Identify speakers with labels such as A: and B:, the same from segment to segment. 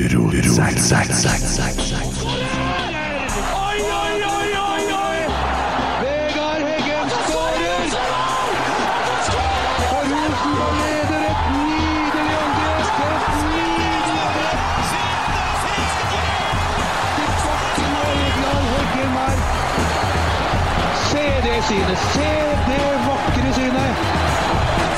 A: Zack, zack, zack, zack, zack.
B: Oi, oi, oi, oi, oi! Vegard Heggen skårer! Og Rosenborg leder et nydelig angrep! Et nydelig angrep! Til kort mål, Egil Heggen her. Se det synet! Se det vakre synet!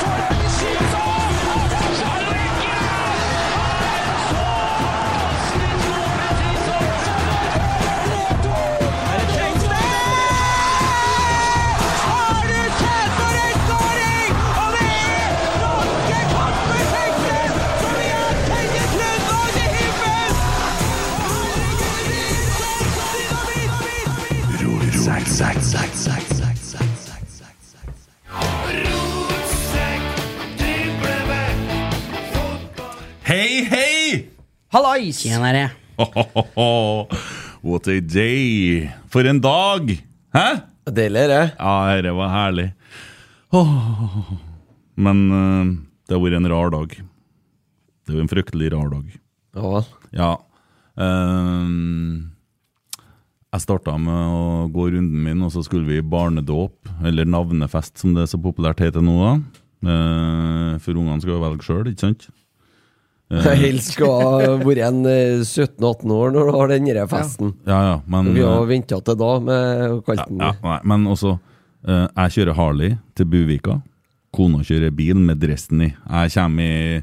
A: Zack, zack, zack, zack, zack, zack, zack, zack, zack.
C: Hei, hei!
D: Hallais!
E: Tjenere.
C: Ohohoho. What a day! For en dag! Hæ?
D: Deilig er det.
C: Ja, dette var herlig. Åh. Men eh, det har vært en rar dag. Det var en fryktelig rar dag.
D: Ja vel.
C: Ja. Ehm, jeg starta med å gå runden min, og så skulle vi i barnedåp, eller navnefest som det er så populært heter nå. da. Eh, for ungene skal jo velge sjøl, ikke sant? Eh,
D: Helst skal ha vært en eh, 17-18 år når du har den her festen.
C: Ja, ja, men... eh,
D: Vi har venta til da med å kalle den
C: Ja, nei, men også eh, Jeg kjører Harley til Buvika. Kona kjører bil med dressen i. Jeg kommer i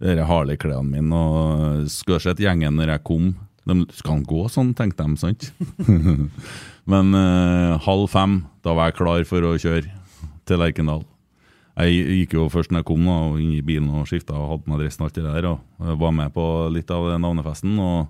C: dere Harley-klærne mine og skårsett gjengen når jeg kom. De skal han gå sånn, tenkte de, sant? men eh, halv fem, da var jeg klar for å kjøre til Lerkendal. Jeg gikk jo først når jeg kom da, og inn i bilen og skifta og hadde på meg dressen og alt det der. Og eh, var med på litt av navnefesten. Og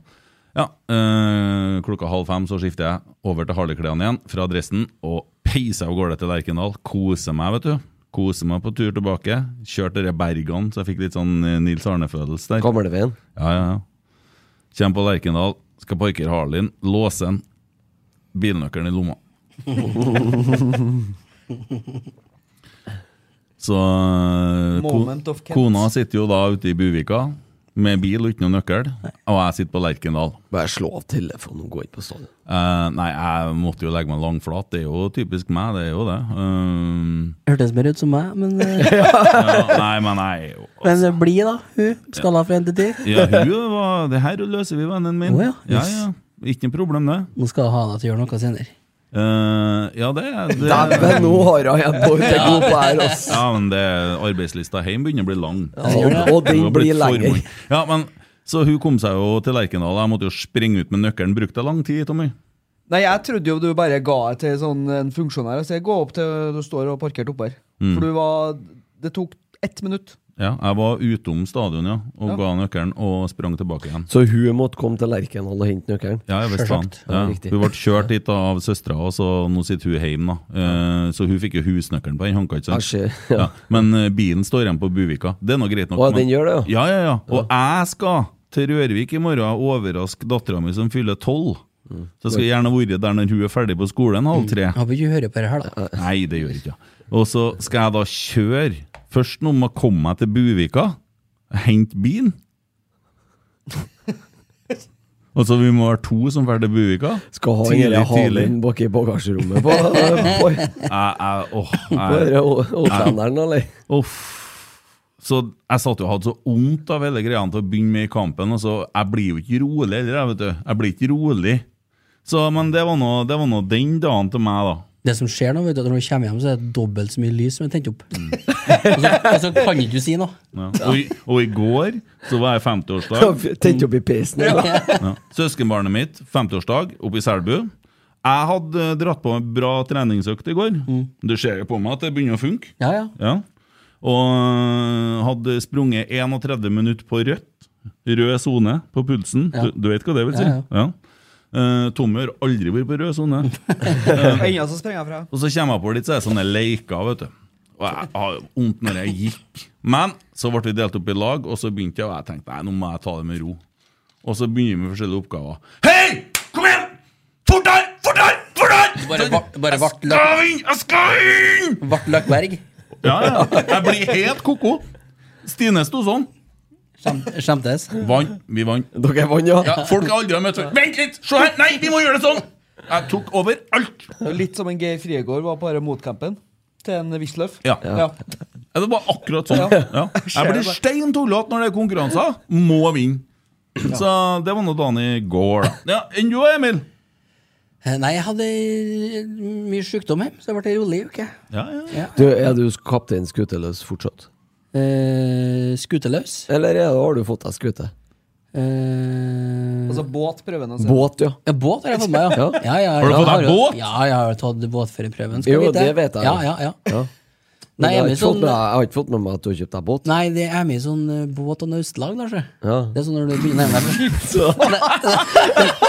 C: ja, eh, klokka halv fem så skifter jeg over til Harley-klærne igjen fra dressen og peiser av gårde til Lerkendal. Koser meg, vet du. Koser meg på tur tilbake. Kjørte dere bergene, så jeg fikk litt sånn eh, Nils Arne-følelse der.
D: Gamleveien.
C: Ja, ja, ja. Kjem på Lerkendal, skal parkere Harleyen, låse den, bilnøkkelen i lomma. Så eh, ko-
D: Moment of Kent.
C: kona sitter jo da ute i Buvika med bil og uten noen nøkkel, og jeg sitter på Lerkendal.
D: Bare slå av telefonen og gå inn på stadion.
C: Eh, nei, jeg måtte jo legge meg langflat. Det er jo typisk meg, det er jo det. Um,
E: Hørtes mer ut som meg, men, eh,
C: ja, nei, men jeg er jo
E: men eh, blid, da. Hun skalla fra 1 til 10.
C: Ja, hun var Det her løser vi, vennen min.
E: Å ja,
C: ja,
E: yes.
C: ja. Ikke noe problem, det.
E: Nå skal jeg ha deg til å gjøre noe senere.
C: Eh, ja, det, det
D: Dæven, nå har jeg en boy til god på her, ass!
C: Ja, men det, arbeidslista hjemme begynner å bli lang.
D: Og, og
C: Hun
D: den
C: har blitt
D: blir lenger.
C: formor. Ja, men Så hun kom seg jo til Lerkendal. Jeg måtte jo springe ut med nøkkelen. Brukte det lang tid, Tommy?
F: Nei, jeg trodde jo du bare ga det til sånn, en
C: Mm.
F: funksjonær og sa gå opp til du står og parkert oppe her. For du var Det tok ett minutt.
C: Ja, jeg var utom stadion, ja, og ga nøkkelen og sprang tilbake igjen.
D: Så hun måtte komme til Lerkendal og hente nøkkelen?
C: Ja, jeg visste faen.
D: Ja,
C: Ja,
D: riktig.
C: hun ble kjørt dit av søstera, og så nå sitter hun hjemme. Da. Eh, så hun fikk jo husnøkkelen på den håndka. ikke sant?
D: Ah, shit, ja.
C: Men eh, bilen står igjen på Buvika. Det er nå greit nok.
D: Å,
C: men-
D: den gjør det,
C: ja? Ja, ja, Og jeg skal til Rørvik i morgen og overraske dattera mi som fyller tolv.
E: Mm.
C: Så skal jeg gjerne vært der når hun er ferdig på skolen halv tre.
E: Håper ikke hun hører på det her, da.
C: Nei, det gjør jeg ikke. Og så skal jeg da kjøre. Først nå må jeg komme meg til Buvika, hente bilen. Og så vi må være to som drar til Buvika.
D: Skal ha den der halen bak i bagasjerommet på, eh, på,
C: Jeg- jeg- åh,
D: på
C: jeg-
D: denne o- hotellet, eller?
C: Uff. Så jeg satt jo og hadde så vondt av hele greia til å begynne med i kampen. Og så, jeg blir jo ikke rolig heller, jeg, vet du. Jeg blir ikke rolig. Så, men det var nå det var nå den dagen til meg, da.
E: Det som skjer nå, vet du, at når du kommer hjem, så er det dobbelt så mye lys som er tent opp. og, så, og så Altså, kan ikke du si noe.
C: Ja. Og, i, og i går så var jeg 50-årsdag.
D: Tent opp i peisen. Ja.
C: Ja. Søskenbarnet mitt, 50-årsdag, oppe i Selbu. Jeg hadde eh, dratt på en bra treningsøkt i går.
E: Mm.
C: Du ser jo på meg at det begynner å funke.
E: Ja, ja.
C: Ja. Og eh, hadde sprunget 31 minutter på rødt. Rød sone på pulsen.
E: Ja.
C: Du, du vet hva det vil si?
E: Ja,
C: Eh, Tommy har aldri vært på rød sone.
F: Ennå så springer jeg fra.
C: Og så kommer jeg på litt så er det sånne leker, vet du. Og jeg har jo vondt når jeg gikk. Men så ble vi delt opp i lag, og så begynte jeg, og jeg tenkte nei, nå må jeg ta det med ro. Og så begynner vi med forskjellige oppgaver. Hei! Kom igjen! Fortere! Fortere! Fortere!
E: Bare va- bare
C: jeg
E: vart løp.
C: skal inn! Jeg skal inn!
E: Vart Løkberg.
C: Ja, ja. Jeg blir helt ko-ko. Stine sto sånn.
E: Skjemtes.
C: Vant. Vi vant.
D: Dere vant, ja?
C: Ja, folk jeg aldri har møtt før. Vent litt! Se her! Nei, vi må gjøre det sånn! Jeg tok over alt.
F: Det er Litt som en Geir Friegård var på denne motkampen til en Wisløff.
C: Ja.
F: Ja.
C: Ja, Det var akkurat sånn.
F: Ja.
C: Ja. Jeg blir stein tullete når det er konkurranser. Må vinne. Så det var nå dagen i går, da. Ja, Enn du, Emil?
E: Eh, Nei, jeg hadde mye sykdom hjemme, så det ble en rolig uke.
C: Ja, ja.
D: Du, er du kaptein skuteløs fortsatt?
E: Eh, skuteløs.
D: Eller er det, har du fått deg skute?
E: Eh,
F: Altså båt prøver han å se.
D: Båt, ja.
E: ja, båt har jeg fått meg, ja.
D: Ja.
E: Eh, ja, ja
C: Har du
E: ja,
C: fått deg
E: jeg
C: båt?
E: Ja, jeg har tatt båtførerprøven. skal
D: Jo,
E: du vite.
D: det vet jeg.
E: Ja, ja, ja.
D: ja. Men
E: Nei,
D: jeg, har
E: Emil,
D: ikke fått
E: sånn-
D: med, jeg har ikke fått med meg at du har kjøpt deg båt.
E: Nei, det er mye sånn eh, båt- og naustlag, Lars.
D: Ja.
E: Det er sånn når du begynner å nærme deg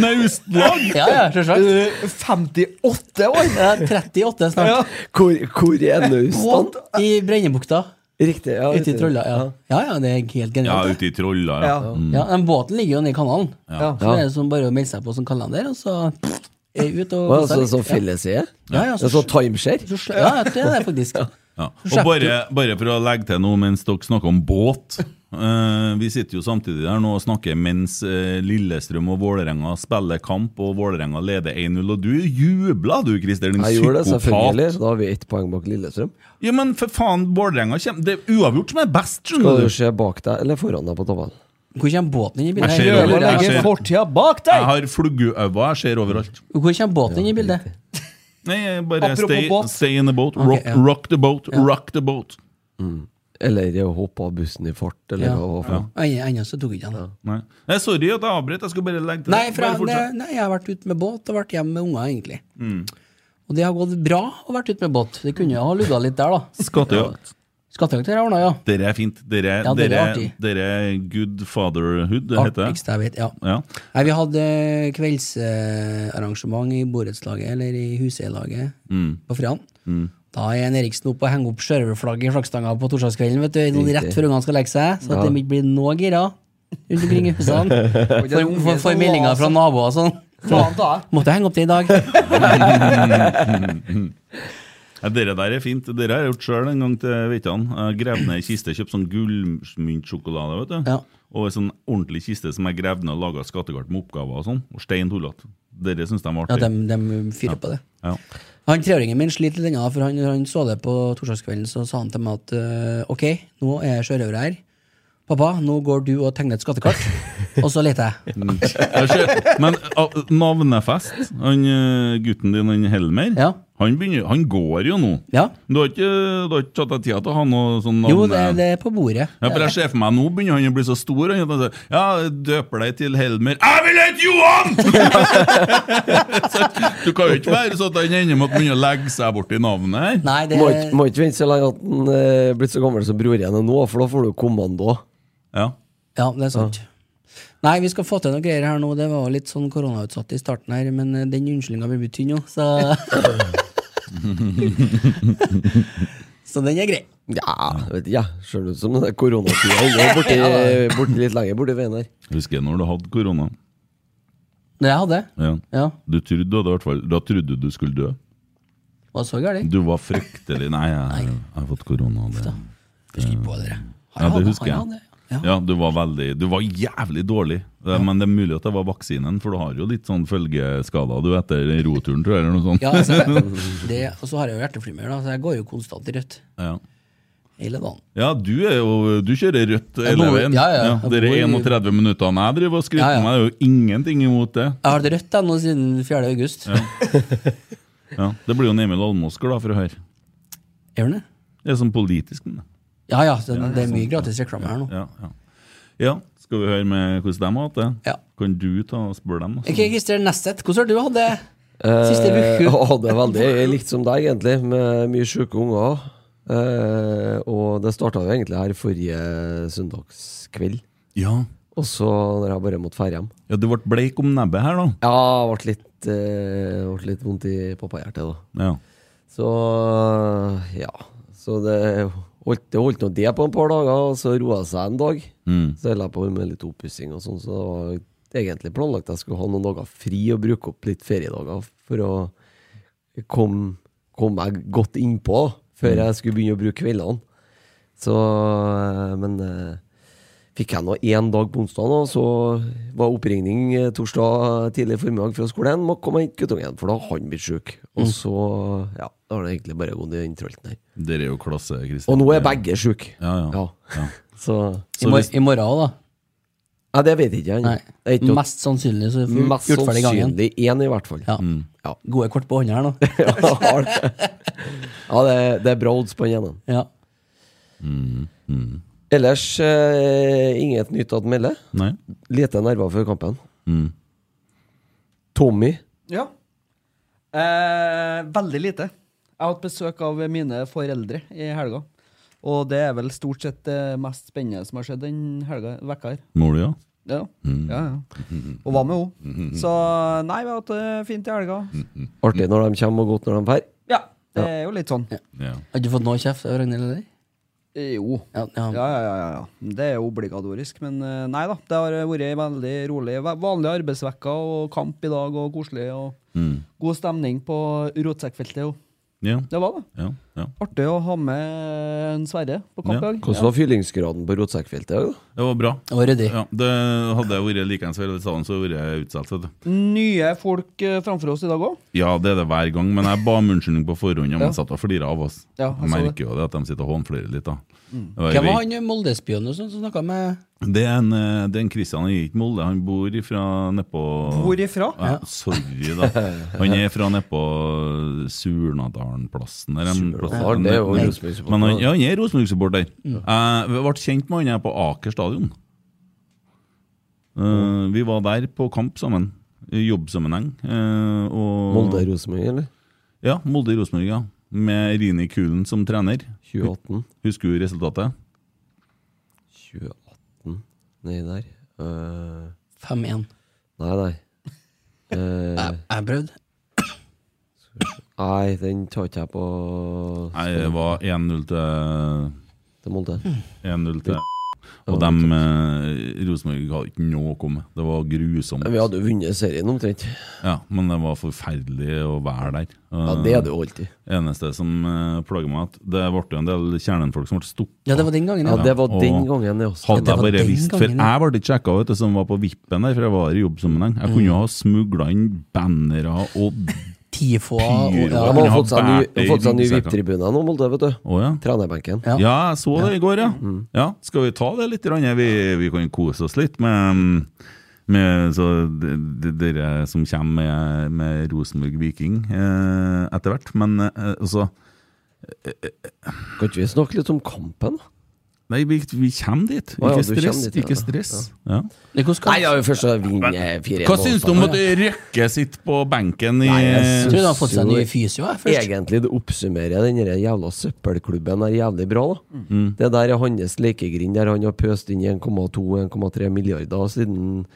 C: Naustlag!
E: Ja, ja, selvsagt.
F: Eh, 58 år!
E: Jeg er 38
F: Ja.
E: snart.
D: Hvor, hvor er naustan?
E: Båt I Brennebukta.
D: Riktig. ja,
E: Ute i
D: riktig.
E: Trolla. Ja. ja, ja, det er helt
C: Ja,
E: genialt.
C: ute i Trolla, ja.
F: Ja.
C: Mm.
E: Ja, den båten ligger jo nede i kanalen.
F: Ja.
E: Så det er sånn bare å melde seg på som kalender, og så er jeg ut og
D: Hva,
E: kose
D: altså,
E: litt.
D: sånn fellesside?
E: Ja, ja,
D: Det
E: så,
D: er sånn timeshare?
E: så, sl- ja, det er det faktisk.
C: Ja. Og bare, bare for å legge til noe mens dere snakker om båt. Eh, vi sitter jo samtidig der nå og snakker mens eh, Lillestrøm og Vålerenga spiller kamp, og Vålerenga leder 1-0. Og du jubla, du, Christer, din
D: Jeg gjorde det, selvfølgelig.
C: psykopat.
D: Da har vi ett poeng bak Lillestrøm.
C: Ja, men for faen, Vålerenga kommer Det er uavgjort som er best,
D: Skal
C: skjønner
D: du
C: du.
D: se bak deg eller foran deg på tabellen?
E: Hvor kommer båten inn i
C: Jeg
E: bildet?
C: ser
E: her?
F: Prøver å
C: over, jeg
F: legge
C: ser-
F: fortida bak
C: Jeg
F: deg!
C: har fluggeøyne, jeg ser overalt.
E: Hvor kommer båten inn i bildet?
C: Nei, jeg bare
F: Apropos
C: stay,
F: båt.
C: stay in the boat. Rock,
E: ja.
C: rock the boat, rock the boat.
D: Mm. Eller det å hoppe av bussen i fart, eller
E: Ja.
D: hva hva for noe?
E: Og en- Ennå så tok ikke han.
C: Nei. Nei, sorry at jeg avbrøt, jeg skulle bare legge til
E: Nei,
C: Bare
E: fra, nei,
C: fortsett. Mm.
E: nei, jeg har vært ute med båt og vært hjemme med unger, egentlig. Og det har gått bra å vært ute med båt. Det kunne jo ha lugga litt der, da.
C: Skattejakt.
E: Skattejakt har jeg ordna, ja.
C: Dere er fint. Dere,
E: Ja, dere
C: dere,
E: er artig.
C: dere er good fatherhood, det heter det.
E: Artigste jeg vet, ja.
C: Ja.
E: Nei, vi hadde kveldsarrangement i borettslaget, eller i huseielaget, på Frian. Da er en Eriksen oppe og henger opp sjørøverflagget i flaggstanga på torsdagskvelden, vet du, rett før ungene skal legge seg, så at de ikke blir noe gira rundt omkring i husene. Får, får, får meldinger fra naboer og sånn.
F: Faen ta jeg.
E: Måtte henge opp det i dag.
C: Ja, dere der er fint. Dere har jeg gjort sjøl en gang til Veitan. Jeg gravde ned ei kiste, kjøpte sånn gullmyntsjokolade, vet du.
E: Ja.
C: Og ei sånn ordentlig kiste som jeg gravde ned og laga skattekart med oppgaver og sånn. Og stein tullete. Dere syns de var
E: Ja, de,
C: artige.
E: de fyrer på det.
C: Ja.
E: Han treåringen min sliter litt ennå, for han, han så det på torsdagskvelden. Så sa han til meg at eh, ok, nå er jeg sjørøver her. Pappa, nå går du og tegner et skattekart, og så leter jeg.
C: Jeg ser- Men ah, navnefest, han eh, gutten din, han Helmer
E: Ja.
C: Han, begynner, han går jo nå.
E: Ja.
C: Men Du har ikke, du har ikke tatt deg tida til å ha noe sånn
E: Jo,
C: navne-
E: det, det er på bordet.
C: Ja, for jeg ser for meg nå begynner han å bli så stor. Han heter, ja, jeg døper deg til Helmer. Jeg vil hete Johan! Så du kan jo ikke være sånn at han ender med å begynne å legge seg bort i navnet her.
E: Nei, det
D: Må ikke- må ikke vente så lenge at han er blitt så gammel som bror igjen er nå, for da får du kommando.
C: Ja.
E: Ja, det er sant. Nei, vi skal få til noen greier her nå. Det var jo litt sånn koronautsatt i starten her, men eh, den unnskyldninga blir mye tynn nå, så Så den er grei.
D: Ja, vet ikke, ja. ser det ut som den koronatida er borti, borti litt lenger borti veien her.
C: Husker jeg når du hadde korona.
E: Det jeg hadde.
C: Ja.
E: Ja.
C: Du trodde, du hadde, vært far- da trodde du skulle dø.
E: Var så gæren.
C: Du var fryktelig Nei, jeg, jeg har fått korona. Det.
E: Husker på dere.
C: Ja, det husker
E: Han
C: jeg.
E: hadde. Ja.
C: Ja, du var veldig Du var jævlig dårlig. Eh, Men det er mulig at det var vaksinen, for du har jo litt sånn følgeskader du etter roturen, tror jeg, eller noe sånt.
E: Ja, altså, det, og så har jeg jo hjerteflimmer, da, så jeg går jo konstant i rødt
C: Ja.
E: hele dagen.
C: Ja, du, er jo, du kjører rødt
E: Jeg
C: hele
E: bor-
C: veien.
E: ja, ja, jeg
C: det er
E: bor i-
C: 31 minutter han jeg driver og skryter
E: Ja, ja.
C: med. Det er jo ingenting imot det.
E: Jeg har hatt rødt da, nå siden 4. august.
C: Ja, det blir jo en Emil Almåsker, da, for å høre.
E: Gjør den det?
C: Det er sånn politisk. Men. det.
E: Ja ja, så det er mye gratis reklame her nå.
C: sånn. Ja, ja. ja, skal vi høre med hvordan de har hatt det?
E: Ja.
C: Kan du ta og spørre dem? altså?
E: Ok, Christer Nesset, hvordan har du hatt det siste
D: Eh,
E: uka?
D: å, det er veldig likt som deg, egentlig, med mye sjuke unger. Eh, og det starta jo egentlig her forrige søndagskveld.
C: Ja.
D: Og så når jeg bare måtte dra hjem.
C: ja, du ble bleik om nebbet her, da.
D: Ja, det ble litt, eh, ble litt vondt i pappahjertet, da.
C: Ja.
D: Så ja. Så det holdt, det holdt nå det på en par dager, og så roa det seg en dag.
C: Mm.
D: Så holdt jeg på med litt oppussing og sånn, så det var egentlig planlagt at jeg skulle ha noen dager fri og bruke opp litt feriedager for å komme kom meg godt innpå da,
C: Mm.
D: før jeg skulle begynne å bruke kveldene. Så eh, Men eh, fikk jeg nå én dag på onsdag, og så var oppringning eh, torsdag tidlig formiddag fra skolen. Må komme og hente guttungen, for da har han blitt sjuk.
C: Mm.
D: Og så, ja, da har det egentlig bare gått i den tralten her.
C: Dere er jo klasse, Kristian.
D: Og nå er begge sjuke.
C: Ja, ja. Ja.
D: Så
E: I, mor I morgen også, da.
D: Ja, det vet jeg ikke
E: Nei.
D: jeg. Det er ikke noe-
E: Mest sannsynlig så får vi
D: Mest
E: gjort ferdig gangen.
D: sannsynlig én, i hvert fall.
E: Ja.
C: Mm.
D: Ja.
E: Gode kort på hånda her nå.
D: Ja, har det. ja det, det er bra odds på den ene.
E: Ja.
C: Mm,
D: Ellers eh, inget nytt å melde.
C: Nei?
D: Lite nerver før kampen.
C: Mm.
D: Tommy
F: Ja. Eh, veldig lite. Jeg har hatt besøk av mine foreldre i helga. Og det er vel stort sett det mest spennende som har skjedd den helga vekka her.
C: Mor di, ja? Mm.
F: Ja, ja, ja. Og hva med henne? Så nei, vi har hatt det fint i helga.
C: Mm.
D: Artig når de kommer, og godt når de drar.
F: Ja, det er jo litt sånn.
C: Ja.
E: Har du fått noe kjeft av Ragnhild, eller?
F: Jo.
E: Ja,
F: Ja,
E: ja.
F: ja, ja, ja, ja. Det er jo obligatorisk. Men eh, nei da, det har vært ei veldig rolig, va- vanlig arbeidsvekka og kamp i dag og koselig og
C: Mm.
F: god stemning på rotsekkfeltet. jo.
C: Ja.
F: Det var det.
C: Ja. ja.
F: Artig å ha med en Sverre på kamp i
C: Ja,
F: dag.
D: Hvordan var fyllingsgraden på rotsekkfeltet? i dag, da?
C: Det var bra.
E: Det var ryddig.
C: Ja, det hadde jeg vært likeens for alle sammen, så hadde jeg vært utsolgt. vet du.
F: Nye folk eh, framfor oss i dag òg.
C: Ja, det er det hver gang, men jeg ba om unnskyldning på forhånd. Og
F: Ja.
C: man satt og flira av oss.
F: Ja, jeg
C: jeg
F: så det.
C: merker jo det at de sitter og hånflirer litt. da Det var jo
E: Mm. Hvem var
C: vei-
E: han Molde-spionen og sånn som snakka med
C: Det er en, eh, det er en Christian han er ikke Molde. Han bor ifra nedpå
F: Hvor ifra?
C: ja, Sorry, da. Han er fra nedpå Surnadalen-plassen. eller en plass-
D: Surnadalen, det er jo
C: Men-
D: Rosenborg-supporter.
C: Men han, ja, han er Rosenborg-supporter. Jeg ble kjent med han her på Aker stadion. Eh, vi var der på kamp sammen. I jobbsammenheng. eh, og-
D: Molde-Rosenborg, eller?
C: Ja, Molde i Rosenborg, ja. Med Rini Kulen som trener.
D: 2018?
C: Husker du resultatet?
D: 2018 Nei, der. Eh,
E: 5-1?
D: nei, nei. Eh,
E: Jeg prøvde.
D: nei, den tar ikke jeg på
C: Nei, det var 1-0 til
D: til Molde.
C: 1-0 til Og de eh, Rosenborg hadde ikke noe å komme med. Det var grusomt.
D: Men Vi hadde jo vunnet serien omtrent.
C: Ja, men det var forferdelig å være der.
D: Ja, Det er det jo alltid.
C: eneste som eh, plager meg, at det ble jo en del kjernenfolk som ble stukket.
E: Ja, det var den gangen,
D: Ja,
E: ja.
D: Det var
C: og-
D: den gangen, det også.
C: Hadde
E: Ja, det
C: jeg
E: var
C: bare
E: den
C: visst, for
E: gangen, ja.
C: jeg ble ikke sjekka ut, det som var på vippen der, for jeg var i jobbsammenheng. Jeg
E: Mm.
C: kunne jo ha smugla inn bannere og
E: Tifo
C: Pyro.
D: De
E: og ja.
D: har
C: kunne ha
D: fått seg ny,
C: båret
D: de har fått seg ny
C: ryggsekker.
D: VIP-tribune nå, Molde, vet du.
C: Å ja.
D: Trenerbenken.
E: Ja.
C: Ja, jeg så det i går, ja. ja. Skal vi ta det litt? grann? Vi, vi kan kose oss litt med mm, Med, så d- d- dere som kommer med, med Rosenborg Viking eh, etter hvert. Men eh, altså eh,
D: Kan ikke vi snakke litt om kampen? da?
C: Nei, vi, vi kommer dit.
D: Å ja,
C: Ikke
D: du kommer
C: stress.
D: dit, ja.
C: Ikke stress. Ja.
E: Det er hvordan skal-
D: Nei, ja, vi først har vunnet 4-1.
C: Hva syns du om at Røkke sitter på benken i
D: Nei,
E: Jeg
D: jeg
E: tror han har fått seg en ny
D: Jo,
E: fysio jeg, først.
D: Egentlig det oppsummerer den der jævla søppelklubben er jævlig bra. da
C: Mm.
D: Det der er hans lekegrind der han har pøst inn 1,2-1,3 milliarder siden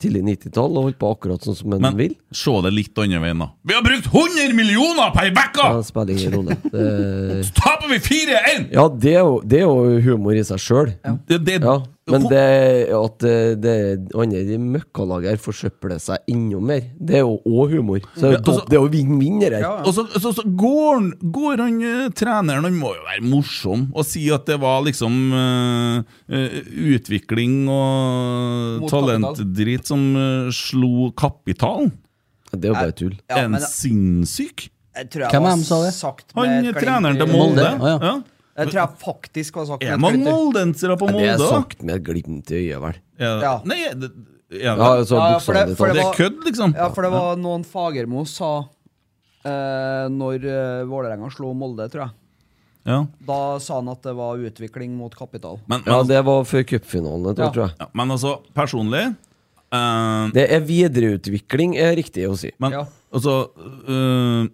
D: tidlig 90-tall og holdt på akkurat sånn som han
C: Men
D: vil.
C: se det litt andre veien, da. Vi har brukt 100 millioner per uke!
D: Det spiller ingen rolle. Det,
C: Så taper vi 4-1!
D: ja, det er, jo, det er jo humor i seg sjøl.
C: Det, det,
D: Ja, men det at eh, det andre møkkalaget her forsøpler seg enda mer, det er jo òg humor. Så det er jo
C: altså-
D: dobb- det er jo vinn-vinn, det her.
C: Og så, så, så går, han- går han eh, treneren Han må jo være morsom og si at det var liksom eh, eh, utvikling og
F: Mot kapital.
C: talentdrit som eh, slo kapitalen.
D: Det er jo bare tull.
C: er han
G: men-
C: sinnssyk?
G: Jeg tror jeg
E: Hvem er
G: var
E: han som sa det?
G: sagt med
C: Han
G: et
C: eh,
G: glimt
C: treneren
G: i-
C: til Molde.
E: Molde, å ja.
C: Ja.
G: Jeg tror jeg faktisk var sagt
C: Er det
G: med et
C: mange
G: glimt i-
C: moldensere på
D: Ja, Det
C: Molde?
D: er
C: da?
D: sagt med et glimt i øyet, vel.
C: Er det-
G: Ja.
C: Nei, er det, er det,
D: Ja, altså,
G: Ja, ja, for
D: buksene
G: det-
D: ditt
G: for
D: og-
C: det
G: var-
C: er kødd, liksom?
G: Ja, for det var noen Fagermo sa eh, når eh, Vålerenga slo Molde, tror jeg.
C: Ja.
G: Da sa han at det var utvikling mot kapital.
C: Men,
D: Ja,
C: men,
D: det var før cupfinalen, det
G: Ja.
D: tror jeg.
C: ja, men altså, personlig eh,
D: Det er videreutvikling, er riktig å si.
C: Men
G: Ja.
C: altså øh,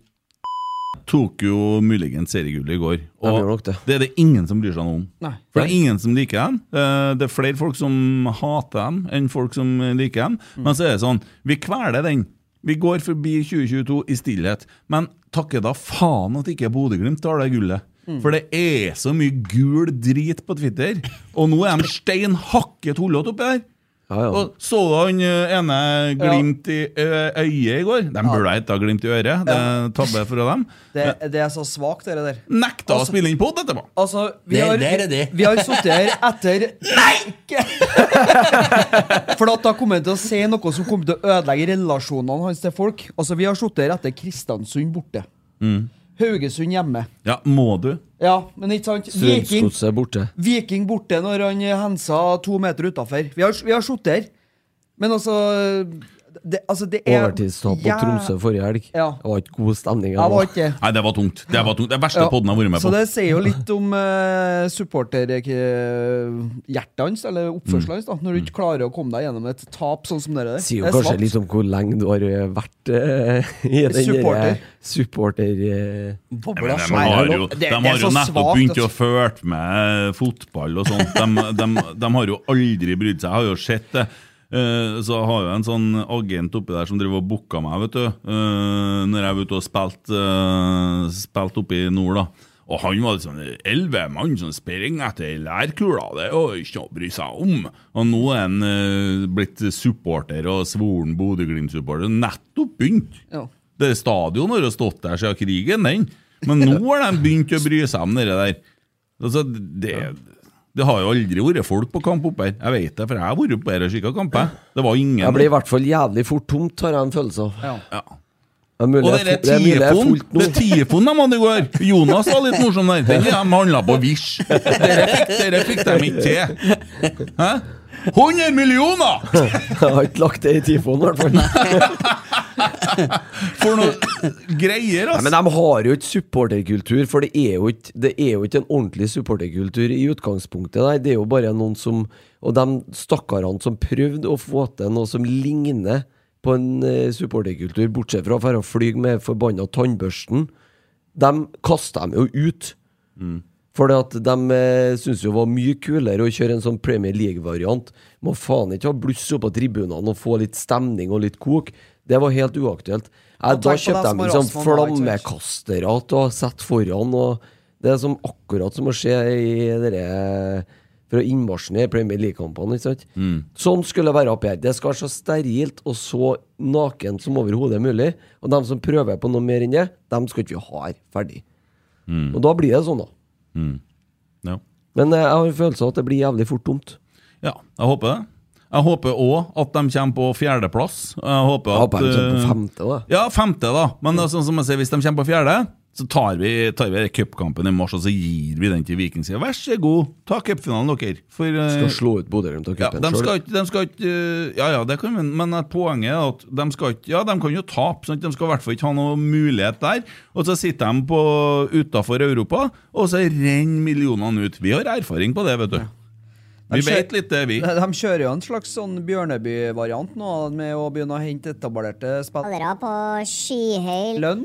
C: Tok jo muligens seriegullet i går.
D: De gjorde nok det.
C: er det ingen som bryr seg noe om.
G: Nei.
C: For det er ingen som liker dem. Eh, Det er flere folk som hater dem, enn folk som liker dem. Men så er det sånn Vi kveler den. Vi går forbi 2022 i stillhet. Men takke da faen at ikke Bodø-Glimt tar det gullet.
D: Mm.
C: For det er så mye gul drit på Twitter, og nå er de stein hakket hullete oppi der.
D: Ja, ja.
C: Og så du han ø, ene glimt i ø, øyet i går? De burde ha hett glimt i øret. Det er tabbe fra dem.
G: Det, det er så svakt, det der.
C: Nekta å
G: Altså-
C: spille inn pod etterpå!
G: Altså, vi
E: Det-
G: har,
E: der er det.
G: vi har sittet her etter Nei! For at da kommer han til å si noe som kommer til å ødelegge relasjonene hans til folk. Altså, Vi har sittet her etter Kristiansund borte. Haugesund hjemme.
C: Mm. Ja, må du?
G: Ja, men ikke sant? Viking,
D: Strømsgodset er borte.
G: Viking borte når han hensa to meter utafor. Vi har, vi har sittet her. Men altså det, altså, det er
D: Overtidstap mot
G: Ja.
D: Tromsø forrige helg.
G: Ja.
D: Det var ikke god stemning.
G: Jeg var
D: ennå.
G: ikke det.
C: Nei, det var tungt. Det var tungt. Det verste
G: Ja.
C: podden jeg har vært med
G: Så
C: på.
G: det sier jo litt om uh, supporterhjertet hans,
C: Mm.
G: eller oppførselen hans, da, når du ikke klarer å komme deg gjennom et tap sånn som det der.
D: Sier
G: Det
D: jo
G: er
D: kanskje
G: svakt.
D: litt om hvor lenge du har eh, vært eh, i den
G: Supporter.
D: der, eh, supporter eh,
C: Men
G: Bobla
C: de
G: skjærer
C: har
G: nå.
C: jo,
G: Det-
C: de
G: det er
C: har jo
G: så
C: nettopp
G: svakt,
C: begynt å
G: altså.
C: følge med fotball og sånt. De, de, de har jo aldri brydd seg. Jeg har jo sett det. Eh, Så har jo en sånn agent oppi der som driver og booka meg, vet du. eh, Når jeg var ute og spilte eh, spilte oppe i nord, da. Og han var liksom elleve mann som springer etter ei lærkule. Det er jo ikke noe å bry seg om. Og nå er han eh, blitt supporter og svoren Bodø-Glimt-supporter. Nettopp begynt.
G: Ja.
C: Det stadion har jo stått der siden krigen, den. Men nå har de begynt å bry seg om det der. Altså, det, det har jo aldri vært folk på kamp oppe her. Jeg vet det, for jeg har vært oppe her og kikka kamp. jeg. Det var ingen
D: Jeg blir i hvert fall jævlig fort tomt, har jeg en følelse av.
G: Ja.
C: Ja.
D: Det er mulig
C: Og
D: jeg
C: det
D: er fo- det er mulig jeg er
C: TIFON
D: fullt nå.
C: Det TIFON de hadde i går! Jonas var litt morsom der. Den har de handla på Vish. Dere fikk, dere fikk dem ikke til. Hæ? 100 millioner!
D: Jeg har ikke lagt det i tifoen, i hvert fall.
C: For noe greier,
D: Nei, men
C: ass!
D: de har jo ikke supporterkultur, for det er jo ikke, det er jo ikke en ordentlig supporterkultur i utgangspunktet. Nei, det er jo bare noen som Og de stakkarene som prøvde å få til noe som ligner på en eh, supporterkultur, bortsett fra å dra og fly med forbanna tannbørsten, dem kasta dem jo ut. For at de eh, syns jo det var mye kulere å kjøre en sånn Premier League-variant. Må faen ikke ha bluss oppå tribunene og få litt stemning og litt kok. Det var helt uaktuelt. Jeg,
G: Og
D: da
G: tenk på
D: kjøpte
G: dem som
D: de
G: har
D: liksom
G: astma nå, ikke sant?
D: flammekastere og sette foran. og Det er som akkurat som å se i dere fra innmarsjen i Premier League-kampene. ikke sant?
C: Mm.
D: Sånn skulle det være oppi her. Det skal være så sterilt og så nakent som overhodet mulig. Og de som prøver på noe mer enn det, dem skal ikke vi ha her. Ferdig. Og da blir det sånn, da.
C: Mm. Ja.
D: Men eh, jeg har en følelse av at det blir jævlig fort tomt.
C: Ja, jeg håper det. Jeg håper òg at de kommer på fjerdeplass. Jeg håper
D: Jeg
C: at
D: håper de kommer på
C: eh,
D: femte, da.
C: Ja, femte, da. Men det er sånn som jeg sier, hvis de kommer på fjerde, Så tar vi, tar vi cupkampen i mars og så gir vi den til Viking. sier, Vær så god, ta cupfinalen, dere. For, eh,
D: Skal slå ut Bodø-Glimt og
C: ja,
D: cupen
C: de
D: selv.
C: skal ikke, de skal ikke eh, Ja ja, det kan vi, men at poenget er at de skal ikke Ja, de kan jo tape, sånn at de skal i hvert fall ikke ha noen mulighet der. Og så sitter de på utafor Europa, og så renner millionene ut. Vi har erfaring på det, vet du. Vi
G: kjører-
C: vet litt det, vi.
G: De, de kjører jo en slags sånn Bjørneby-variant nå, med å begynne å hente etablerte spillere på skyhøy lønn.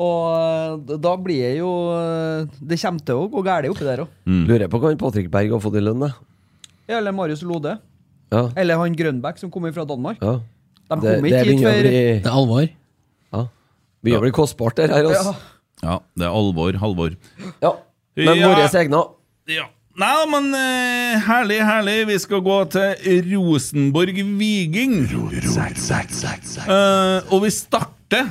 G: Og d- da blir det jo eh, Det kommer til å gå galt oppi der òg.
C: Mm.
D: Lurer på hva han Patrick Berg har fått i lønn, da.
G: Eller Marius Lode.
D: Ja.
G: Eller han Grønbæk som kom fra Danmark.
D: ja.
G: De kom
D: Det, det
G: ikke hit
D: begynner å
G: før
D: bli
E: Det er alvor.
D: ja. Begynner å bli kostbart, det her. Altså.
C: Ja, det er alvor, halvor.
D: Ja. Men
C: Ja.
D: våre egne
C: Ja. Nei, men eh, herlig, herlig. Vi skal gå til Rosenborg Viking. Eh, og vi starter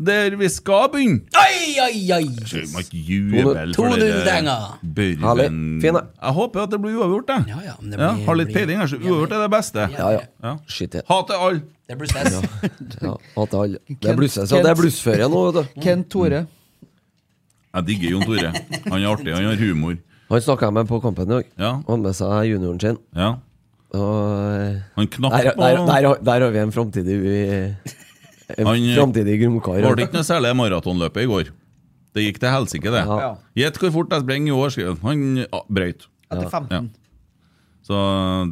C: der vi skal begynne.
E: Oi, oi, oi!
C: Vi må ikke jubel for
E: 2-0
C: det
E: denger.
D: Herlig.
C: børven.
D: Fin, da.
C: Jeg håper at det blir uavgjort, jeg.
E: Ja, ja, men det
C: ja,
E: blir-
C: har litt
E: blir-
C: peiling, kanskje. Uavgjort er det beste.
D: Ja, ja.
C: Ja.
D: Shit, ja.
C: Ha til alle.
E: Det blir stress.
D: ja. At alle- Det er blusse, så det er blussferie nå, vet du.
G: Kent Tore.
C: Jeg digger Jon Tore. Han er artig, han har humor.
D: Han snakka jeg med på kampen i dag.
C: Ja.
D: Han hadde med seg junioren sin.
C: ja.
D: Og
C: Han knapp
D: Der,
C: på
D: der, der, har- der har vi en framtidig En
C: Han, eh,
D: framtidig gromkar.
C: Var det ikke noe særlig maratonløpet i går? Det gikk til helsike, det.
D: Ja.
C: Gjett hvor fort jeg sprenger i år, skrev han. Han ah, brøyt.
G: Etter 15.
C: Ja. Så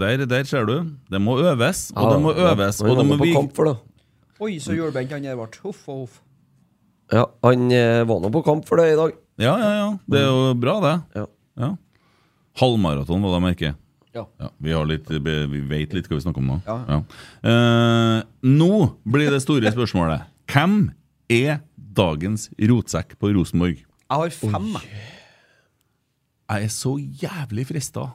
C: der, der ser du. Det må øves, og
D: Ja,
C: det må
D: ja.
C: øves.
D: Han
C: Og det
D: var
C: må
D: på
C: vi...
D: kamp for det.
G: Oi, så hjulbeint han der ble. Huff og huff.
D: Ja, han eh, var nå på kamp for det i dag.
C: Ja, ja, ja. Det er jo bra, det.
D: Ja.
C: Ja. Halvmaraton var det merket.
G: Ja.
C: vi, har litt, vi vet litt hva vi snakker om nå.
G: Ja.
C: Eh, nå blir det store spørsmålet. Hvem er dagens rotsekk på Rosenborg?
G: Jeg har fem, jeg.
C: Jeg er så jævlig frista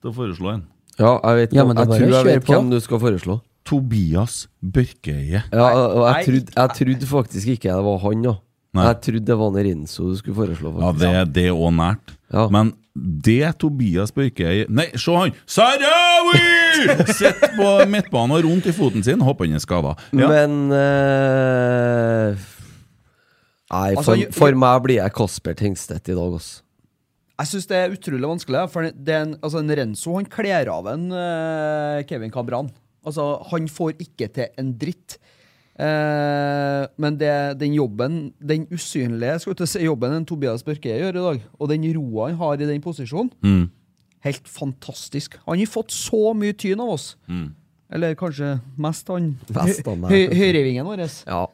C: til å foreslå en.
D: Ja, jeg vet,
E: Ja, men det
D: jeg
E: er bare
D: tror jeg
E: å kjøre
D: vet
E: på.
D: hvem du skal foreslå.
C: Tobias Børkeøye.
D: Ja, og
G: nei.
D: jeg trodde, jeg trodde faktisk ikke det var han, da.
C: Nei.
D: Jeg trodde det var han Renzo du skulle foreslå.
C: Ja,
D: faktisk.
C: det, det er òg nært.
D: Ja.
C: Men det Tobias Børkeøye Nei, se han! Sarawi! Sitter på midtbanen og rundt i foten sin. Håper han er skada. Ja.
D: Men eh, Nei,
G: Altså,
D: for,
G: jo-
D: for meg blir jeg Kasper Tengstedt i dag, altså.
G: Jeg syns det er utrolig vanskelig. For det er en, altså en Renzo han kler av en eh, Kevin Cabran. Altså, han får ikke til en dritt. Eh, men det, den jobben, den usynlige skal til å si, jobben en Tobias Børke gjør i dag, og den roa han har i den posisjonen,
C: Mm.
G: helt fantastisk. Han har fått så mye tyn av oss. Eller kanskje mest han
D: Mest av meg,
G: høy-
D: kanskje.
G: høyrevingen vår.
D: Ja.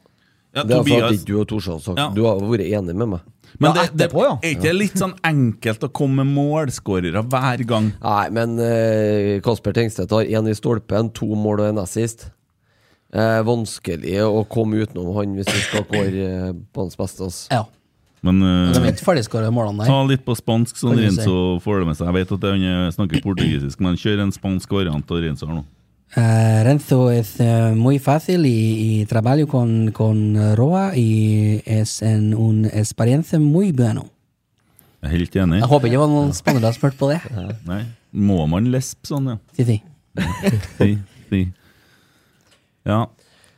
C: Ja,
D: Det er for at
C: Tobias.
D: ikke du og Torsan sagt
C: Ja.
D: Du har vært enig med meg.
C: Men
G: Ja,
C: det, det
G: etterpå, ja.
C: er ikke litt sånn enkelt å komme med målskårere hver gang.
D: Nei, men eh, Kasper Tengstedt har én i stolpen, to mål og en assist. Eh, vanskelig å komme utenom han hvis vi skal kåre eh, banens beste. Altså.
E: Ja.
C: Men
E: De er
C: eh,
E: ikke ferdigskåra målene
C: ta
E: der.
C: litt på spansk, sånn
E: Kan du si.
C: Renzo får det med seg. Jeg vet at han eh, snakker portugisisk, men kjør en spansk variant av Renzo her nå.
E: Eh, Renzo es eh, muy fácil y, y trabajo con, con eh, Roa y es en un experiencia muy bueno.
C: Jeg
E: Ah.
C: er helt enig.
E: Jeg håper ikke det var noen spannere som hørte på det.
C: Nei. Må man lespe sånn, ja?
E: Si, si.
C: Si, si. Ja.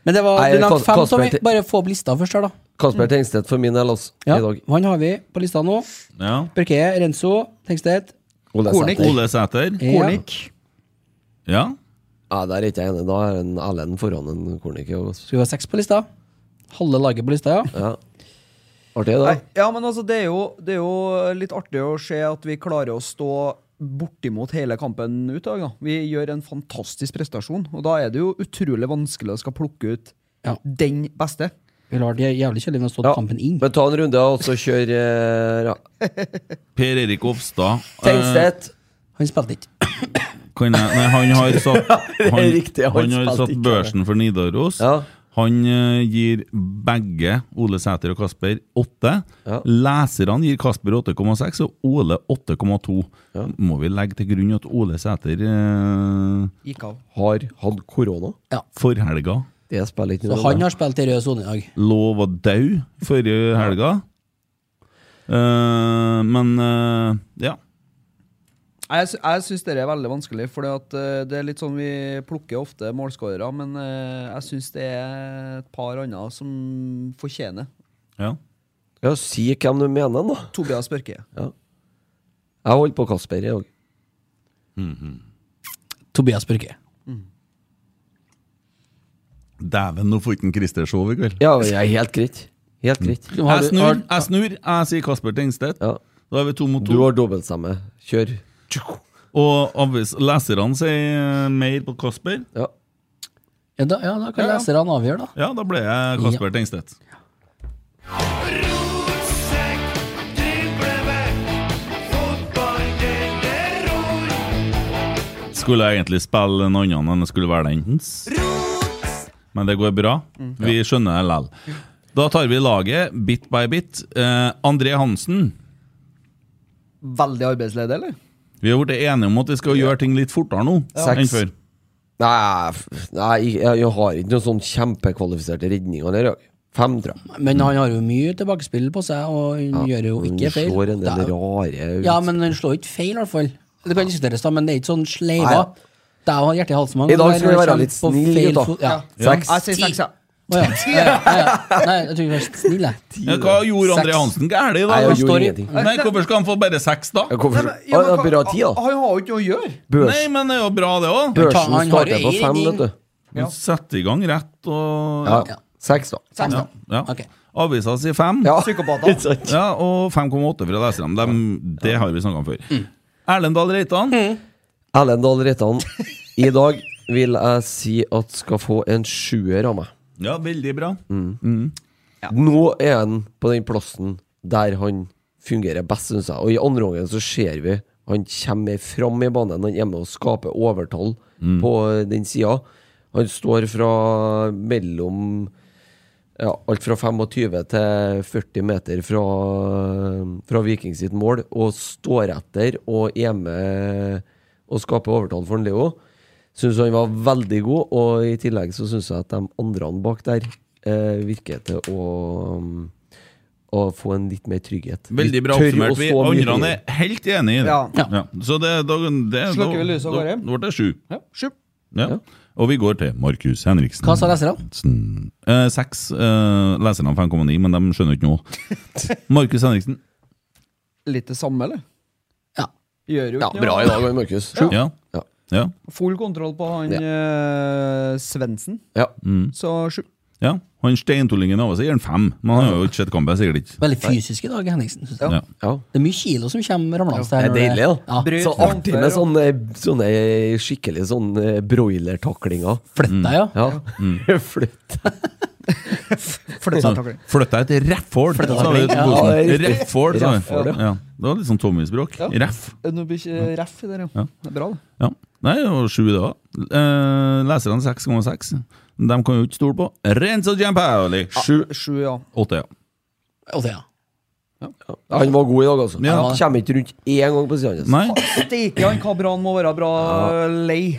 E: Men det var,
D: Nei,
E: du nevnte
D: Kas-
E: fem,
D: Kasper,
E: Tommy.
D: te-
E: Bare få opp lista først her, da. Mm.
D: Kasper Tengstedt for min del, altså,
E: Ja,
D: i dag.
E: han har vi på lista nå.
C: ja.
E: Børke, Renzo, Tengstedt.
D: Ole
G: Kornik.
D: Sæter.
C: Ole Sæter.
E: Ja.
C: Ja.
D: Ja, der er ikke jeg enig. Da er en Erlend foran en Kornik. i dag, altså.
E: Skal vi ha seks på lista? Halve laget på lista, ja.
D: Ja. Artig, da.
G: Nei, ja, men altså, det er, jo, det er jo litt artig å se at vi klarer å stå bortimot hele kampen ut. Da. Vi gjør en fantastisk prestasjon, og da er det jo utrolig vanskelig å skal plukke ut
E: Ja.
G: den beste.
E: Det ville vært jævlig kjedelig om vi hadde stått
D: Ja,
E: kampen inn.
D: Men ta en runde og så kjør eh, ja.
C: Per Erik Ofstad. Eh,
D: Tengstedt.
E: Han spilte ikke.
C: kan jeg, nei, han har satt, han,
D: riktig, han
C: han har
D: spilte
C: satt
D: ikke.
C: børsen for Nidaros.
D: Ja.
C: Han eh, gir begge, Ole Sæter og Kasper, 8.
D: Ja.
C: Leserne gir Kasper 8,6 og Ole 8,2. Må vi legge til grunn at Ole Sæter eh,
G: Gikk av.
D: Har hatt korona.
C: for helga
D: Det spiller ikke
E: Så
D: noe
E: han
D: rolle.
E: har spilt i rød sone i dag.
C: lå og død forrige helga? Eh, men eh, ja.
G: Jeg, sy- jeg syns det er veldig vanskelig, for det er litt sånn vi plukker ofte målskårere, men eh, jeg syns det er et par andre som fortjener.
C: ja.
D: Ja, si hvem du mener, da.
G: Tobias Børke.
D: Ja. Jeg holder på Kasper i dag.
E: Tobias Børke.
C: Dæven, nå får ikke en Christer show i kveld. Mm.
D: Ja, det er helt greit. Helt greit.
C: Jeg snur, jeg snur, jeg sier Kasper Tengstedt.
D: Ja.
C: Da er vi to mot to.
D: Du har dobbeltstemme. Kjør.
C: Og avis, leserne sier mer på Kasper.
D: Ja.
E: Ja, da, ja, da kan
C: Ja, ja.
E: leserne avgjøre, da.
C: Ja, da ble jeg Kasper Tengstedt. Skulle jeg egentlig spille en annen enn det skulle være den? Hans. Men det går bra. Vi skjønner det likevel. Da tar vi laget bit by bit. Eh, André Hansen.
G: Veldig arbeidsledig, eller?
C: Vi har blitt enige om at vi skal gjøre ting litt fortere nå enn
D: Seks.
C: før.
D: Nei, f- nei jeg, jeg har ikke noen sånn kjempekvalifiserte redninger der, jeg. Fem, tror jeg.
E: Men han har jo mye tilbakespill på seg, og han gjør jo ikke
D: Hun
E: feil.
D: Slår en
E: Det er
D: del
E: jo-
D: rare ut.
E: Ja, men han slår ikke feil, i hvert fall. Det kan diskuteres, da, men det er ikke sånn sleiva.
D: Nei.
E: Det er jo hjertet i halsen mange
D: I dag skal vi
E: ganger,
D: være
E: kjempe
D: litt
E: på
D: snille,
E: feil
D: gutta.
E: fot- Ja.
D: Seks.
G: Jeg sier seks, ja.
E: Å, ja. Ja, ja, ja. Nei, jeg tror vi er snill, jeg.
C: Ja, hva gjorde André Hansen gærent i
D: Nei,
C: dag? da?
D: jeg gjorde
E: står i-
D: ingenting.
C: Nei, hvorfor skal han få bare seks, da?
D: Jeg kommer
G: Men,
D: ja,
G: ja, men
D: det er bra
G: hva-
D: tid, da.
G: Han har jo ikke noe å gjøre.
D: Børs,
C: Nei, men det er jo bra, det òg.
E: Ta- han
D: børsen
E: har jo
D: starter på
E: egen
D: fem,
E: ring.
D: vet du.
C: Ja. Sette i gang rett og
D: Ja. Seks, da.
E: Seks,
C: Ja,
E: da.
C: ja.
E: Ok.
C: Avisa sier fem,
D: Ja.
G: Psykopater.
D: Ikke sant?
C: ja, og 5,8 fra leserne. Dem- det har vi snakka om før.
E: Mm.
C: Erlend Dahl Reitan.
D: Mm. Erlend Dahl Reitan, i dag vil jeg si at skal få en sjuer av meg.
C: Ja, veldig bra.
D: Mm. Nå er han på den plassen der han fungerer best, syns jeg. Og i andre omgang så ser vi han kommer fram i banen. Han er med og skaper overtall på eh, den sida. Han står fra mellom ja, alt fra 25 til 40 meter fra, fra Viking sitt mål, og står etter og er med og skaper overtall for en Leo. Syns han var veldig god, og i tillegg så syns jeg at de andre bak der eh, virker til å um, å få en litt mer trygghet. Vi
C: Veldig bra
D: tør å
C: oppsummert. Vi
D: stå mye
C: andre er helt enig i det.
G: Ja.
C: Ja. Så det, da, det,
G: Slukker
C: da-
G: vi lyset og
C: da-
G: går hjem?
C: Da ble det sju.
G: Ja, sju.
C: Ja. Og vi går til Markus Henriksen.
E: Hva sa leserne?
C: Hansen. Eh, seks. Eh, leserne 5,9, men de skjønner ikke noe. Markus Henriksen.
G: Litt det samme, eller?
E: Ja.
G: Gjør jo
D: Ja,
G: ikke
D: bra i dag, Markus. Sju.
C: Ja.
D: Ja.
C: Ja.
G: Full kontroll på han
D: Ja.
G: eh, Svendsen,
D: Ja.
G: så sju.
C: Mm. ja. Han Steintullingen over seg gir han fem, men han har jo ikke sett kampen, sikkert ikke.
E: Veldig fysisk i dag, Henningsen. synes jeg.
C: Ja.
D: ja.
E: Det er mye kilo som kommer ramlende
D: Det
E: her.
D: er
E: når
D: deilig, da.
E: Ja.
G: Bryt
D: Så artig med sånn-
G: fronter og-
D: sånne, sånne skikkelig sånne broilertaklinger.
E: Flytt
C: Mm.
E: deg, ja.
D: Ja. Flytt.
G: Flytt deg, takling.
C: Flytta Mm. et reffhål! sa vi til
E: Ja,
C: Bosen.
D: det er riktig.
C: Reffhål, sa vi.
D: Reffhål, ja.
C: Ja. Det var litt sånn Tommy-språk. Reff.
G: Nå blir ikke ref i det, ja. Det er bra, det.
C: Ja. Nei, det var sju, det òg. Eh, leserne 6,6. De kan jo ikke stole på Renzo Giampaoli. Sju.
G: Sju, ja.
C: Åtte, ja.
E: Og det, ja.
D: Han var god i dag, altså.
C: Ja.
D: Han Kommer ikke rundt én gang på sida hans.
C: Nei,
G: Steike, han Kabran må være bra
C: jeg
G: lei.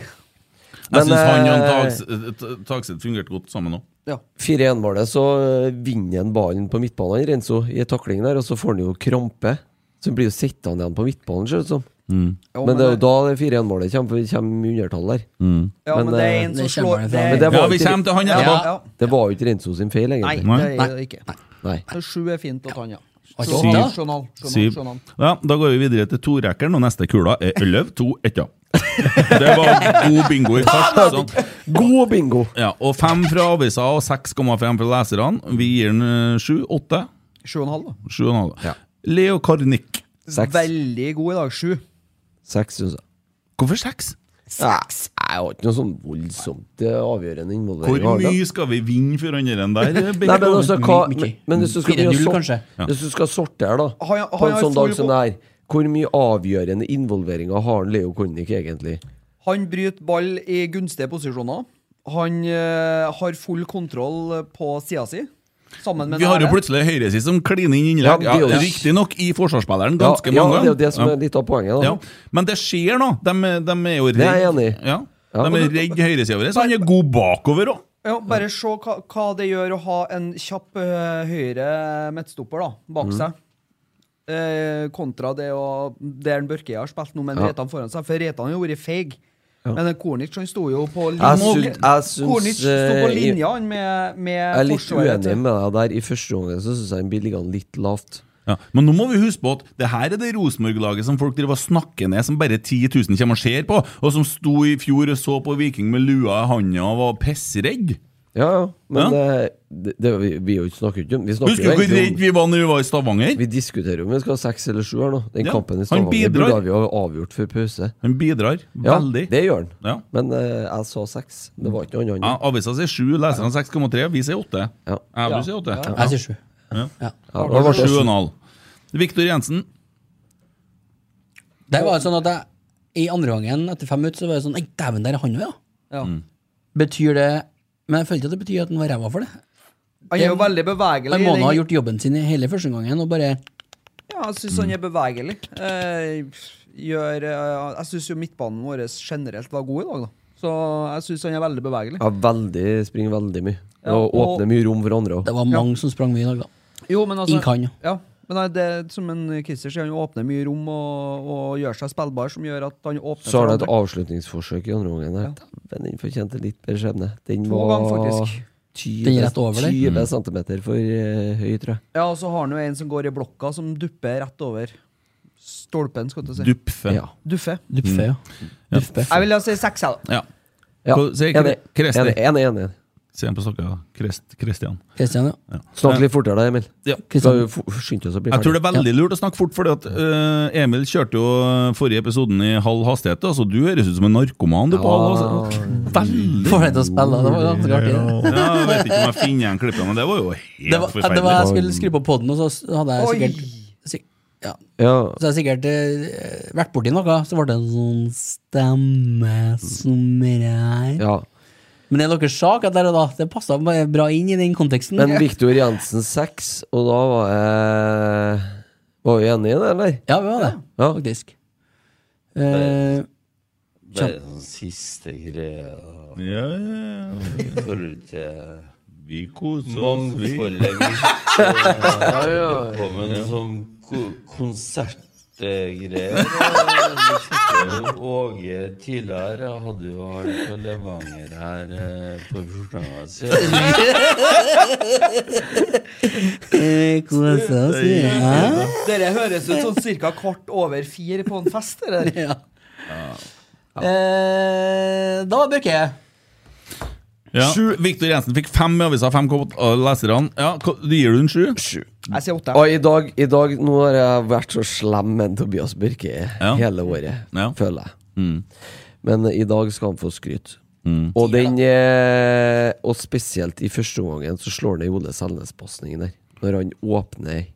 D: Men,
C: syns han og
D: eh,
C: Tags- eh, Tagseth fungerte godt sammen òg.
G: Ja.
D: 4-1-målet, så øh, vinner han ballen på midtbanen, Renzo, i en takling der, og så får han jo krampe. Så han blir jo sittende igjen på midtbanen, ser det ut som.
C: Mm.
G: Jo,
D: Men det er jo da det 4-1-målet kommer, for vi kommer i undertall der.
G: ja, men,
D: men,
G: det er
D: eh,
G: en
E: det
G: som
E: kommer
G: slår det
E: det fra.
G: er-
D: Men det
C: Mm. Ja,
D: var,
C: vi
D: jo
C: kommer
D: ikke,
C: til han
G: ja,
C: etterpå.
G: ja.
D: det var jo ikke Renzo sin feil,
G: Nei,
D: egentlig.
C: Nei.
G: det er det ikke.
D: Nei.
G: Så Sju er fint at han, ja.
E: Var ikke
G: Journal,
E: åtte, da?
G: journal, journal,
C: Syv.
G: journal.
C: Ja, da går vi videre til torekkeren, og neste kula er elleve, to, ett, ja. Det var god bingo i første sesong.
D: God bingo!
C: Ja, og fem fra avisa og 6,5 fra leserne. Vi gir den eh, sju, åtte,
G: Sju og en halv, da.
C: sju og en halv. Leo Karnik.
D: Seks,
G: Veldig god i dag. Sju.
D: Seks syns jeg.
C: Hvorfor seks?
D: Seks? Jeg har ikke noe sånn voldsomt eh, avgjørende
C: Hvor
D: involvering. har jeg da.
C: mye skal vi vinne for han der? Birger?
D: Nei, men altså, hva,
E: Mye,
D: men,
E: mye.
D: men hvis du skal, begynne å
E: 4-0
D: sort-
E: kanskje?
C: Ja.
D: hvis du skal sortere, da,
G: Har jeg-
D: på
G: har
D: en
G: jeg
D: sånn dag
G: folie
D: som
G: på-
D: det her, hvor mye avgjørende involveringer har Leo Kornik egentlig?
G: Han bryter ball i gunstige posisjoner. Han eh, har full kontroll på sida si. Sammen med
C: Vi har jo
G: Nære.
C: plutselig høyreside som kliner inn innlegg.
D: Ja,
C: Ja,
D: det er jo-
C: Riktignok i forsvarsspilleren ganske
D: ja,
C: mange
D: ja, det er jo det som
C: ganger.
D: er litt av poenget. da
C: Ja. Men det skjer nå. De, de er jo
D: Det er
C: redd.
D: jeg enig i.
C: Ja. De
D: Ja.
C: er redd høyresida vår, så han er god bakover òg.
G: Ja, bare se hva, hva det gjør å ha en kjapp eh, høyre midtstopper da, bak
D: Mhm.
G: seg. Eh, kontra det å Der en Børke har spilt nå, men Reitan foran seg. For Reitan har jo vært feig. Men eh, Kornic han sto jo på linja
D: Jeg syns- jeg syns,
G: Kornic sto på
D: eh,
G: linja han, med,
D: Jeg er
G: med
D: litt
G: forsvaret.
D: uenig
G: til-
D: med deg der. I første omgang så syns jeg den liggende litt lavt.
C: Ja, men nå må vi huske på at det her er det Rosenborg-laget som folk driver og snakker ned, som bare 10 000 kommer og ser på, og som sto i fjor og så på Viking med lua i handa og var pissredd.
D: Ja, ja,
C: Ja.
D: men eh, Det, det, vi, vi er jo ikke- snakker jo ikke om Vi snakker
C: Husker du
D: jo
C: hvor redd
D: egentlig om
C: vi var når vi var i Stavanger?
D: Vi diskuterer jo om vi skal ha seks eller sju her nå. Den
C: Ja,
D: kampen i
C: han
D: Stavanger
C: bidrar.
D: burde vi ha avgjort før pause.
C: Han bidrar
D: Ja,
C: veldig.
D: det gjør han.
C: Ja.
D: Men eh, jeg sa seks. Det var ikke noe annet.
C: Ja, Avisa sier 7, leserne 6,3, vi sier 8.
D: Ja.
C: Jeg vil si 8.
E: Jeg sier sju.
D: Ja, det
C: Det
D: var
C: var
D: det.
C: 7,5. Viktor Jensen.
E: Det var jo sånn at jeg, I andre gangen, etter fem minutter, så var det sånn Nei, dæven, der er han jo, ja.
G: Ja.
D: Mm.
E: Betyr det Men jeg følte ikke at det betyr at han var ræva for det.
G: Han er jo veldig bevegelig.
E: Han
G: i
E: må
G: den-
E: nå ha gjort jobben sin i hele første gangen og bare
G: Ja, jeg syns han er bevegelig. Eh, gjør, eh, jeg syns jo midtbanen vår generelt var god i dag, da. Så jeg syns han er veldig bevegelig.
D: Ja, veldig, springer veldig mye.
G: Ja,
D: og,
G: og-
D: åpner mye rom for andre òg.
E: Det var mange som sprang mye i dag, da.
G: Jo, men altså
E: Ingen kan, jo.
G: ja, men nei, det, er som en Christer sier, han åpner mye rom og, og gjør seg spillbar, som gjør at han åpner
D: Så
G: for
D: har det et
G: andre.
D: avslutningsforsøk i andre omgangen. her. Dæven, den fortjente litt bedre skjebne. Den
G: To
D: var
G: ganger, faktisk.
D: 20,
E: Den Mm. er rett over der.
D: 20 centimeter for eh, høy, tror jeg.
G: Ja, og så har han jo en som går i blokka, som dupper rett over stolpen, skal du si.
C: Dupfe. Mm.
D: Ja.
G: Duffe.
E: Dupfe, ja. Dupfe.
G: Jeg vil da si seks, jeg, da.
C: Ja.
D: Ja,
C: Hva sier
D: enig.
C: Kre- Krester?
D: Enig, enig, enig.
C: Se på stokka. Krist- Kristian.
E: Kristian, ja.
D: Snakk litt fortere, da, Emil.
C: Ja.
D: Skal vi for- skynde oss å bli
C: Jeg tror
D: ferdig?
C: det er veldig lurt å snakke fort, fordi at eh, Emil kjørte jo forrige episoden i halv hastighet. da, Så du høres ut som en narkoman. du altså. på halv hastighet. Veldig
E: Får deg til å spille, det var ganske artig.
C: Ah. Ja, jeg vet ikke om jeg finner igjen klippene, men det var jo
E: Det
C: helt
E: var, det var jeg
C: forferdelig.
E: skulle skru på poden, og så hadde jeg sikkert sik ja.
D: Ja.
E: Så hadde jeg sikkert eh, vært borti noe, så ble det en sånn stemme som er her.
D: ja.
E: Men det er deres sak at der og da, det passa bra inn i den konteksten.
D: Men Viktor Jensen seks, og da var jeg Var vi enige i det, eller?
E: Ja, vi var det,
D: Ja.
E: faktisk. Eh,
H: Bare sånn siste greie og
C: Ja, ja, ja.
H: forhold til
C: Vi koser oss, vi.
H: mangfoldet. Velkommen som sånn ko- konsertgreier. Jeg kjente jo Åge tidligere jeg hadde jo han på Levanger her eh, på 14 dager siden.
E: eh, kose oss, vi. Hæ?
G: Dere høres ut sånn cirka kvart over fire på en fest, eller?
E: ja. Eh, da var Børke
C: Ja. Sju. Viktor Jensen fikk fem i avisa, fem kom- av leserne. Ja, hva- gir du en sju?
G: Jeg sier åtte.
D: Og i dag, i dag Nå har jeg vært så slem med Tobias Børke
C: Ja.
D: hele året,
C: Ja. Mm.
D: føler jeg. Men i dag skal han få skryt. Og, den, eh, og spesielt i første omgangen så slår han i Ole Selnes-pasningen der. Når han åpner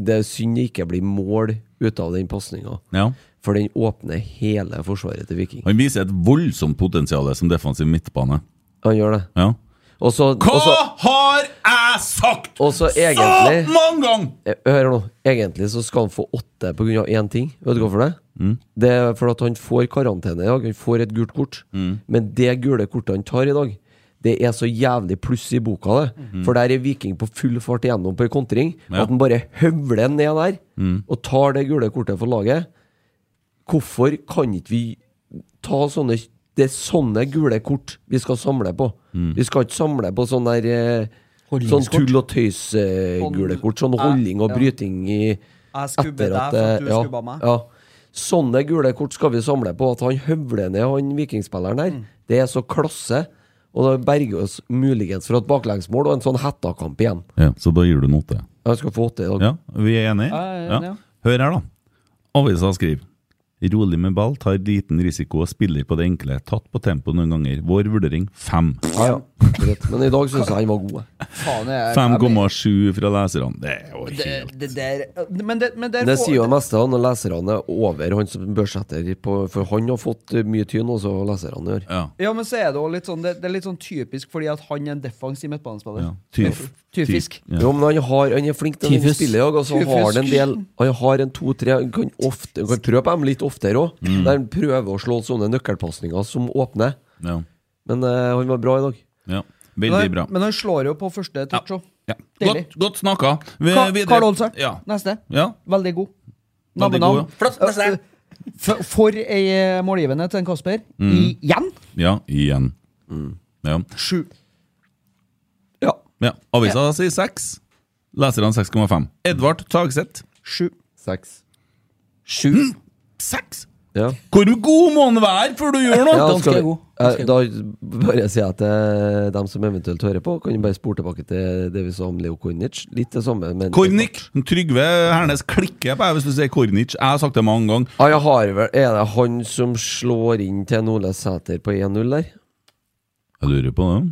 D: Det er synd det ikke blir mål ut av den pasninga,
C: Ja.
D: for den åpner hele forsvaret til Viking.
C: Han viser et voldsomt potensial som defensiv midtbane.
D: Han gjør det.
C: Ja.
D: Og så
C: Hva
D: og så-
C: har jeg sagt?!
D: og så
C: Så
D: egentlig
C: mange ganger!
D: Eh, Hør nå. Egentlig så skal han få åtte pga. én ting. Vet du hvorfor det?
C: Mm.
D: Det er fordi at han får karantene i dag. Han får et gult kort.
C: Mm.
D: Men det gule kortet han tar i dag, det er så jævlig pluss i boka, det. For der er Viking på full fart igjennom på en kontring.
C: Mm. Ja. Mm.
D: At han bare høvler ned der og tar det gule kortet for laget. Hvorfor kan ikke vi ta sånne Det er sånne gule kort vi skal samle på.
C: Mm.
D: Vi skal ikke samle på sånn der eh, Sånn
E: Holdningskort.
D: tull og tøys-gule kort. Sånn holdning og
G: Ja.
D: bryting i
G: Jeg skubber
D: etter at,
G: deg for
D: eh,
G: at du skubba meg.
D: Ja. Sånne gule kort skal vi samle på. At han høvler ned han vikingspilleren
G: Mm.
D: der, det er så klasse. Og det berger oss muligens for et baklengsmål og en sånn hettakamp igjen.
C: Ja, så da gir du en åtte.
D: Han skal få åtte i dag.
C: Ja, vi er enige?
G: Ja, ja.
C: Ja. Hør her, da. Avisa skriver Rolig med ball, tar liten risiko og spiller på det enkle. Tatt på tempo noen ganger. Vår vurdering fem.
D: Ja, ja. Greit. Men i dag syns jeg han var god. jeg.
G: Faen, jeg-
C: 5,7 fra leserne. Det er jo
G: Det,
C: helt
G: det der Men det, men der
D: Det
G: får-
D: sier jo det meste han og leserne er over han som børsetter, på, for han har fått eh, mye tyn, også leserne gjør.
C: Ja.
G: Ja, men så er det, også litt sånn, det, det er litt sånn typisk fordi at han er en defensiv midtbanespiller.
C: ja. Tyf.
G: Tyfisk.
C: Ja.
D: Jo, men han, har, han er flink til å
E: Tyfus.
D: spille i dag. Altså, han har
G: Tyfus.
D: en del Han har en to-tre Han kan, ofte, han kan prøve på dem litt oftere òg.
C: Mm.
D: Der han prøver å slå sånne nøkkelpasninger som åpner.
C: Ja.
D: Men eh, han var bra i dag.
C: ja.
G: Men
C: Veldig
G: han,
C: bra.
G: men han slår jo på første touch òg.
C: Ja.
G: Deilig.
C: Godt, godt snakka. Vi-
G: Ka-
C: videre.
G: Karl Olsen,
C: Ja.
G: neste.
C: ja.
G: Veldig god.
C: Veldig god,
G: Navnenavn.
C: ja.
G: Flott, neste. For, for ei eh, målgivende til en Kasper.
C: Mm.
G: Igjen!
C: Ja, igjen. Ja.
G: Sju.
C: Ja. Avisa sier seks. Leserne 6,5. Edvard Tagseth.
G: Sju.
D: Seks.
E: Sju?
C: Hm? Seks?
D: Ja.
C: Hvor god må han være før du gjør noe?
D: Ja, skal, eh, da bare sier jeg til dem som eventuelt hører på, kan du bare spore tilbake til det vi sa om Leo Kornic. Litt det samme, men
C: Kornic! Trygve Hernes klikker på deg hvis du sier Kornic. Jeg har sagt det mange ganger.
D: Ja, jeg har vel, Er det han som slår inn til en Ole Sæter på 1-0 der?
C: Jeg lurer på det.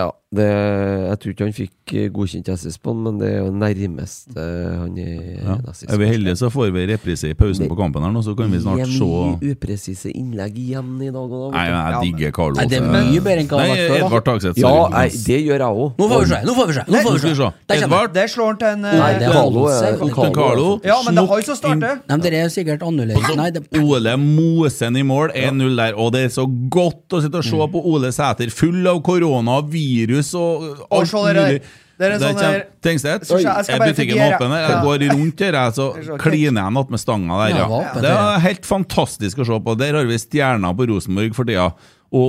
D: Ja. Det, jeg tror ikke han fikk eh, godkjent assist på han, men det er jo nærmest eh, han er
C: Ja.
D: en assist.
C: Er vi heldige, så får vi reprise i pausen på kampen her nå, så kan vi snart
D: Det
C: se
D: er mye upresise innlegg igjen i dag. Og da, vet
C: Nei,
D: du.
C: jeg digger Carlos.
E: Nei, det er
C: Jeg-
E: mye bedre enn hva det har vært før,
C: Nei,
E: da.
C: Edvard Tagseth.
D: Ja,
C: sorry.
D: nei, det gjør jeg òg.
E: Nå får vi se! Nå får vi se! Nå
C: Nå skal
E: får
C: vi
E: vi se.
C: se.
E: Der kommer
C: Edvard.
G: Der slår han til en eh,
E: Nei, det er
D: Carlo
E: Hansen.
D: er-
E: Nei,
C: Carlo. Carlo.
G: Ja, men det er han
C: Snokk
G: som starter!
E: men dere er sikkert annerledes.
G: Sånn.
E: Nei, det,
C: Ole Mosen i mål, 1-0 der. Og det er så godt å sitte og
E: Mm.
C: se på Ole Sæter, full av korona og virus og
G: Og
C: alt
G: se der,
C: mulig.
G: der er sånn
C: kommer-
G: der-
C: Tengstedt,
G: Skal vi se, jeg skal
C: er
G: bare
C: butikken
G: fungere.
C: åpen? her? Jeg går rundt her, jeg, så
G: Ok.
C: kliner jeg natt med stanga der. Ja.
E: Ja, det var åpent,
C: Det
E: ja.
C: er helt fantastisk å se på. Der har vi stjerna på Rosenborg for tida, og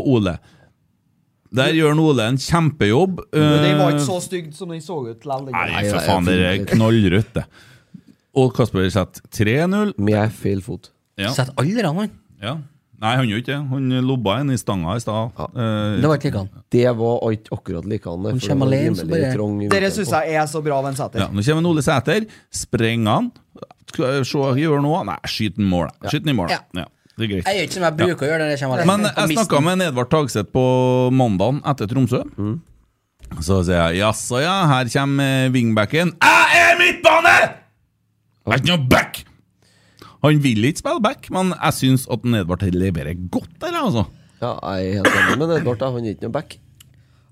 C: Ole. Der gjør han Ole en kjempejobb.
G: Men Den var
C: Eh,
G: ikke så stygg som den så ut likevel. den
C: Nei,
G: der.
C: for faen, det er knallrødt, det. Og Kasper setter 3-0.
D: Med feil fot.
C: Ja.
E: Sett alle de, han.
C: Ja. Nei, han gjorde ikke det. Han lobba en i stanga i stad. Eh,
E: Det var ikke han.
D: Det var ikke akkurat like han.
E: Han kommer alene, så bare-
G: Dere syns jeg er så bra, Vennsæter.
C: ja, nå kommer Ole Sæter. Sprenger han? Skal jeg se hva han gjør nå? Nei, skyt den i mål. da. Skyt den i mål. da. Ja. Det er greit.
E: Jeg gjør ikke som jeg bruker å gjøre. når jeg kommer
C: Men
E: alene. Og
C: jeg
E: mist-
C: snakka med en Edvard Tagseth på mandagen etter Tromsø.
D: Mm.
C: Så sier jeg jaså ja, her kommer eh, wingbacken. Jeg er midtbane! Jeg er ikke noe back! Han vil ikke spille back, men jeg syns at en Edvard leverer godt der, altså.
D: Ja, jeg er helt enig med Edvard. da. Han er ikke noen back.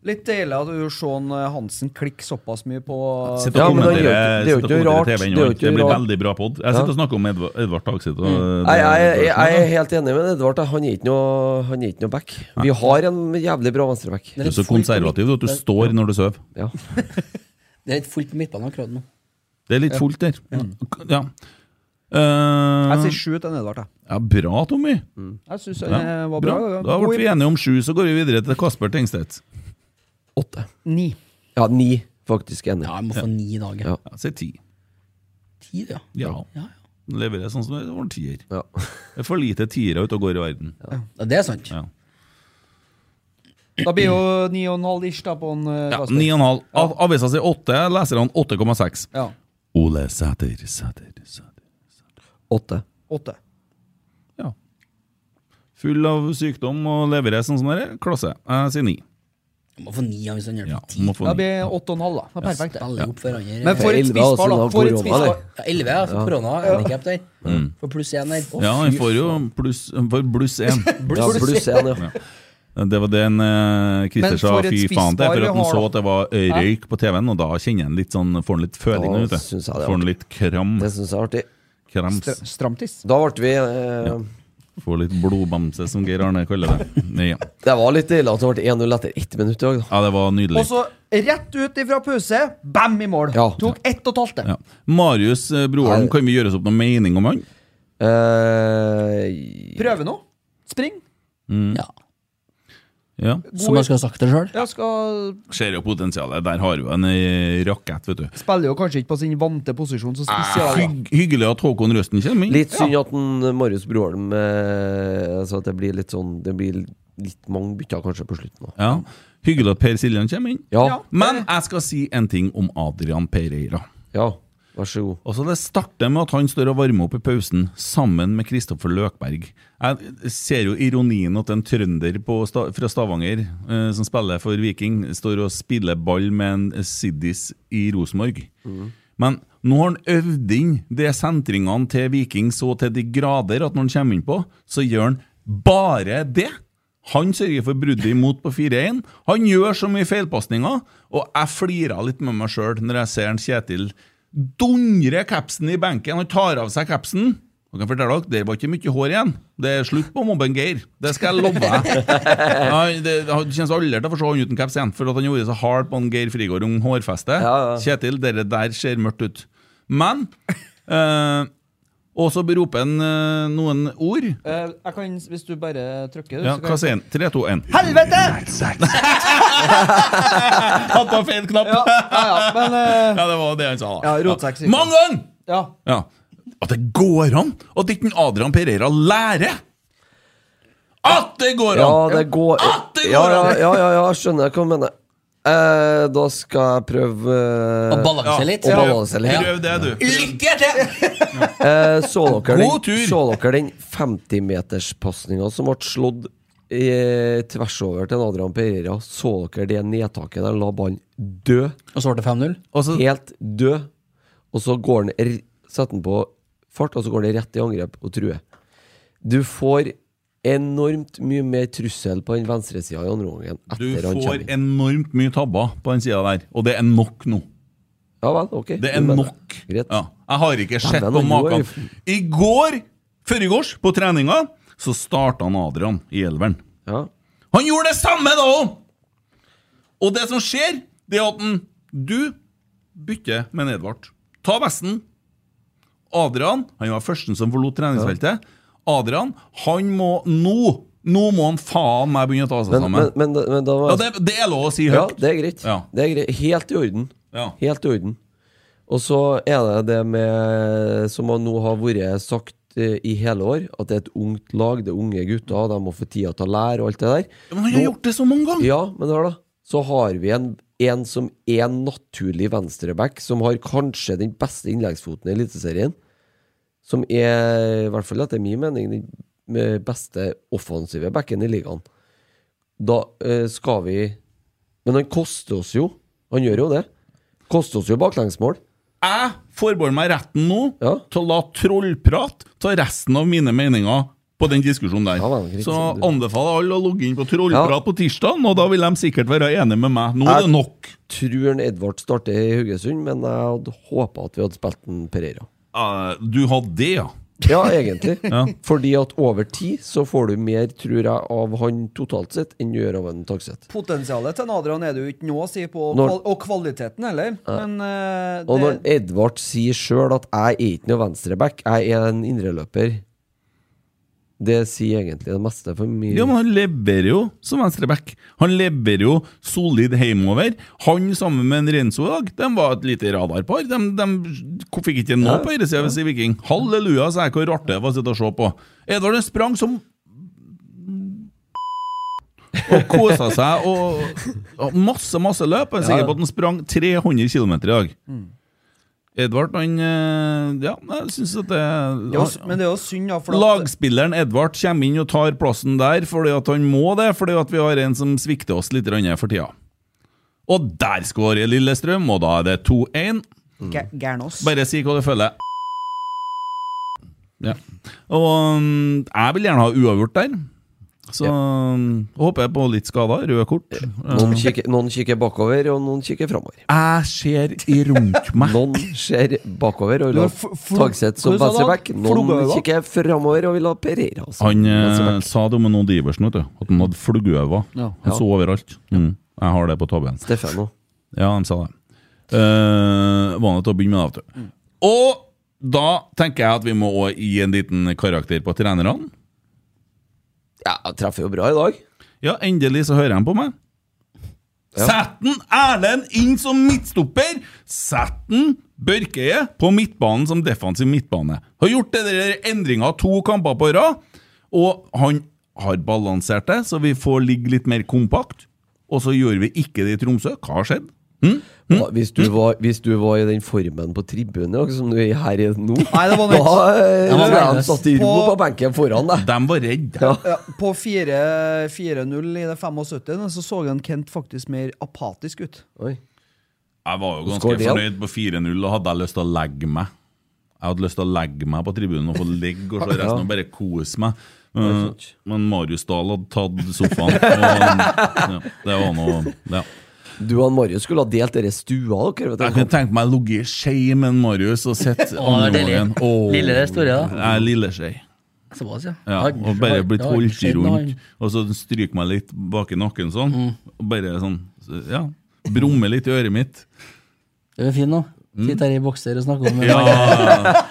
G: Litt deilig at du Sean Hansen klikker såpass mye på
C: Sitt
D: Ja,
C: og
D: men
C: kommentere
D: det er jo- det er jo
C: sitt og
D: ikke
C: kommentere
D: rart.
C: TV
D: Det er
C: ennå.
D: jo
C: Det
D: ikke
C: blir
D: rart.
C: veldig bra pod. Jeg
D: Ja. Mm.
C: sitter og snakker om Edvard, Edvard Tagseth.
E: Mm.
C: og-
D: Nei, jeg, jeg, jeg er helt enig med Edvard. da. Han er ikke noe, han er ikke noe back. Vi har en jævlig bra venstreback.
C: Du er så konservativ du, at du står når du sover.
D: Ja.
E: Det er litt fullt på midtbanen akkurat nå.
C: Det er litt fullt der. Ja. Eh,
G: Jeg sier sju til Edvard. jeg.
C: ja, bra, Tommy.
D: Mm.
G: Jeg syns
C: Ja,
G: den var
C: bra.
G: bra.
C: Da ble
G: God
C: vi enige om sju, så går vi videre til Kasper Tengstedt.
D: Åtte.
G: Ni.
D: Ja, ni, faktisk. Enig.
E: Ja, jeg må få ni i dag.
D: Ja.
E: Ja.
C: Jeg sier ti.
E: Ti, ja.
C: Ja.
E: Ja,
C: Leverer sånn som det var en tier.
D: Ja.
C: Det er for lite tiere ute og går i verden.
E: ja. Det er sant.
C: Ja.
G: Da blir jo ni og en halv ish da på en eh,
C: Ja,
G: Kasper.
C: Ni og en halv. Av- Avisa sier åtte, leserne 8,6.
G: Ja.
C: Ole Sæter, Sæter, Sæter.
D: Åtte.
G: Åtte.
C: Ja. Full av sykdom og leverer sånn som det er. Klasse. Jeg sier ni.
E: Jeg må få ni ja, hvis han gjør
C: Ja,
E: det. Ti.
C: må få
G: Da
C: ni.
G: blir det åtte og en halv, da. Det er perfekt. det.
E: Spiller opp hverandre.
G: Men for et
D: Elleve, altså,
G: spissball, da.
D: da
G: For et
D: går Roma,
G: spissball.
D: det.
E: Ja, 11 er altså korona, handicap der.
C: Mm.
E: For pluss 1 der. Å,
C: Ja, han
E: fy
C: får jo pluss, han får bluss én.
D: Ja, pluss én, ja.
C: Det var det en eh, Christer
G: Men
C: sa
G: for et
C: fy faen til,
G: spissbar
C: for
G: vi
C: at han så
G: har, da.
C: at det var eh, røyk på TV-en, og da kjenner han litt sånn, får han litt føling.
D: Da
C: vet du.
D: synes jeg det er
C: Får han litt kram.
D: Det syns jeg er artig.
C: Krams.
G: Stra- Stramtiss.
D: Da ble vi eh,
C: Får litt blodbamse, som Geir Arne kaller det. Ja,
D: Det var litt deilig at det ble 1-0 etter ett minutt i dag, da.
C: ja det var nydelig.
G: Og så rett ut ifra pause, bam i mål!
D: Ja.
G: Tok ett og et halvt, det.
C: Ja. Marius eh, Broholm, kan vi gjøre oss opp noen mening om han?
D: Eh,
G: Prøve nå. Spring.
E: faen. Ja.
C: Mm. Ja.
E: Som jeg skulle ha sagt det sjøl.
G: Ja, skal
C: Ser jo potensialet. Der har vi jo en eh, rakett, vet du.
G: Spiller jo kanskje ikke på sin vante posisjon
C: Ah.
G: som spiss. i dag, da.
C: Hygg, hyggelig at Håkon Røsten kommer inn.
D: Litt synd at den, eh, Marius Broholm eh, Altså at det blir litt sånn Det blir litt mange bytter kanskje på slutten. da.
C: Ja. Hyggelig at Per Siljan kommer inn.
D: Ja,
C: Men jeg skal si en ting om Adrian Pereira.
D: ja, vær så god.
C: Og så Det starter med at han står og varmer opp i pausen sammen med Kristoffer Løkberg. Jeg ser jo ironien at en trønder på sta fra Stavanger eh, som spiller for Viking, står og spiller ball med en siddis i Rosenborg.
D: Mm.
C: Men nå har han øvd inn de sentringene til Viking så til de grader at når han kommer innpå, så gjør han bare det. Han sørger for bruddet imot på 4-1. Han gjør så mye feilpasninger, og jeg flira litt med meg sjøl når jeg ser en Kjetil dundre capsen i benken. Han tar av seg capsen. Og kan jeg fortelle dere, Det var ikke mye hår igjen. Det er slutt på mobben Geir. Det skal jeg love deg. Han- Det han kjennes aldri til å få se han uten caps igjen, for at han gjorde så hard på en Geir Frigård om hårfestet.
D: Ja, ja.
C: Kjetil, det der ser mørkt ut. Men eh, Og så roper han eh, noen ord.
F: Eh, jeg kan, hvis du bare trykker, du,
C: Ja,
F: så kan
C: hva sier
F: jeg-
C: han? 3, 2, 1.
F: Helvete!
C: Han tar feil knapp.
F: Ja, ja, ja, men eh,
C: Ja, det var det han sa.
F: ja, rotsekk, sikkert.
C: Mange ganger!
F: Ja.
C: Ja. At det går an at ikke en Adrian Pereira lærer! At det går an!
D: Ja, det går
C: det
D: Ja,
C: går
D: ja,
C: an!
D: ja, ja, ja skjønner jeg hva du mener. Eh, da skal jeg prøve eh,
E: Og balanse
C: Ja,
E: litt.
D: og balanse litt.
C: Prøv det, du.
E: Lykke til!
D: Eh, så, dere
C: God
D: den,
C: tur!
D: så dere den 50-meterspasninga som ble slått i, tvers over til en Adrian Pereira? Så dere det nedtaket der la ballen dø?
E: Og så ble det 5-0.
C: Og så-
D: Helt dø. Og så går den, r- setter den på fart, og så går den rett i angrep og truer. Du får enormt mye mer trussel på den venstresida i andre omgang.
C: Du
D: etter han
C: får
D: kommer.
C: enormt mye tabber på den sida der, og det er nok nå.
D: Ja vel, ok.
C: Det
D: Du
C: er
D: mener
C: nok.
D: Greit.
C: Ja. Jeg har ikke sett
D: Dæven,
C: på
D: han
C: maken.
D: går.
C: I går, før i gårs, på treninga, så starta han Adrian i elveren.
D: Ja.
C: Han gjorde det samme da òg! Og det som skjer, det er at han, du bytter med en Edvard. Ta vesten. Adrian han var førsten som forlot treningsfeltet. Adrian, han må nå Nå må han faen meg begynne å ta seg
D: Men,
C: sammen.
D: men, men, da- men altså- da var
C: ja, det, det er lov å si
D: Ja,
C: høyt.
D: det er greit.
C: Ja.
D: Det er greit. Helt i orden.
C: Ja.
D: Helt i orden. Og så er det det med, som man nå har vært sagt eh, i hele år, at det er et ungt lag, det er unge gutter, de må få tida til å lære og alt det der.
C: Men han har gjort det så mange ganger!
D: Ja, men hør, da. Så har vi en, en som er en naturlig venstreback, som har kanskje den beste innleggsfoten i Eliteserien. Som er, i hvert fall etter min mening, den eh, beste offensive backen i ligaen. Da eh, skal vi Men han koster oss jo. Han gjør jo det. Koster oss jo baklengsmål.
C: Jeg forbeholder meg retten nå
D: Ja.
C: til å la trollprat ta resten av mine meninger på den diskusjonen der.
D: Ja, vel, greit.
C: så anbefaler alle å logge inn på trollprat
D: Ja.
C: på tirsdag, og da vil de sikkert være enige med meg. Nå er
D: Jeg-
C: det nok.
D: Tror han Edvard starter i Haugesund, men jeg hadde håpa at vi hadde spilt en Pereira.
C: Eh, du hadde det, ja.
D: Ja, egentlig. Fordi at over tid så får du mer, tror jeg, av han totalt sett enn du gjør av en Takseth.
F: Potensialet til en Adrian er det jo ikke nå å si på,
D: Når-
F: kval- og kvaliteten heller. Men eh,
D: Og når
F: det,
D: Edvard sier sjøl at 'jeg er ikke noe venstreback, jeg er en indreløper', det sier egentlig det meste for min
C: Ja, men Han leverer jo som venstreback. Han leverer jo solid hjemover. Han sammen med en Renzo i dag, de var et lite radarpar. De, de fikk ikke noe på herresida ved Viking. Halleluja, sa jeg hvor rart det var å sitte og se på. Edvard han sprang som og kosa seg og, og masse, masse løp. Jeg er sikker på at han sprang 300 km i dag. Edvard, han eh, Ja, jeg syns at det
F: det er jo, s- men det er jo synd, da. For at,
C: Lagspilleren Edvard kommer inn og tar plassen der fordi at han må det, fordi at vi har en som svikter oss litt grann for tida. Og der skårer Lillestrøm, og da er det 2-1.
F: Gæ- Gærnås.
C: Bare si hva du føler. Ja. Og mm, jeg vil gjerne ha uavgjort der. Så mm, håper jeg på litt skader, røde kort.
D: noen, kikker, noen kikker bakover, og noen kikker framover.
C: Jeg ser i rundt meg
D: Noen ser bakover og
F: Du
D: vil
F: har
D: ha
F: fl- fl-
D: Tagseth som
F: Hva sa du da?
D: venstreback. Noen
F: Flogøyva?
D: kikker framover og vil altså. ha Pereira som
C: Han eh,
D: venstreback.
C: sa det om en Odd Iversen, vet du. At han hadde flugøver. Han så overalt. Mm. Jeg har det på tabben.
D: Stefano.
C: Ja, de sa det. Uh, Vanlig til å begynne med, da.
D: Mm.
C: vet du. Og da tenker jeg at vi må også gi en liten karakter på trenerne.
D: Ja, jeg treffer jo bra i dag.
C: Ja, endelig så hører de på meg.
D: Ja.
C: Sett den Erlend inn som midtstopper! Sett den Børkeie på midtbanen som defensiv midtbane. Har gjort det der endringa to kamper på rad, og han har balansert det, så vi får ligge litt mer kompakt. Og så gjør vi ikke det i Tromsø. Hva har skjedd? Mm?
D: Ja, Mm? hvis, du var, hvis du var i den formen på tribunen akkurat som du er her i nå
F: Nei, det var
D: Da
F: nytt.
D: eh,
E: var
D: tror jeg de
E: nervøs.
D: satt i ro på,
F: På-
D: benken foran deg.
C: De var redde.
D: Ja.
F: Ja, på 4 4-0 i det 75. så så han Kent faktisk mer apatisk ut.
D: Oi.
C: Jeg var jo ganske
D: skår det, ja.
C: fornøyd på 4-0, og hadde jeg lyst til å legge meg. Jeg hadde lyst til å legge meg på tribunen og få ligge og se resten og bare kose meg. Eh, Men Marius Dahl hadde tatt sofaen. Og, ja, det var noe ja.
D: Du og han Marius skulle ha delt dere stua,
C: Jeg
D: dere. Vet
C: kunne tenke meg å ligge i skje med en Marius og sitte
E: Å, det er deilig.
C: andre gangen. Å,
E: Lille det store, da.
C: Jeg er lille skje.
E: Såpass, ja.
C: Ja,
E: Har-
C: og bare
E: har-
C: blitt
E: det har ikke
C: holdt
E: skjedd noe
C: rundt,
E: annet. Mm.
C: og så stryker meg litt bak i nakken sånn. Og bare sånn, så- ja. Brummer litt i øret mitt.
E: Det er jo fint nå. Sitter her i bokser og snakker om
C: Mm. Ja,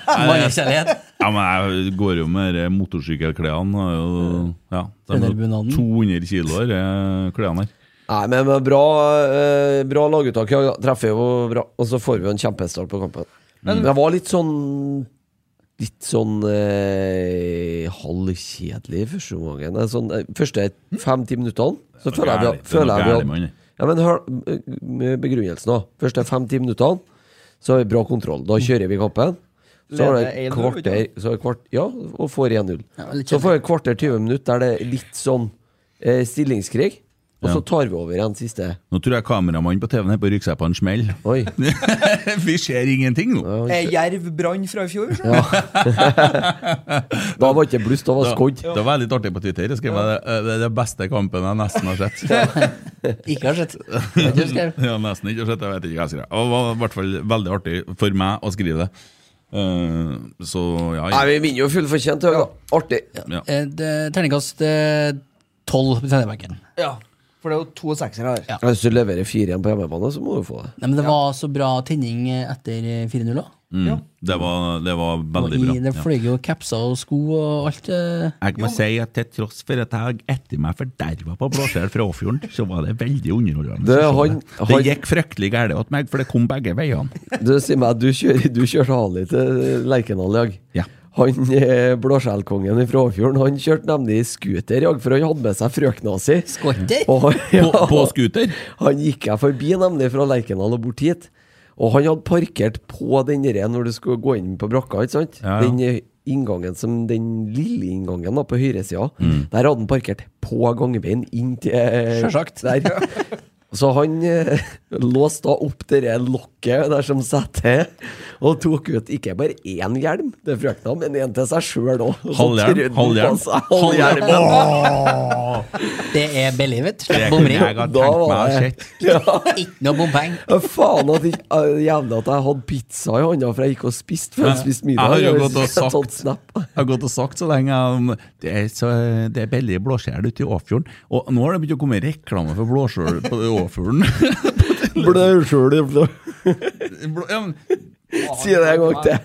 E: mannekjærlighet.
C: Ja, men jeg går jo med de motorsykkelklærne. og- Ja, de er
E: Trønderbunaden.
C: 200 kilo her, eh, klærne her.
D: Nei, men men bra, eh, bra laguttak. Ja, treffer jo bra. Og så får vi jo en kjempestart på kampen. Men jeg var litt sånn Litt sånn eh, halvkjedelig i første omgang. Sånn, eh, første fem-ti minuttene. Så
C: Det er
D: føler jeg vi
C: gærlig. Det er
D: at-
C: noe
D: føler jeg
C: gærlig med
D: vi
C: han,
D: at Ja, men hør eh, med begrunnelsen, da. Første fem-ti minuttene, så har vi bra kontroll. Da kjører vi kampen. Så har
G: Leder
D: det
G: 1-0,
D: kvarter så har det kvart, Ja, og får 1-0.
G: litt
D: så får vi et kvarter 20 minutter der det er litt sånn eh, stillingskrig, og
C: Ja.
D: så tar vi over en siste.
C: Nå tror jeg kameramannen på TV-en her på rykker seg på en smell.
D: Oi.
C: vi ser ingenting nå.
F: Eh,
G: Er Jerv brann fra i fjor? så?
D: Da var ikke bluss, da var
C: Da-
D: skodd.
C: Det var litt artig på Twitter. Jeg skrev at det det er den beste kampen jeg nesten har sett.
E: Ikke har sett. Vet du hva jeg skrev?
C: ja, nesten ikke har sett, jeg vet ikke hva jeg skrev. Det var i hvert fall veldig artig for meg å skrive det. Eh, så ja,
D: Nei,
C: ja.
D: vi vinner jo fullt fortjent. Ja. Artig.
C: ja.
E: Eh, det- Terningkast eh, 12 på Trønderbenken.
G: Ja. For det er jo to seksere her.
D: Hvis du leverer fire igjen på hjemmebane, så må du få det.
E: Nei, men det var så bra tenning eh, etter eh, 4-0. da.
C: Mm, det, var, det var
E: Og
C: veldig
E: i-
C: bra.
E: Det
C: Ja.
E: fløy jo capser og sko og alt. eh.
C: Jeg må si at til tross for at jeg etter meg forderva på Blåskjell fra Åfjorden, så var det veldig underholdende.
D: Det,
C: å se
D: han-
C: det.
D: han-
C: det gikk fryktelig gærent åt meg, for det kom begge veiene.
D: Du sier meg, du kjører, du kjører Harley til eh, Lerkendal i dag.
C: Ja.
D: Han eh, blåskjellkongen fra Åfjorden Han kjørte nemlig scooter i dag, for han hadde med seg frøkna si.
E: Skotter?
D: Og han,
C: På, på scooter.
D: Han gikk jeg forbi nemlig fra Lerkendal og bort hit. Og han hadde parkert på den der når du skulle gå inn på brakka, ikke sant?
C: Ja, ja.
D: Den eh, inngangen som den lille inngangen da, på høyresida.
C: Mm.
D: Der hadde han parkert på gangveien inn til eh,
E: Sjølsagt.
D: Der. Så han eh, låste da opp det der lokket der som satt til, og tok ut ikke bare én hjelm, det frøkna, men en til seg sjøl òg.
C: Halvhjelm. Halvhjelm.
D: Halvhjelm.
E: Det er believet.
C: Det kunne
E: Bomring.
C: jeg ha
D: Da
C: tenkt meg
D: var
C: å
D: det-
C: sett.
E: Ikke noe bompeng.
D: Ja, Faen at jeg, jeg- jævla at jeg hadde pizza i hånda, for jeg gikk og spiste før jeg
C: Ja,
D: spiste
C: jeg
D: middag.
C: har jo gått
D: skulle
C: og sagt-
D: tatt snap.
C: Jeg har gått og sagt så lenge um, det er, så, det er billig blåskjell ute i Åfjorden. Og nå har det begynt å komme reklame for blåskjell på Åfjorden.
D: Blør sjøl, blør.
C: Blå, ja, men
D: Si det en gang til.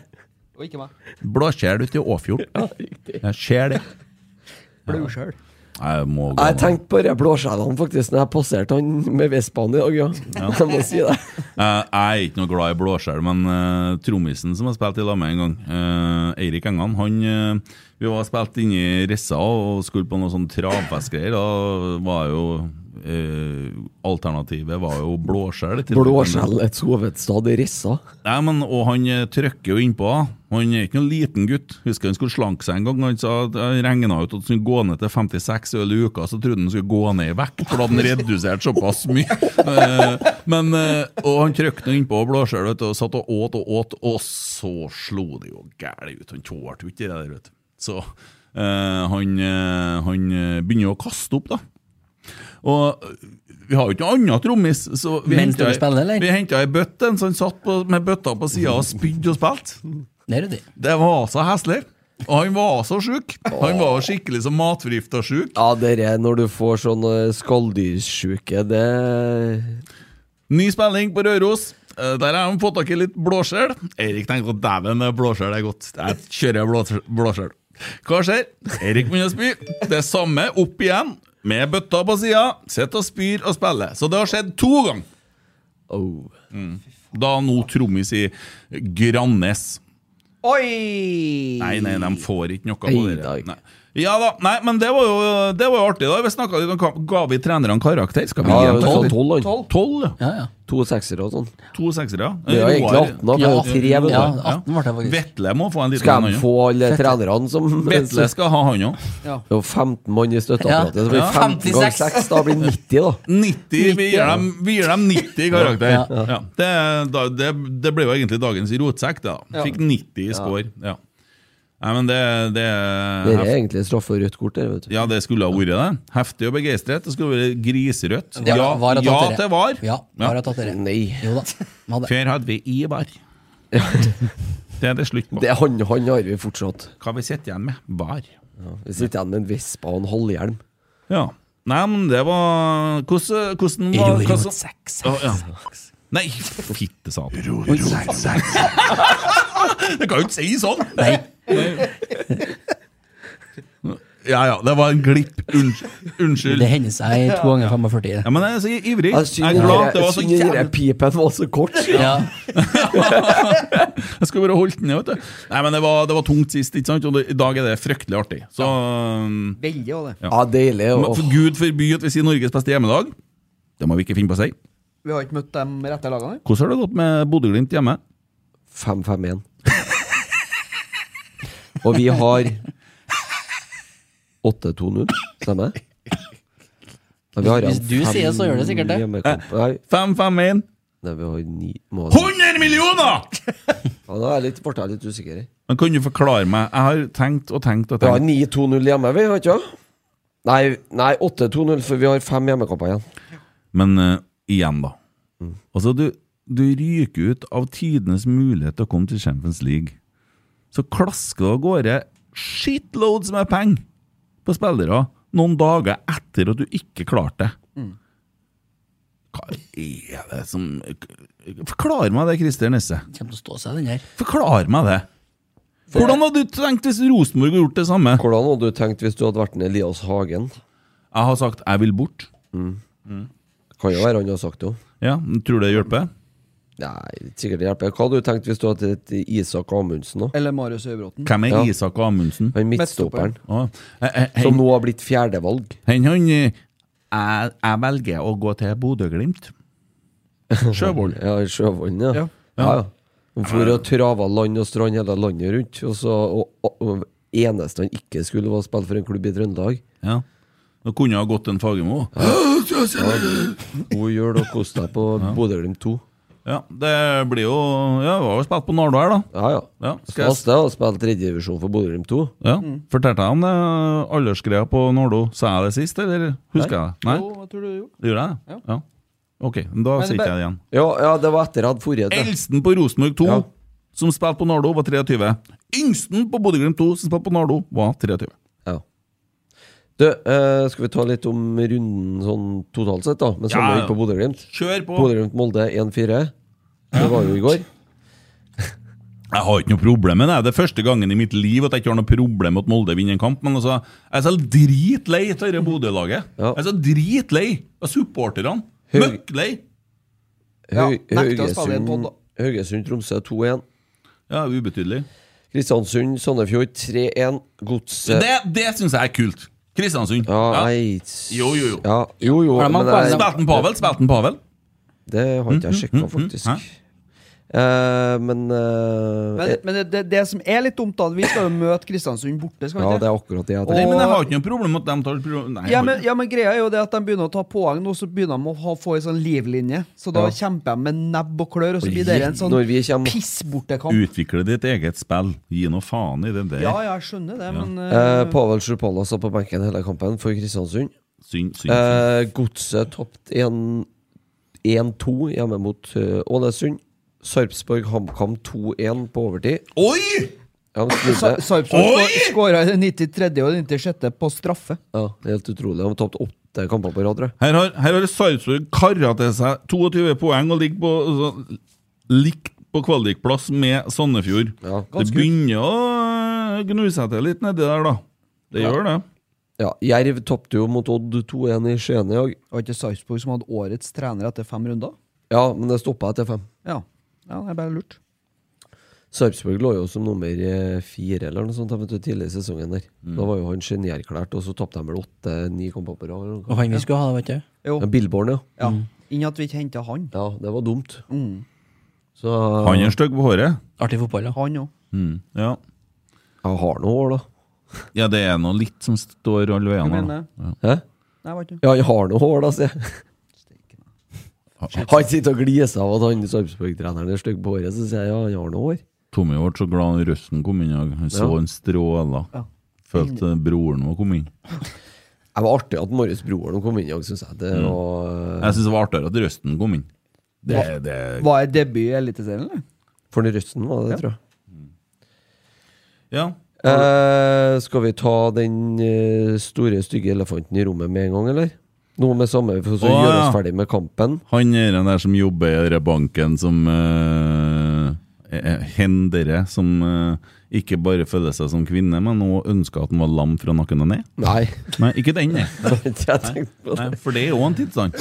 G: Og ikke meg.
C: blåskjell ute i Åfjorden. Jeg ser det.
G: Blir jo sjøl.
C: Jeg må gå
D: Jeg
C: nå.
D: tenkte på de blåskjellene faktisk når jeg passerte han med Vespaen i dag, ja. Jeg må si det.
C: Eh, jeg er ikke noe glad i blåskjell, men uh, trommisen som har spilt i lag med en gang, eh, Eirik Engan, han eh, Vi var spilt inne i Rissa og skulle på noe sånn travfestgreier. Da var jo eh, Alternativet var jo blåskjell. til-
D: Blåskjell, et hovedstad i Rissa.
C: Nei, men, og han eh, trøkker jo innpå. da. Han er ikke noen liten gutt. Husker han skulle slanke seg en gang. Han sa at eh, han regna ut at han skulle gå ned til 56 øl i uka, så trodde han skulle gå ned i vekt, for da hadde han redusert såpass mye. Eh, Men, eh, og han trøkte nå innpå blåskjell vet du, og satt og åt og åt, og så slo det jo gæli ut. Han tålte jo ikke det der, vet du. Så eh, han, eh, han eh, begynner jo å kaste opp, da. Og vi har jo ikke noe annet trommis, så vi
E: Mens
C: hentet-
E: dere spiller, eller?
C: Vi henta ei bøtte, så han satt på, med bøtta på sida og spydde og spilte.
E: Det er ryddig.
C: Det var så heslig. Og han var så sjuk. Han var skikkelig som matforgifta sjuk.
D: Ja, det er når du får sånn eh, skalldyrsjuke, det
C: Ny spilling på Røros. Eh, Der har de fått tak i litt blåskjell. Eirik tenker at dæven, det blåskjell er godt. Jeg kjører blå- blåskjell. Hva skjer? Eirik begynner å spy. Det samme, opp igjen. Med bøtta på sida. Sitter og spyr og spiller. Så det har skjedd to ganger. Mm.
D: oh.
C: Da nå trommis i Grannes.
G: Oi!
C: Nei, nei, de får ikke noe på
D: Nei,
C: det.
D: da ikke.
C: Nei. Ja da, nei, men det var jo, det var jo artig. da Vi snakket litt om kamp. Ga vi trenerne karakter? Skal vi gi
D: Ja,
C: dem
D: vi sa
C: tolv?
D: tolv, han.
C: Tolv, ja.
E: Ja, ja.
D: To seksere og sånn.
C: To seksere, ja.
D: Det er jo egentlig
C: Roar-
D: 18, da. for
E: Ja,
D: det er jo tre, vet du.
E: ja, 18 ble det faktisk.
C: Vetle må få en liten
D: Skal
C: en,
D: de
C: han,
D: få alle trenerne som
C: jo. Vetle skal ha han òg.
D: Det er jo 15 mann i støtteapparatet,
E: Ja.
D: så blir
E: Ja.
D: 15 ganger
E: 56.
D: 6, da blir 90, da.
C: 90, vi gir,
E: ja.
C: dem, vi gir dem 90 karakter.
E: Ja,
C: Ja, Det, da, det, det ble jo egentlig dagens rotsekk, da. Fikk 90 i score. Ja. Nei, men det, det
D: Det er egentlig straffe og rødt kort der, vet du.
C: Ja, det skulle ha vært det. Heftig og begeistret. Det skulle vært griserødt.
E: Var-
C: Ja,
E: var har
C: ja
E: tatt dere.
C: til var.
E: Ja, var har tatt dere.
D: Nei.
E: Jo da. vi hadde-
C: Før hadde vi Ivar. Det er det slutt på.
D: Det er han, han har vi fortsatt.
C: Hva vi sitter igjen med? Var.
D: Vi sitter igjen med en vespa og en halvhjelm.
C: Ja. Nei, men det var Hvordan, hvordan var hva som- Å, ja. Nei, fitte satan.
A: ro, sakk, sakk,
C: Det kan jo ikke si sånn! Ja ja, det var en glipp. Unnskyld. Unnskyld.
E: Det hender seg to ganger 45.
C: Ja, men jeg er så ivrig.
D: Jeg
C: Jeg
D: syns
C: er glad. Det var så
D: den der
C: jævlig
D: pipen var så kort.
E: Ja.
C: Jeg skulle bare holdt den ned, vet du. Nei, men det var, det var tungt sist, ikke sant? Og det, i dag er det fryktelig artig. Så um,
G: Veldig òg, det.
C: Ja.
D: Ja, deilig.
C: men
D: åh.
C: for Gud forby at vi sier Norges beste hjemmedag. Det må vi ikke finne på å si.
G: Vi har ikke møtt de rette lagene.
C: Hvordan har det gått med Bodø-Glimt hjemme?
D: 5-5-1. Og vi har 8-2-0, stemmer det? Nei, vi har
E: Hvis
D: en
E: du
D: fem
E: sier det, så gjør det sikkert det.
D: hjemmekamp- Nei,
C: 5-5-1.
D: nei, vi har ni må-
C: 100 millioner!
D: Ja, da er jeg litt, ble jeg litt usikker. her.
C: Men kan du forklare meg? Jeg har tenkt og tenkt og
D: Vi har
C: tenkt.
D: 9-2-0 hjemme, vi, har ikke det? Nei, nei 8-2-0, for vi har fem hjemmekamper igjen.
C: Men eh, igjen, da.
D: Mm.
C: Altså, du, du ryker ut av tidenes mulighet til å komme til Champions League. Så klasker det av gårde shitloads med penger på spillere noen dager etter at du ikke klarte det. Hva er det som Forklar meg det, Christer Nesse.
E: Kommer til å stå seg, den her.
C: Forklar meg det. Hvordan hadde du tenkt hvis Rosenborg hadde gjort det samme?
D: Hvordan hadde du tenkt hvis du hadde vært en Elias Hagen?
C: Jeg har sagt 'jeg vil bort'.
D: Kan jo være han har sagt det òg.
C: Mm. Ja, Tror du det hjelper?
D: Nei, sikkert det hjelper. Hva hadde du tenkt hvis du hadde et Isak Amundsen nå?
G: Eller Marius Øybråten.
C: Hvem er
D: Ja.
C: Isak og Amundsen?
D: Han midtstopperen,
C: Å, eh, eh,
D: som
C: hen-
D: nå har blitt fjerdevalg.
C: hen- han, eh, jeg, jeg velger å gå til Bodø-Glimt. Sjøvold.
D: Ja, i Sjøvollen, ja.
G: Ja.
D: ja. ja, Han for og trava land og strand hele landet rundt. Og så og, og, og eneste han ikke skulle, var å spille for en klubb i Trøndelag.
C: Ja. Nå kunne jeg ha gått en Fagermo.
D: God jul og kos deg på Bodø-Glimt 2.
C: Ja, det blir jo Ja, det var jo spilt på Nardo her, da.
D: Ja, ja.
C: Ja, skal jeg,
D: Stas det å spille tredjedivisjon for Bodø-Glimt 2.
C: ja.
E: Mm.
C: Fortalte jeg om det aldersgreia på Nardo? Sa jeg det sist, eller husker jeg det? Nei?
G: Jo, hva tror du jo?
C: Gjorde jeg det? Ja. Ok, da
G: Men
C: sier ikke jeg
G: det bare-
C: det igjen.
D: Ja, ja, det var etter jeg hadde forrige. det.
C: Eldsten på Rosenborg 2,
D: Ja.
C: som spilte på Nardo, var 23. Yngsten på Bodø-Glimt 2, som spilte på Nardo, var 23.
D: Ja. Du, eh, skal vi ta litt om runden sånn totalt sett, da? Med
C: Ja, ja.
D: sammenheng på Bodø-Glimt.
C: Kjør på!
D: Bodø-Glimt-Molde 1-4. Det var jo i går.
C: Jeg har ikke noe problem med det. Det er første gangen i mitt liv at jeg ikke har noe problem med at Molde vinner en kamp. Men altså, jeg er så dritlei av dette Bodø-laget.
D: Ja.
C: Jeg er så dritlei av supporterne.
D: Høy-
C: Møkklei!
G: Ja,
D: Høy-
G: nekta å spille i en podd,
D: Haugesund- Haugesund-Tromsø
G: da.
D: 2-1.
C: Ja, ubetydelig.
D: Kristiansund, Sandefjord 3-1. Godset
C: Det, det syns jeg er kult. Kristiansund.
D: ja,
C: Ja.
D: nei.
C: Jo, jo, jo.
D: Ja, jo, jo
E: Har de
D: men
E: hatt
D: det,
E: poeng, da?
C: Spilte han Pavel? Spilte han Pavel? Mm,
D: det har ikke jeg sjekka,
C: hæ?
D: faktisk. Eh, men eh,
G: Men,
D: eh,
G: men det, det, det som er litt dumt, da Vi skal jo møte Kristiansund borte. skal vi
D: Ja,
G: ikke?
D: det er akkurat det jeg
C: Nei,
D: tenkte.
C: men jeg har ikke noe problem med at de tar pro- Nei, jeg
G: Ja
C: har
G: men,
C: ikke-
G: ja, men greia er jo det at de begynner å ta poeng nå, så begynner de å ha, få ei sånn livlinje. Så da
D: Ja.
G: kjemper de med nebb og klør, og så
D: Og
G: blir det en
D: gi-
G: sånn
D: når vi kommer-
G: pissbortekamp.
C: Utvikle ditt eget spill. Gi noe faen i det der.
G: Ah, Ja, ja, jeg skjønner det, men eh,
D: Eh, Pavel Sjupala satt på benken hele kampen for Kristiansund.
C: Synd, synd, synd.
D: Eh, Godset tapte 1-2 hjemme mot eh, Ålesund. Sarpsborg HamKam 2-1 på overtid.
C: Oi!
D: Ja, de snudde.
G: Sa- Sarpsborg skåra i det 93. og det 96. på straffe.
D: Ja, helt utrolig. De tapte åtte kamper på rad. tror jeg.
C: Her har, her har Sarpsborg karra til seg 22 poeng og ligger på så, likt på kvalikplass med Sandefjord.
D: Ja.
C: det begynner å eh, gnu seg til litt nedi der, da. Det gjør det.
D: Ja, Jerv tapte jo mot Odd 2-1 i Skien i dag.
G: Var det ikke Sarpsborg som hadde årets trener etter fem runder?
D: Ja, men det stoppa etter fem.
G: Ja. ja det er bare lurt.
D: Sarpsborg lå jo som nummer eh, fire eller noe sånt vet du, tidlig i sesongen. der Da var jo han genierklært, og så tapte de vel åtte-ni kamper på rad. eller noe.
E: Og han Mm. vi skulle ha, vet du.
G: Jo,
D: Ja, Billborn, ja.
G: ja. Innen Mm. at vi ikke henta han. Mm.
D: ja. Det var dumt. Så
C: Han er stygg på håret. Hmm,
E: Artig fotball, da.
G: Han òg.
C: Ja.
D: Jeg har noe hår, da.
C: ja, det er nå litt som står alle veiene. her, da.
D: Hæ?
G: Nei, var ikke det.
D: Ja, han har noe hår, da, sier jeg. Han sitter og gliser av at han Sarpsborg-treneren er stygg på håret, så sier jeg ja, han har noe hår.
C: Tommy ble så glad når røsten kom inn. og Han så
D: Ja.
C: en stråle.
G: Ja.
C: Følte broren var kommet inn.
D: Det var artig at Marius Broren kom inn i dag, syns jeg. Det
E: eh,
D: var,
C: Mm.
D: eh,
C: Jeg syns det var artigere at røsten kom inn. Det, det,
G: Var det debut i Eliteserien, eller?
D: for den røsten var det, tror jeg.
C: ja.
D: Eh, skal vi ta den eh, store, stygge elefanten i rommet med en gang, eller? Noe med samme, for så
C: Å,
D: gjøre
C: ja.
D: oss ferdig med kampen.
C: Han er den der som jobber i den banken som uh, Hendere, som eh, ikke bare føler seg som kvinne, men også ønsker at han var lam fra nakken og ned.
D: Nei.
C: Nei, ikke den, nei.
D: Nei, nei,
C: nei for det er jo en tidsstand.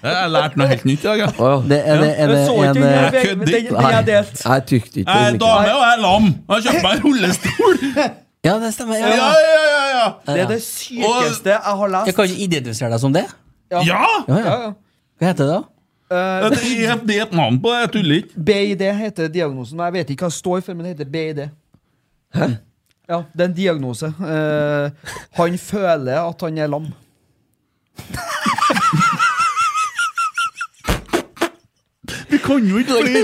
C: Jeg har lært noe helt nytt i dag, jeg.
E: Det er det- eh, er det-
C: Jeg så ikke
E: er
C: den
E: det-
C: der, den- den- den er delt.
D: Jeg tykte ikke
C: Jeg er
D: den
C: dame
D: ikke.
C: og jeg er lam! Jeg har kjøpt meg en rullestol!
E: Ja, det stemmer. Ja,
C: Ja, ja, ja, ja.
G: Det er det sykeste jeg har
E: Jeg
G: lest.
E: kan ikke identifisere deg som det.
C: Ja!
E: Ja, ja. Hva heter det, da?
C: Det
G: Eh,
C: er det er et navn på det, jeg tuller ikke.
G: BID heter diagnosen. men Jeg vet ikke hva det står for, men det heter BID. Ja, det er en diagnose. Eh, han føler at han er lam.
C: Vi kan jo ikke bli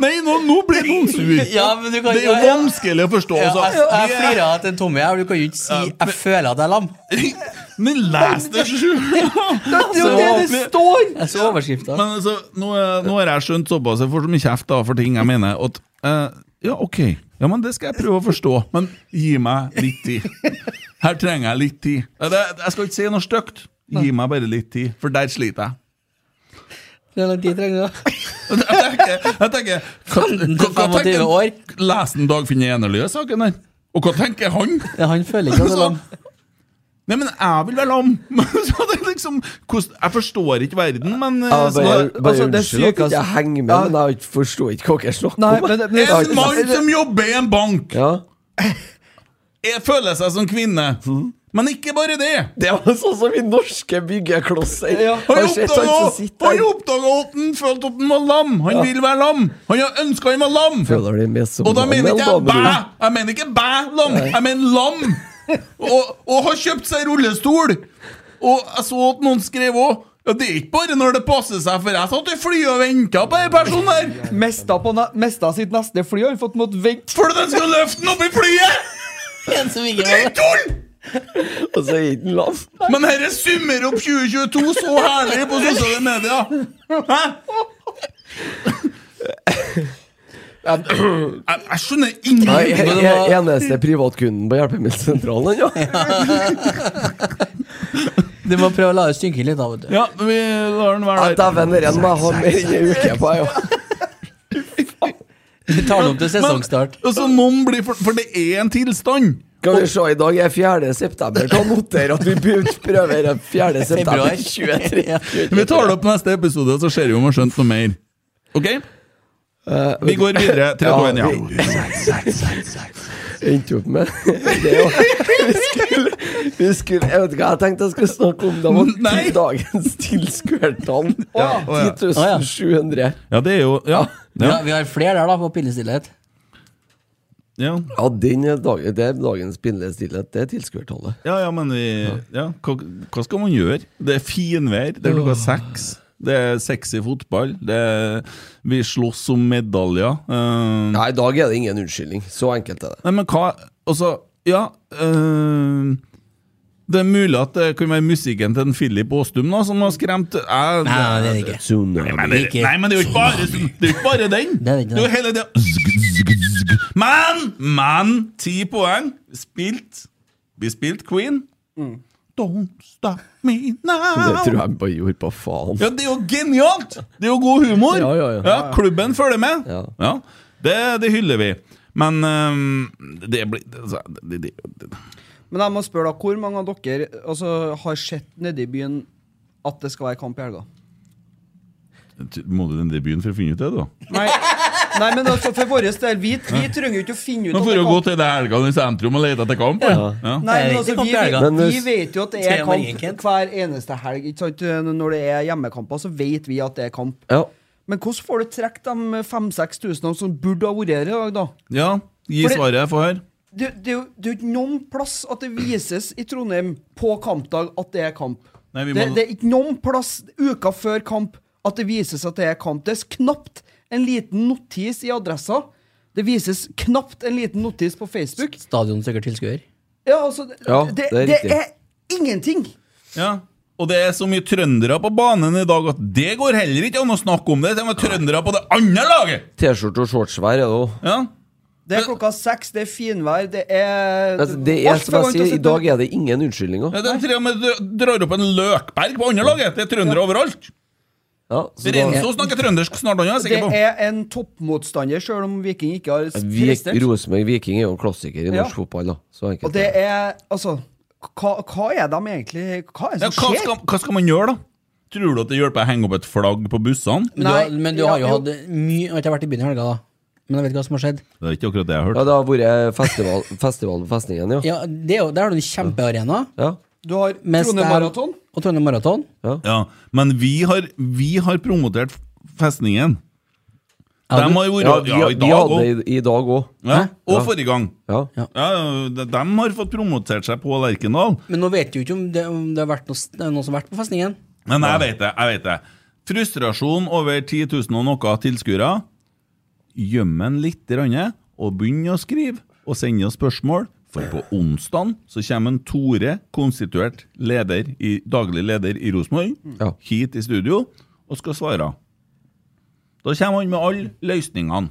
C: Nei, nå, nå blir noen sur.
E: Ja, men du kan
C: Det er jo
E: ja, ja.
C: vanskelig å forstå.
E: Ja, jeg
C: altså.
E: jeg flirer av til Tommy her, og du kan jo ikke si 'jeg føler at jeg er lam'.
C: Men les det sjøl!
G: Det er jo det det står!
E: Jeg så overskrifta.
C: Men altså, nå, eh, nå har jeg skjønt såpass, jeg får så mye kjeft da for ting jeg mener at eh, Ja, ok, ja, men det skal jeg prøve å forstå, men gi meg litt tid. Her trenger jeg litt tid. Ja, det- Jeg skal ikke si noe stygt. Gi meg bare litt tid, for der sliter jeg.
E: Hvor lang tid trenger du?
C: Jeg tenker, jeg tenker hva, hva, hva
E: 25
C: tenker
E: år.
C: Leser en Dagfinn Enerløe-saken der? Og hva tenker han?
E: Ja, han føler ikke at han er lam.
C: Nei, men jeg vil være lam! Så det er liksom, hvordan- jeg forstår ikke verden, men eh,
D: Ja,
C: så-
D: bare bare
G: altså, det
D: unnskyld at
G: sykeste-
D: jeg ikke henger med,
G: Ja.
D: men jeg forstår ikke hva dere snakker
G: Nei,
D: om.
G: men, men,
D: Jeg har
C: En
D: ikke
C: mann
D: sagt-
C: som jobber i en bank,
D: Ja.
C: jeg føler seg som kvinne. Men ikke bare det!
D: Mm. Det var sånn som i norske byggeklosser.
G: Ja.
C: Han
D: Har du sett han som sitter her?
C: oppdaga at han følte at han var lam! Han vil være lam! Han har ønska han var lam!
D: Føler de med som
C: Og da mener ikke jeg
D: damer,
C: bæ!
D: eller?
C: Jeg mener ikke bæ lam, jeg mener lam! Og, og har kjøpt seg rullestol! Og jeg så at noen skrev òg ja, Det er ikke bare når det passer seg, for jeg satt i flyet og venta på den personen her!
G: Mesta, på na- mesta sitt neste fly har han fått måttet vente.
C: For at den skal løfte den opp i flyet!
E: En som ikke
C: Det er
E: var
C: tull!
D: Og så er den lam.
C: Men herre summer opp 2022 så herlig på sosiale medier! Hæ? Jeg, jeg skjønner
D: Nei,
C: ingenting!
D: jeg, jeg, eneste privatkunden på hjelpemiddelsentralen, ja.
E: Du må prøve å la det synke litt, da. vet du
C: Ja, vi lar den være
D: Nei,
C: der.
D: Dæven, den må jeg ha mer enn en uke på, ja.
E: Vi tar den opp til sesongstart.
C: Altså, noen blir for, for det er en tilstand!
D: Skal vi se, i dag er 4. september. Ta noter at vi begynte prøver den 4. september
E: Februar
D: 23.
E: Ja.
C: Vi tar det opp neste episode, så ser vi om vi har skjønt noe mer. Ok? Vi går videre. 3, 2, 1, Eh, ja.
D: vi- Endte opp med det, er jo- Vi skulle, vi skulle Jeg vet ikke hva jeg tenkte jeg skulle snakke om. Det var
C: Nei.
D: til dagens tilskuertall.
C: Å, ja.
D: 10 700.
C: Ja, det er jo Ja.
E: Ja,
C: ja.
E: vi har flere der, da, på pillestillhet.
C: ja.
D: Ja, den er dag, det er dagens pinlige stillhet. Det er tilskuertallet.
C: Ja, ja, men vi ja. Hva, hva skal man gjøre? Det er finvær, det er klokka seks. Det er sexy fotball. Det er, vi slåss om medaljer. eh,
D: Nei, i dag er det ingen unnskyldning. Så enkelt er det.
C: nei, men hva Altså, ja eh, Det er mulig at det kan være musikken til en Philip Aastum da, som har skremt jeg-
E: Nei, nei, det er det ikke.
D: Tsunami.
C: Men det,
E: Ikke-
C: nei, men det er jo ikke bare, det er jo ikke bare den.
E: Det er ikke
C: jo hele det Zg, zg, zg. Men! Men! Ti poeng. Spilt. Vi spilte Queen.
G: Mm.
C: Don't stop me
D: Det
C: now.
D: tror jeg bare gjorde på faen.
C: Ja, det er jo genialt! Det er jo god humor.
D: Ja, ja, ja.
C: klubben følger med. Ja.
D: Ja.
C: det, det hyller vi. Men øhm, det blir altså, det, det, det.
G: Men jeg må spørre da, hvor mange av dere altså, har sett nede i byen at det skal være kamp i helga?
C: Må du den debuten for å finne ut det, da?
G: Nei, nei men altså, for vår del, vi, vi trenger jo ikke å finne ut
C: Men
G: at
C: for
G: det
C: å
G: er
C: gå
G: kamp.
C: til det helga i sentrum og lete etter kamp? Ja. Ja.
G: Nei, men
E: Nei,
G: altså,
E: det
G: vi,
E: er kamp i helga.
G: vet-
D: Men
G: vi
D: hvis-
G: vet jo at det
E: Tre
G: er
E: om morgenen,
G: kamp hver eneste helg. Ikke sant? Når det er hjemmekamper, så vet vi at det er kamp.
D: Ja.
G: Men hvordan får du trukket de 5000-6000 som burde ha vært her i dag, da?
C: ja. Gi
G: Fordi-
C: svaret, få høre.
G: Det, det, er jo- det er jo ikke noen plass at det vises i Trondheim på kampdag at det er kamp.
C: Nei, vi må-
G: det, det er ikke noen plass uka før kamp at det vises at det er kamp. Det er knapt en liten notis i adressa. Det vises knapt en liten notis på Facebook.
E: Stadion søker tilskuer.
G: Ja, altså, det,
D: Ja,
G: det,
D: det er
G: det
D: riktig.
G: er ingenting!
C: Ja. Og det er så mye trøndere på banen i dag at det går heller ikke an å snakke om det. Det er trøndere på det andre laget!
D: T-skjorte og shorts hver er det òg.
C: Ja.
G: Det er klokka seks, det er finvær, det er
D: Altså, det er,
G: Eh, Alt
D: som jeg
G: for varmt å
D: sier, I
G: sitte-
D: dag er det ingen unnskyldninger.
C: Ja, de tre med dra- drar opp en løkberg på andre laget. Det er trøndere overalt.
D: Ja, så da-
C: Renzo snakker trøndersk snart, han er jeg
G: Det
C: sikker på.
G: er en toppmotstander, sjøl om Viking ikke har
D: Vik,
G: prestert.
D: Rosenborg Viking er jo en klassiker i
G: Ja.
D: norsk fotball, da. Så enkelt.
G: Og det er Altså, hva, hva er de egentlig Hva er
C: Ja, hva,
G: det som skjer?
C: skal, hva skal man gjøre, da? Tror du at det hjelper å henge opp et flagg på bussene?
E: Men, du, har-
G: Nei,
E: men du har jo
G: ja, jo.
E: hatt mye Har ikke vært i byen i helga, da. Men jeg vet ikke hva som har skjedd.
C: Det er ikke akkurat det jeg har
D: Ja,
C: hørt.
D: det har vært festival, festival på festningen, ja.
E: Ja, det er jo, Der har du en kjempearena.
D: ja.
G: Du har
E: med
G: Trondheim
E: stand-
G: Maraton.
E: Og Trondheim Maraton.
C: Ja, men vi har, vi har promotert festningen. de
E: Ja, du-
C: har
D: ja
C: vært
D: vi,
C: ja, i
D: vi
C: dag
D: hadde
C: òg.
D: det i, i dag òg.
C: Ja,
E: Hæ?
C: og forrige gang.
D: Ja.
C: Ja, de, de har fått promotert seg på Lerkendal.
E: Men nå vet du jo ikke om det, om det har vært noe, s- det er noen som har vært på festningen.
C: Men jeg vet det. jeg vet det Frustrasjon over 10 000 og noe tilskuere. Gjem den litt grann, og begynn å skrive og sende oss spørsmål. For på onsdag så kommer en Tore, konstituert leder i, daglig leder i Rosenborg,
D: Ja.
C: hit i studio og skal svare. Da kommer han med alle løsningene.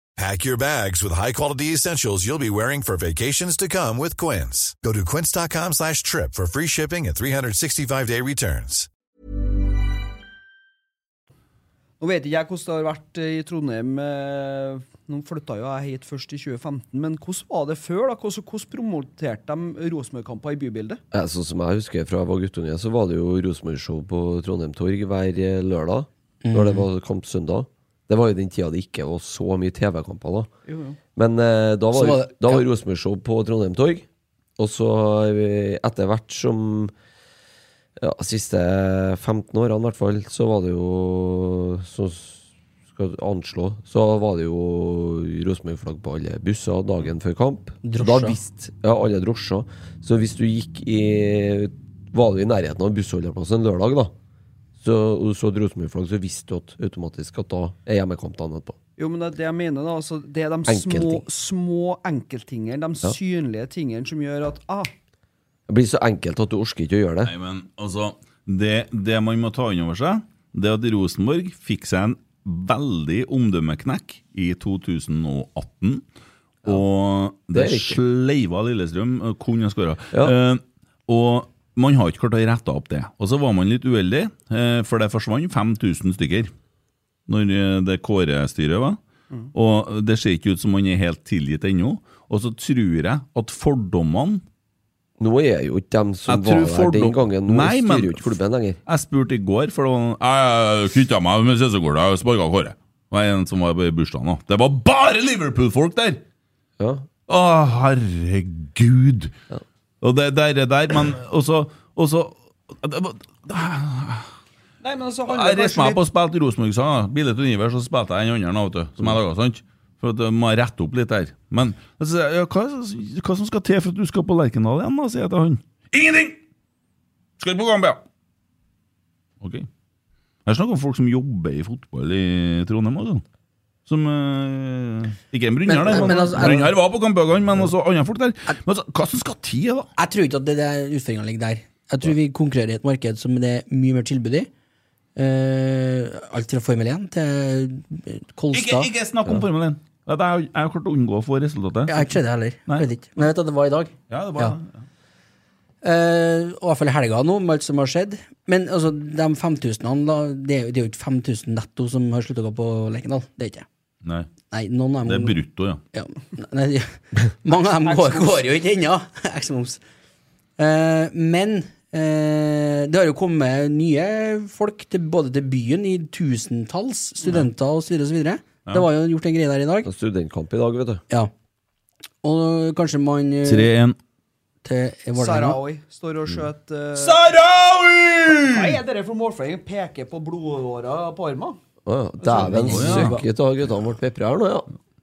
A: Pack your bags with high-quality essentials you'll be wearing for vacations to come with Quince. Go to quince.com slash trip for free shipping and 365-day returns.
G: Nå vet ikke jeg hvordan det har vært eh, i Trondheim. eh, Nå flytta jo jeg hit først i 2015, men hvordan var det før? da? Hvordan, hvordan promoterte de Rosenborg-kamper i bybildet?
D: Ja, Sånn som jeg husker fra jeg var guttunge, så var det jo Rosenborg-show på Trondheim Torg hver eh, lørdag. Når det var kamp søndag. Det var jo den tida det ikke var så mye TV-kamper, da. Men eh, da
E: Så
D: var,
E: var det-
D: da var
E: ja.
D: Rosenborg-show på Trondheim Torg. Og så eh, etter hvert som ja, siste 15 årene, i hvert fall, så var det jo Så skal jeg anslå Så var det jo Rosenborg-flagg på alle busser dagen før kamp. Da
E: Drosjer.
D: visste Ja, alle drosjer. Så hvis du gikk i Var du i nærheten av bussholdeplassen lørdag, da, så, og så et Rosenborg-flagg, så visste du at automatisk at da er hjemmekamp dagen etterpå.
G: Jo, men Det er det jeg mener, da. Altså, det er de små,
D: Enkelting.
G: små enkelttingene, de synlige tingene, som gjør at ah,
D: Det blir så enkelt at du orker ikke å gjøre det.
C: Nei, men altså Det, det man må ta inn over seg, det er at Rosenborg fikk seg en veldig omdømmeknekk i 2018. Og det,
D: det er riktig.
C: sleiva Lillestrøm. eh, Kunne ha skåra.
D: Ja.
C: Eh, og man har ikke klart å rette opp det. Og så var man litt uheldig, eh, for det forsvant 5000 stykker når eh, det Kåre-styret var.
D: Mm.
C: Og det ser ikke ut som man er helt tilgitt ennå. Og så tror jeg at fordommene
D: Nå er jo ikke dem som
C: Jeg
D: var
C: tror
D: der den
C: fordom-
D: gangen, nå
C: Nei, men-
D: styrer jo ikke klubben lenger.
C: Jeg spurte i går, for det var Jeg knytta meg med søsterkåla og sparka håret. Det var en som var i bursdagen òg. Det var bare Liverpool-folk der!
D: Ja.
C: Å, herregud! Og det der, det der Men også, også det var-
G: Nei, men altså, handler
C: Jeg
G: det
C: reiste
G: kanskje
C: meg
G: litt-
C: opp og spilte Rosenborg-sang. Bildet til Univers, så spilte jeg den andre, vet du, som jeg laga. sant? For at jeg må rette opp litt der. Men så sier jeg, ja, hva, hva som skal til for at du skal på Lerkendal igjen, da, sier jeg til han. Ingenting! Skal på Gambia! Ok. Jeg snakker om folk som jobber i fotball i Trondheim. Også. Som eh, Ikke en Brynjar,
E: Men-
C: der,
E: men
C: men
E: altså, er-
C: Brynjar var på Gambia, men også andre folk der. Men altså, hva som skal til, da?
E: Jeg tror ikke at det, det utfordringa ligger der. Jeg tror vi konkurrerer i et marked som det er mye mer tilbud i. Eh, alt fra Formel 1 til eh,
C: Ikke,
E: Kolstad.
C: ikke snakk om Formel 1! Det er jo- Jeg har klart å unngå å få resultatet.
E: Jeg har ikke sett det heller.
C: Nei.
E: Jeg vet ikke. Men jeg vet at det var i dag.
C: Ja, det var
E: Ja. Eh, og I hvert fall i helga nå, med alt som har skjedd. Men altså, de 5000-ene, da, det, er jo- det er jo ikke 5000 netto som har slutta å gå på Lekendal. Det er ikke det.
C: Nei,
E: Nei, noen av
C: det er
E: dem
C: brutto, ja.
E: ja. Nei, mange av dem går, går jo ikke ennå. Eksmoms. Eh, men eh, det har jo kommet nye folk til, både til byen i tusentalls, studenter osv. videre Det var jo gjort en greie der i dag.
D: Det er studentkamp i dag, vet du.
E: Ja. Og kanskje man eh,
C: 3-1.
E: til Vålerenga Mm.
G: Sarawi står og skjøt eh, Hva
C: Sarawi!
G: er dere for målfløying? Peker på blodåra på armen?
D: Å ja. Dæven
C: ja.
D: søkke ta guttene ble pepra her nå, ja.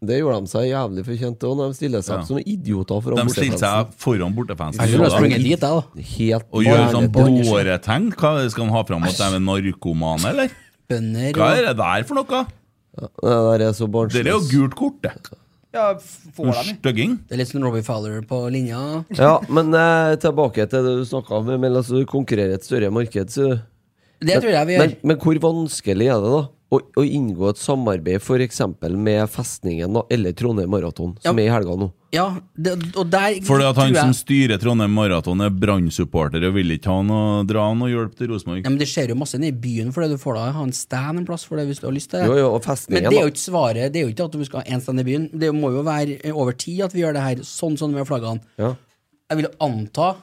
D: Det gjorde de seg jævlig fortjent til, og de stiller seg
C: Ja.
D: opp som idioter foran
C: De stilte
D: bortefansen.
C: seg foran bortefansen
E: Jeg
C: så
E: tror jeg
C: da,
E: springer dit, jeg, da.
D: Helt
C: og gjør sånn
D: barnet-
C: blåretegn. Hva er det, Skal han ha fram at de er narkomane, eller?
E: Bønder
C: Hva
E: og
C: er det der for noe?
D: Det der er så
C: Det
D: barnslig.
C: er jo gult kort, det.
G: Ja, f- får dem i.
C: Stygging.
E: Det er litt sånn Robbie Fowler på linja.
D: Ja, men eh, tilbake til det du snakka om, men altså, du konkurrerer i et større marked, så
E: Det tror jeg vi
D: men,
E: gjør.
D: men hvor vanskelig er det, da? Å, å inngå et samarbeid f.eks. med Festningen da, eller Trondheim Maraton, som
E: Ja.
D: er i helga nå.
E: Ja, det, og der
C: Fordi at han
E: tror jeg-
C: som styrer Trondheim Maraton, er Brann-supporter og vil ikke ha noe, dra noe hjelp til Rosenborg.
E: Ja, men Det skjer jo masse nede i byen for det du får da. Ha en stand en plass for det hvis du har lyst til det.
D: Jo, jo, og festningen,
E: men det er jo
D: da.
E: ikke svaret. Det er jo ikke at du skal ha én stand i byen. Det må jo være eh, over tid at vi gjør det her, sånn som vi har flaggene.
D: Ja.
E: Jeg vil jo anta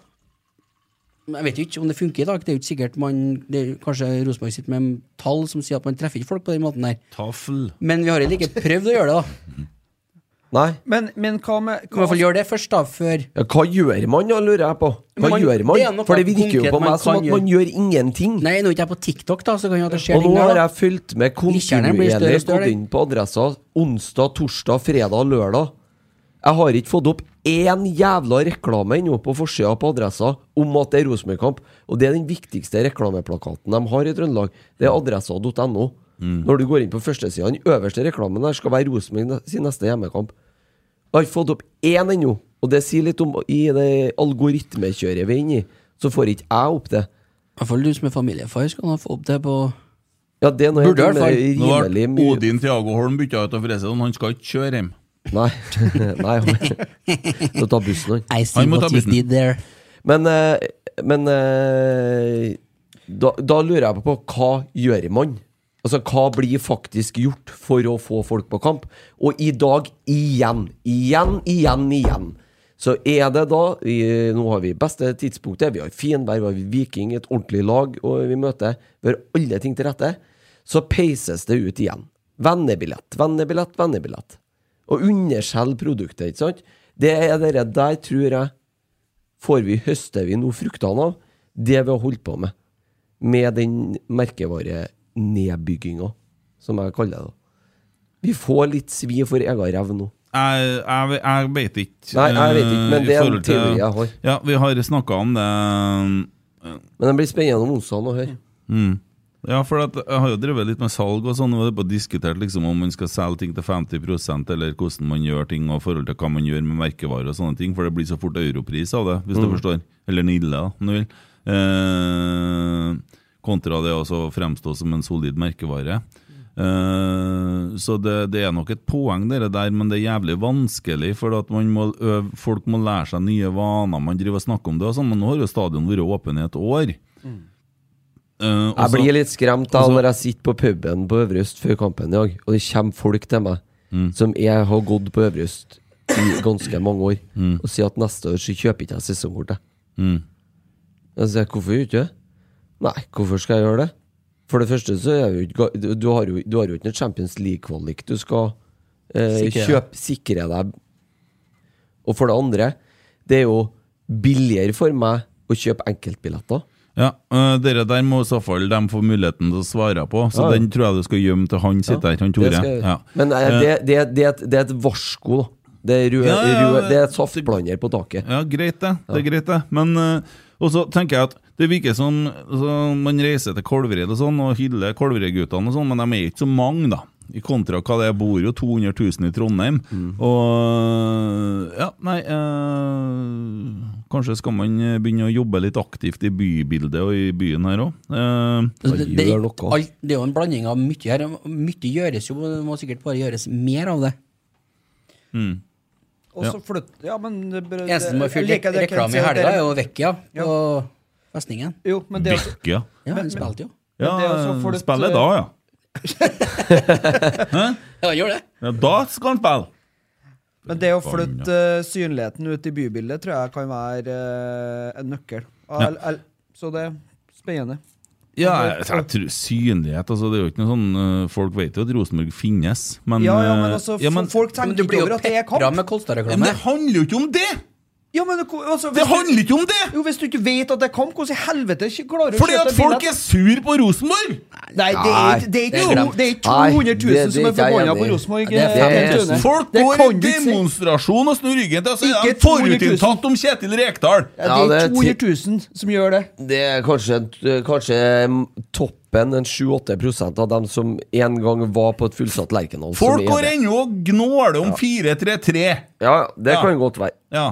E: men Jeg vet jo ikke om det funker i dag. Det er jo ikke sikkert man det er, Kanskje Rosenborg sitter med tall som sier at man treffer ikke folk på den måten der.
C: Tafel.
E: Men vi har heller ikke prøvd å gjøre det, da.
D: Nei.
G: Men, men hva med
E: Vi må i hvert fall
G: hva,
E: gjøre det først, da, før
D: Ja, hva gjør man, da, lurer jeg på? Hva
E: Men man-
D: gjør
E: det er
D: man?
E: noe
D: For det virker jo
E: konkret
D: på
E: man
D: meg som
E: kan
D: at man gjør ingenting.
E: Nei, nå er ikke jeg på TikTok, da, så kan jo at det skjer
D: Og nå
E: ting der.
D: har
E: da.
D: jeg fulgt med
E: Lytterne blir større og
D: kontinuerlig
E: større.
D: gått inn på adressa onsdag, torsdag, fredag, lørdag. Jeg har ikke fått opp én jævla reklame ennå på forsida på adressa om at det er Rosenborg-kamp. Og det er den viktigste reklameplakaten de har i Trøndelag. Det er adressa.no.
E: Mm.
D: Når du går inn på førstesida, den øverste reklamen der skal være Rosenborg ne- sin neste hjemmekamp. Jeg har ikke fått opp én ennå, og det sier litt om i det algoritmekjøret vi er inne i. Så får ikke jeg opp det.
E: I hvert fall du som er familiefar, skal nå få opp det på
D: Ja, det er noe
E: Burde i
D: helt
E: hvert fall.
D: rimelig
C: Nå ble
D: mye-
C: Odin Thiago Holm bytta ut av Freseland, han skal ikke kjøre hjem.
D: Nei. Nei han må ta bussen, han.
E: I see
C: Han må
E: what
C: ta
E: you
C: bussen.
E: did there.
D: Men, eh, men eh, da, da lurer jeg på hva gjør man? Altså, hva blir faktisk gjort for å få folk på kamp? Og i dag igjen, igjen, igjen, igjen. Så er det da i, Nå har vi beste tidspunktet. Vi har Fienberg, vi har Viking, et ordentlig lag og vi møter. Vi har alle ting til rette. Så peises det ut igjen. Vennebillett, vennebillett, vennebillett. Og underselge produktet, ikke sant? Det er det der, tror jeg, får vi, høster vi nå fruktene av det vi har holdt på med, med den merkevarenedbygginga, som jeg kaller det. Vi får litt svi for egen rev nå.
C: Jeg, jeg, jeg vet ikke.
D: Nei, jeg vet ikke, men
C: eh, i
D: det er en
C: forhold til-
D: teori jeg har.
C: Ja, vi har snakka om det. eh,
D: Men det blir spennende om onsdagen å høre.
C: Mm. Ja, for at jeg har jo drevet litt med salg og sånn, og det er på diskutert liksom om man skal selge ting til 50 eller hvordan man gjør ting, og forhold til hva man gjør med merkevarer og sånne ting, for det blir så fort europris av det,
D: Mm.
C: hvis du forstår. Eller Nille, da, om du vil. Eh, kontra det å så fremstå som en solid merkevare. Eh, så det, det er nok et poeng dere der, men det er jævlig vanskelig. For at man må øve, folk må lære seg nye vaner. Man driver og snakker om det. Og sånn, men nå har jo stadion vært åpen i et år. Eh, og
D: Jeg
C: så-
D: blir litt skremt da
C: også-
D: når jeg sitter på puben på Øvre Øst før kampen i dag, og det kommer folk til meg
C: Mm.
D: som jeg har gått på Øvre Øst i ganske mange år, og sier at neste år så kjøper ikke jeg sesongkort. jeg.
C: Mm.
D: Jeg sier hvorfor gjør du ikke det? Nei, hvorfor skal jeg gjøre det? For det første så er vi jo ikke ga- du, du, har jo, du har jo ikke noen Champions League-kvalik du skal eh,
E: Sikre.
D: kjøpe, sikre deg. Og for det andre, det er jo billigere for meg å kjøpe enkeltbilletter.
C: Ja, øh, dere der må i så fall de få muligheten til å svare på, så
D: Ja, ja.
C: den tror jeg du skal gjemme til han sitter der, han Tore.
D: Det skal jeg gjøre.
C: ja.
D: Men eh, det, det, det, er et- det er et varsko, da. Det er, rød,
C: Ja, ja,
D: rød, det er
C: det-
D: et saftblander på taket.
C: Eh, ja, greit det. Det er greit, det. Men øh, Og så tenker jeg at det virker som altså, man reiser til Kolvereid og sånn, og hyller Kolvereid-guttene og sånn, men de er ikke så mange, da. I kontra hva det er, bor jo 200 000 i Trondheim.
D: Mm.
C: Og ja, nei eh, Kanskje skal man begynne å jobbe litt aktivt i bybildet og i byen her òg. Eh,
E: Altså, det, det,
D: gjør dere.
E: alt, det er jo en blanding av mye her. og Mye gjøres jo, men det må sikkert bare gjøres mer av det.
G: Og så flytt Ja, men det, bør-
E: Eneste som har
G: jeg
E: fylt
G: liker det
E: reklame i
G: Kent sier,
E: helga, er
G: dere-
E: jo Vekkia på festningen.
G: Jo, men det er også-
C: Vekkia.
E: Ja, han spilte jo.
C: Ja,
G: Men det er også for det-
C: spille da, ja.
E: Ja, han gjør det.
C: ja. Da skal han spille!
G: Men det å flytte eh, synligheten ut i bybildet tror jeg kan være eh, en nøkkel.
C: Ja.
G: Al- al- så det er spennende.
C: Ja, jeg, jeg tror synlighet altså, Det er jo ikke noe sånn eh, Folk vet jo at Rosenborg finnes, men
G: Ja, ja, men
C: eh,
G: altså,
C: ja, men-
G: f- folk
E: Men
G: tenker
E: du
G: ikke
E: blir jo
G: over at det er
E: pepra
G: kamp.
E: med
C: Ja, men
E: Kolstad-reklame.
C: det handler jo ikke om det!
G: Ja, men ko- altså,
C: Det
G: hvis du,
C: handler ikke om det!
G: jo, hvis du ikke vet at det er kamp, hvordan i helvete ikke klarer du
C: Fordi at folk er sur på Rosenborg!
G: Nei, det er ikke, det er
E: det
G: ikke,
E: er
G: to-
E: glemt.
G: det er ikke
D: Nei,
G: 200 000
D: det- det
G: som
D: er
G: er
D: ikke jeg
G: forbanna
D: enig
G: på
D: i.
G: Rosenborg.
E: Ja,
G: eh,
E: det er fem
G: Tune.
E: tusen.
C: Folk
G: Det
C: går i
G: kan du ikke si.
C: demonstrasjon og snur ryggen til, og så er de
G: Ikke 200 000.
C: forutinntatt om Kjetil Rekdal!
G: Ja,
D: Ja,
G: det
D: det
G: er
D: er ti-
G: 200 000 som gjør det.
D: Det er kanskje, en- kanskje toppen en 7-8 prosent av dem som en gang var på et fullsatt Lerkendal. som
C: Folk
D: er
C: går
D: det.
C: ennå og gnåler om 4-3-3!
D: Ja, det
C: Ja.
D: kan godt være.
C: Ja.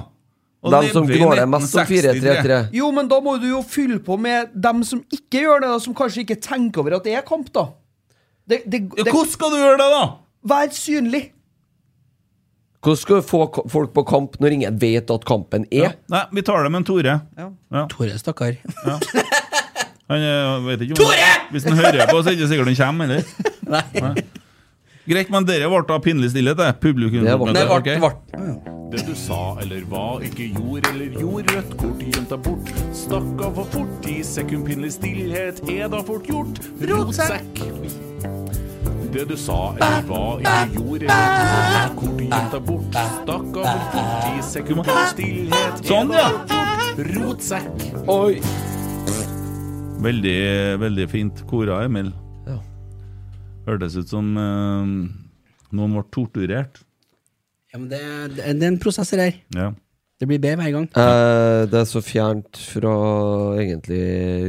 C: Og
D: De
C: lever
D: som
C: i
D: gnåler mest om
C: 1963.
D: 4-3-3.
G: Jo, men da må du jo fylle på med dem som ikke gjør det, da, som kanskje ikke tenker over at det er kamp, da. Det, det,
C: Ja,
G: det,
C: Hvordan skal du gjøre det, da?
G: vær synlig.
D: Hvordan skal du få ko- folk på kamp når ingen vet at kampen er?
C: Nei, vi tar det med en Tore.
E: Tore, stakkar.
C: Han eh, vet ikke om Tore! Hvis han hører på, så er det ikke sikkert han kommer, eller? Nei. Greit, men dere ble da pinlig stille til publikum.
D: Det ble-
E: Det ble,
C: ok?
E: ble.
B: Det du sa eller hva, ikke gjorde eller gjorde, rødt kort gjemt deg bort. Stakk av for fort, i sekundpinnelig stillhet er da fort gjort. Rotsekk! Det du sa eller hva, ikke gjorde eller gjorde, rødt kort gjemt deg bort. Stakk av for fort, i sekundpinnelig stillhet
C: Sånn, ja.
B: er rotsekk.
D: Oi!
C: Veldig, veldig fint kora, Emil.
D: Ja.
C: Hørtes ut som eh, noen ble torturert.
E: Ja, men det, det, det er en prosess her.
C: Ja.
E: Det blir bedre hver gang.
D: Eh, det er så fjernt fra egentlig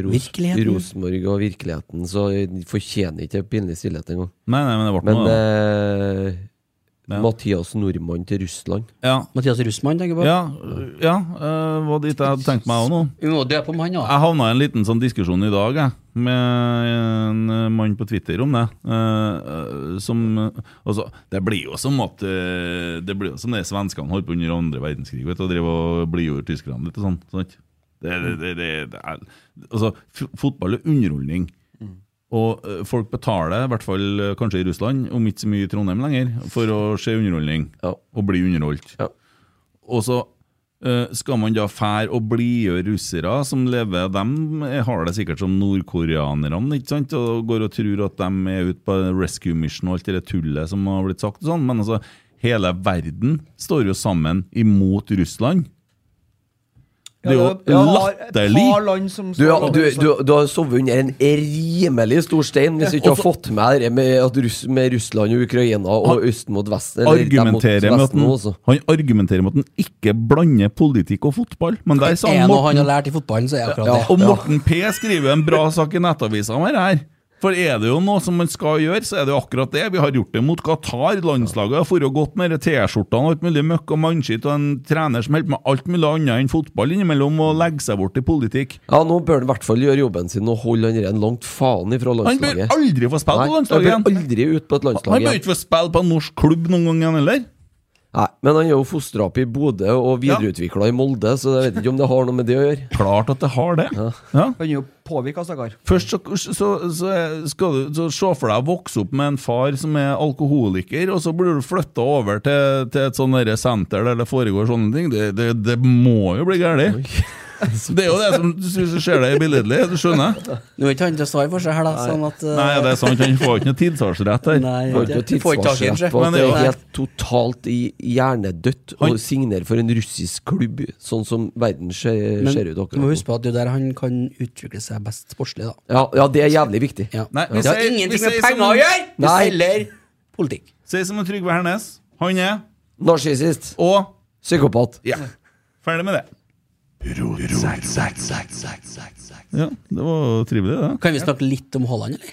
D: Ros
E: Virkeligheten.
D: Rosenborg og virkeligheten, så jeg fortjener ikke pinlig stillhet engang.
C: Nei, nei, men det ble
D: Men
C: noe. da.
D: eh,
C: Ja.
D: Mathias Nordmann til Russland
C: Ja,
E: Mathias Russmann tenker jeg på.
C: ja, ja eh, var dit jeg hadde tenkt meg òg nå.
E: Vi må døpe om han, da.
C: Jeg havna i en liten sånn diskusjon i dag jeg, med en eh, mann på Twitter om det. eh, eh, som, eh, altså, det blir jo som at eh, Det blir jo som det svenskene holdt på under andre verdenskrig vet, du, og drev og blidgjorde tyskerne litt. og sånn, sant? Det, det, det, det, det er, altså, f fotball er underholdning. Og eh, folk betaler, i hvert fall eh, kanskje i Russland, om ikke så mye i Trondheim lenger, for å se underholdning
D: Ja.
C: og bli underholdt.
D: Ja.
C: Og så eh, skal man da fære og blidgjøre russere som lever Dem har det sikkert som nordkoreanerne, ikke sant? Og går og tror at de er ute på rescue mission og alt det der tullet som har blitt sagt og sånn. Men altså, hele verden står jo sammen imot Russland. Det er jo latterlig!
G: Et par land som
D: Du,
G: står-
D: du, du, du har sovet under en rimelig stor stein hvis du ikke har fått med det med, at Russ, med Russland og Ukraina og Østen mot Vesten. eller dem mot
C: argumenterer med at
D: Vesten
C: han,
D: også.
C: han argumenterer med at han ikke blander politikk og fotball. Men der sa
E: Er det
C: han
E: noe han har
C: Morten,
E: lært i fotballen, så er det akkurat
D: Ja.
E: det.
C: og Morten P skriver en bra sak i nettavisa om det her. For er det jo noe som man skal gjøre, så er det jo akkurat det. Vi har gjort det mot Qatar. Landslaget har forrige gått med de T-skjortene og alt mulig møkk og mannskitt, og en trener som holder på med alt mulig annet enn fotball innimellom, og legger seg bort i politikk.
D: Ja, nå bør han i hvert fall gjøre jobben sin og holde han redd langt faen ifra
C: Han bør
D: landslaget.
C: aldri få spille på
D: Nei, han
C: landslaget
D: bør
C: igjen.
D: aldri ut på et
C: Han
D: landslag
C: bør
D: igjen.
C: ikke få spille på en norsk klubb noen gang igjen heller.
D: Nei, men han er jo fostra opp i Bodø og
C: Ja.
D: videreutvikla i Molde, så jeg vet ikke om det har noe med det å gjøre.
C: Klart at det har det. Ja.
G: Han er jo påvirka, stakkar.
C: Først så, så, så skal du så se for deg å vokse opp med en far som er alkoholiker, og så blir du flytta over til, til et sånn derre senter der det foregår sånne ting. Det, det, det må jo bli galt. Det er jo det som du ser deg i billedlig, du skjønner?
E: Nå er ikke han til å svare for seg her, da. Sånn at eh,
C: Nei, det er sant, han får ikke noe tidsavsrett her.
E: nei,
D: Får ikke
E: ikke.
D: noe
E: Du får ikke tak i han,
D: tidsvarsel
E: sjef.
D: på
C: Men
D: at
C: det
D: det
C: er jo-
D: er helt totalt i hjernedødt å
C: Han-
D: signere for en russisk klubb, sånn som verden ser,
E: Men
D: ser ut
E: du må
D: akkurat nå.
E: huske på at det er der han kan utvikle seg best sportslig, da.
D: Ja, ja, det er jævlig viktig.
E: Ja.
C: Nei, vi
E: det har
C: sier- vi
E: ingenting
C: sier
E: med penger
C: som-
E: å gjøre! Vi
D: Nei.
E: selger politikk.
C: Si som en Trygve Hernes. Han er
D: Narsissist.
C: og
D: Psykopat.
C: Ja. Ferdig med det. Ja, det var trivelig, det.
E: Kan vi snakke litt om Haaland, eller?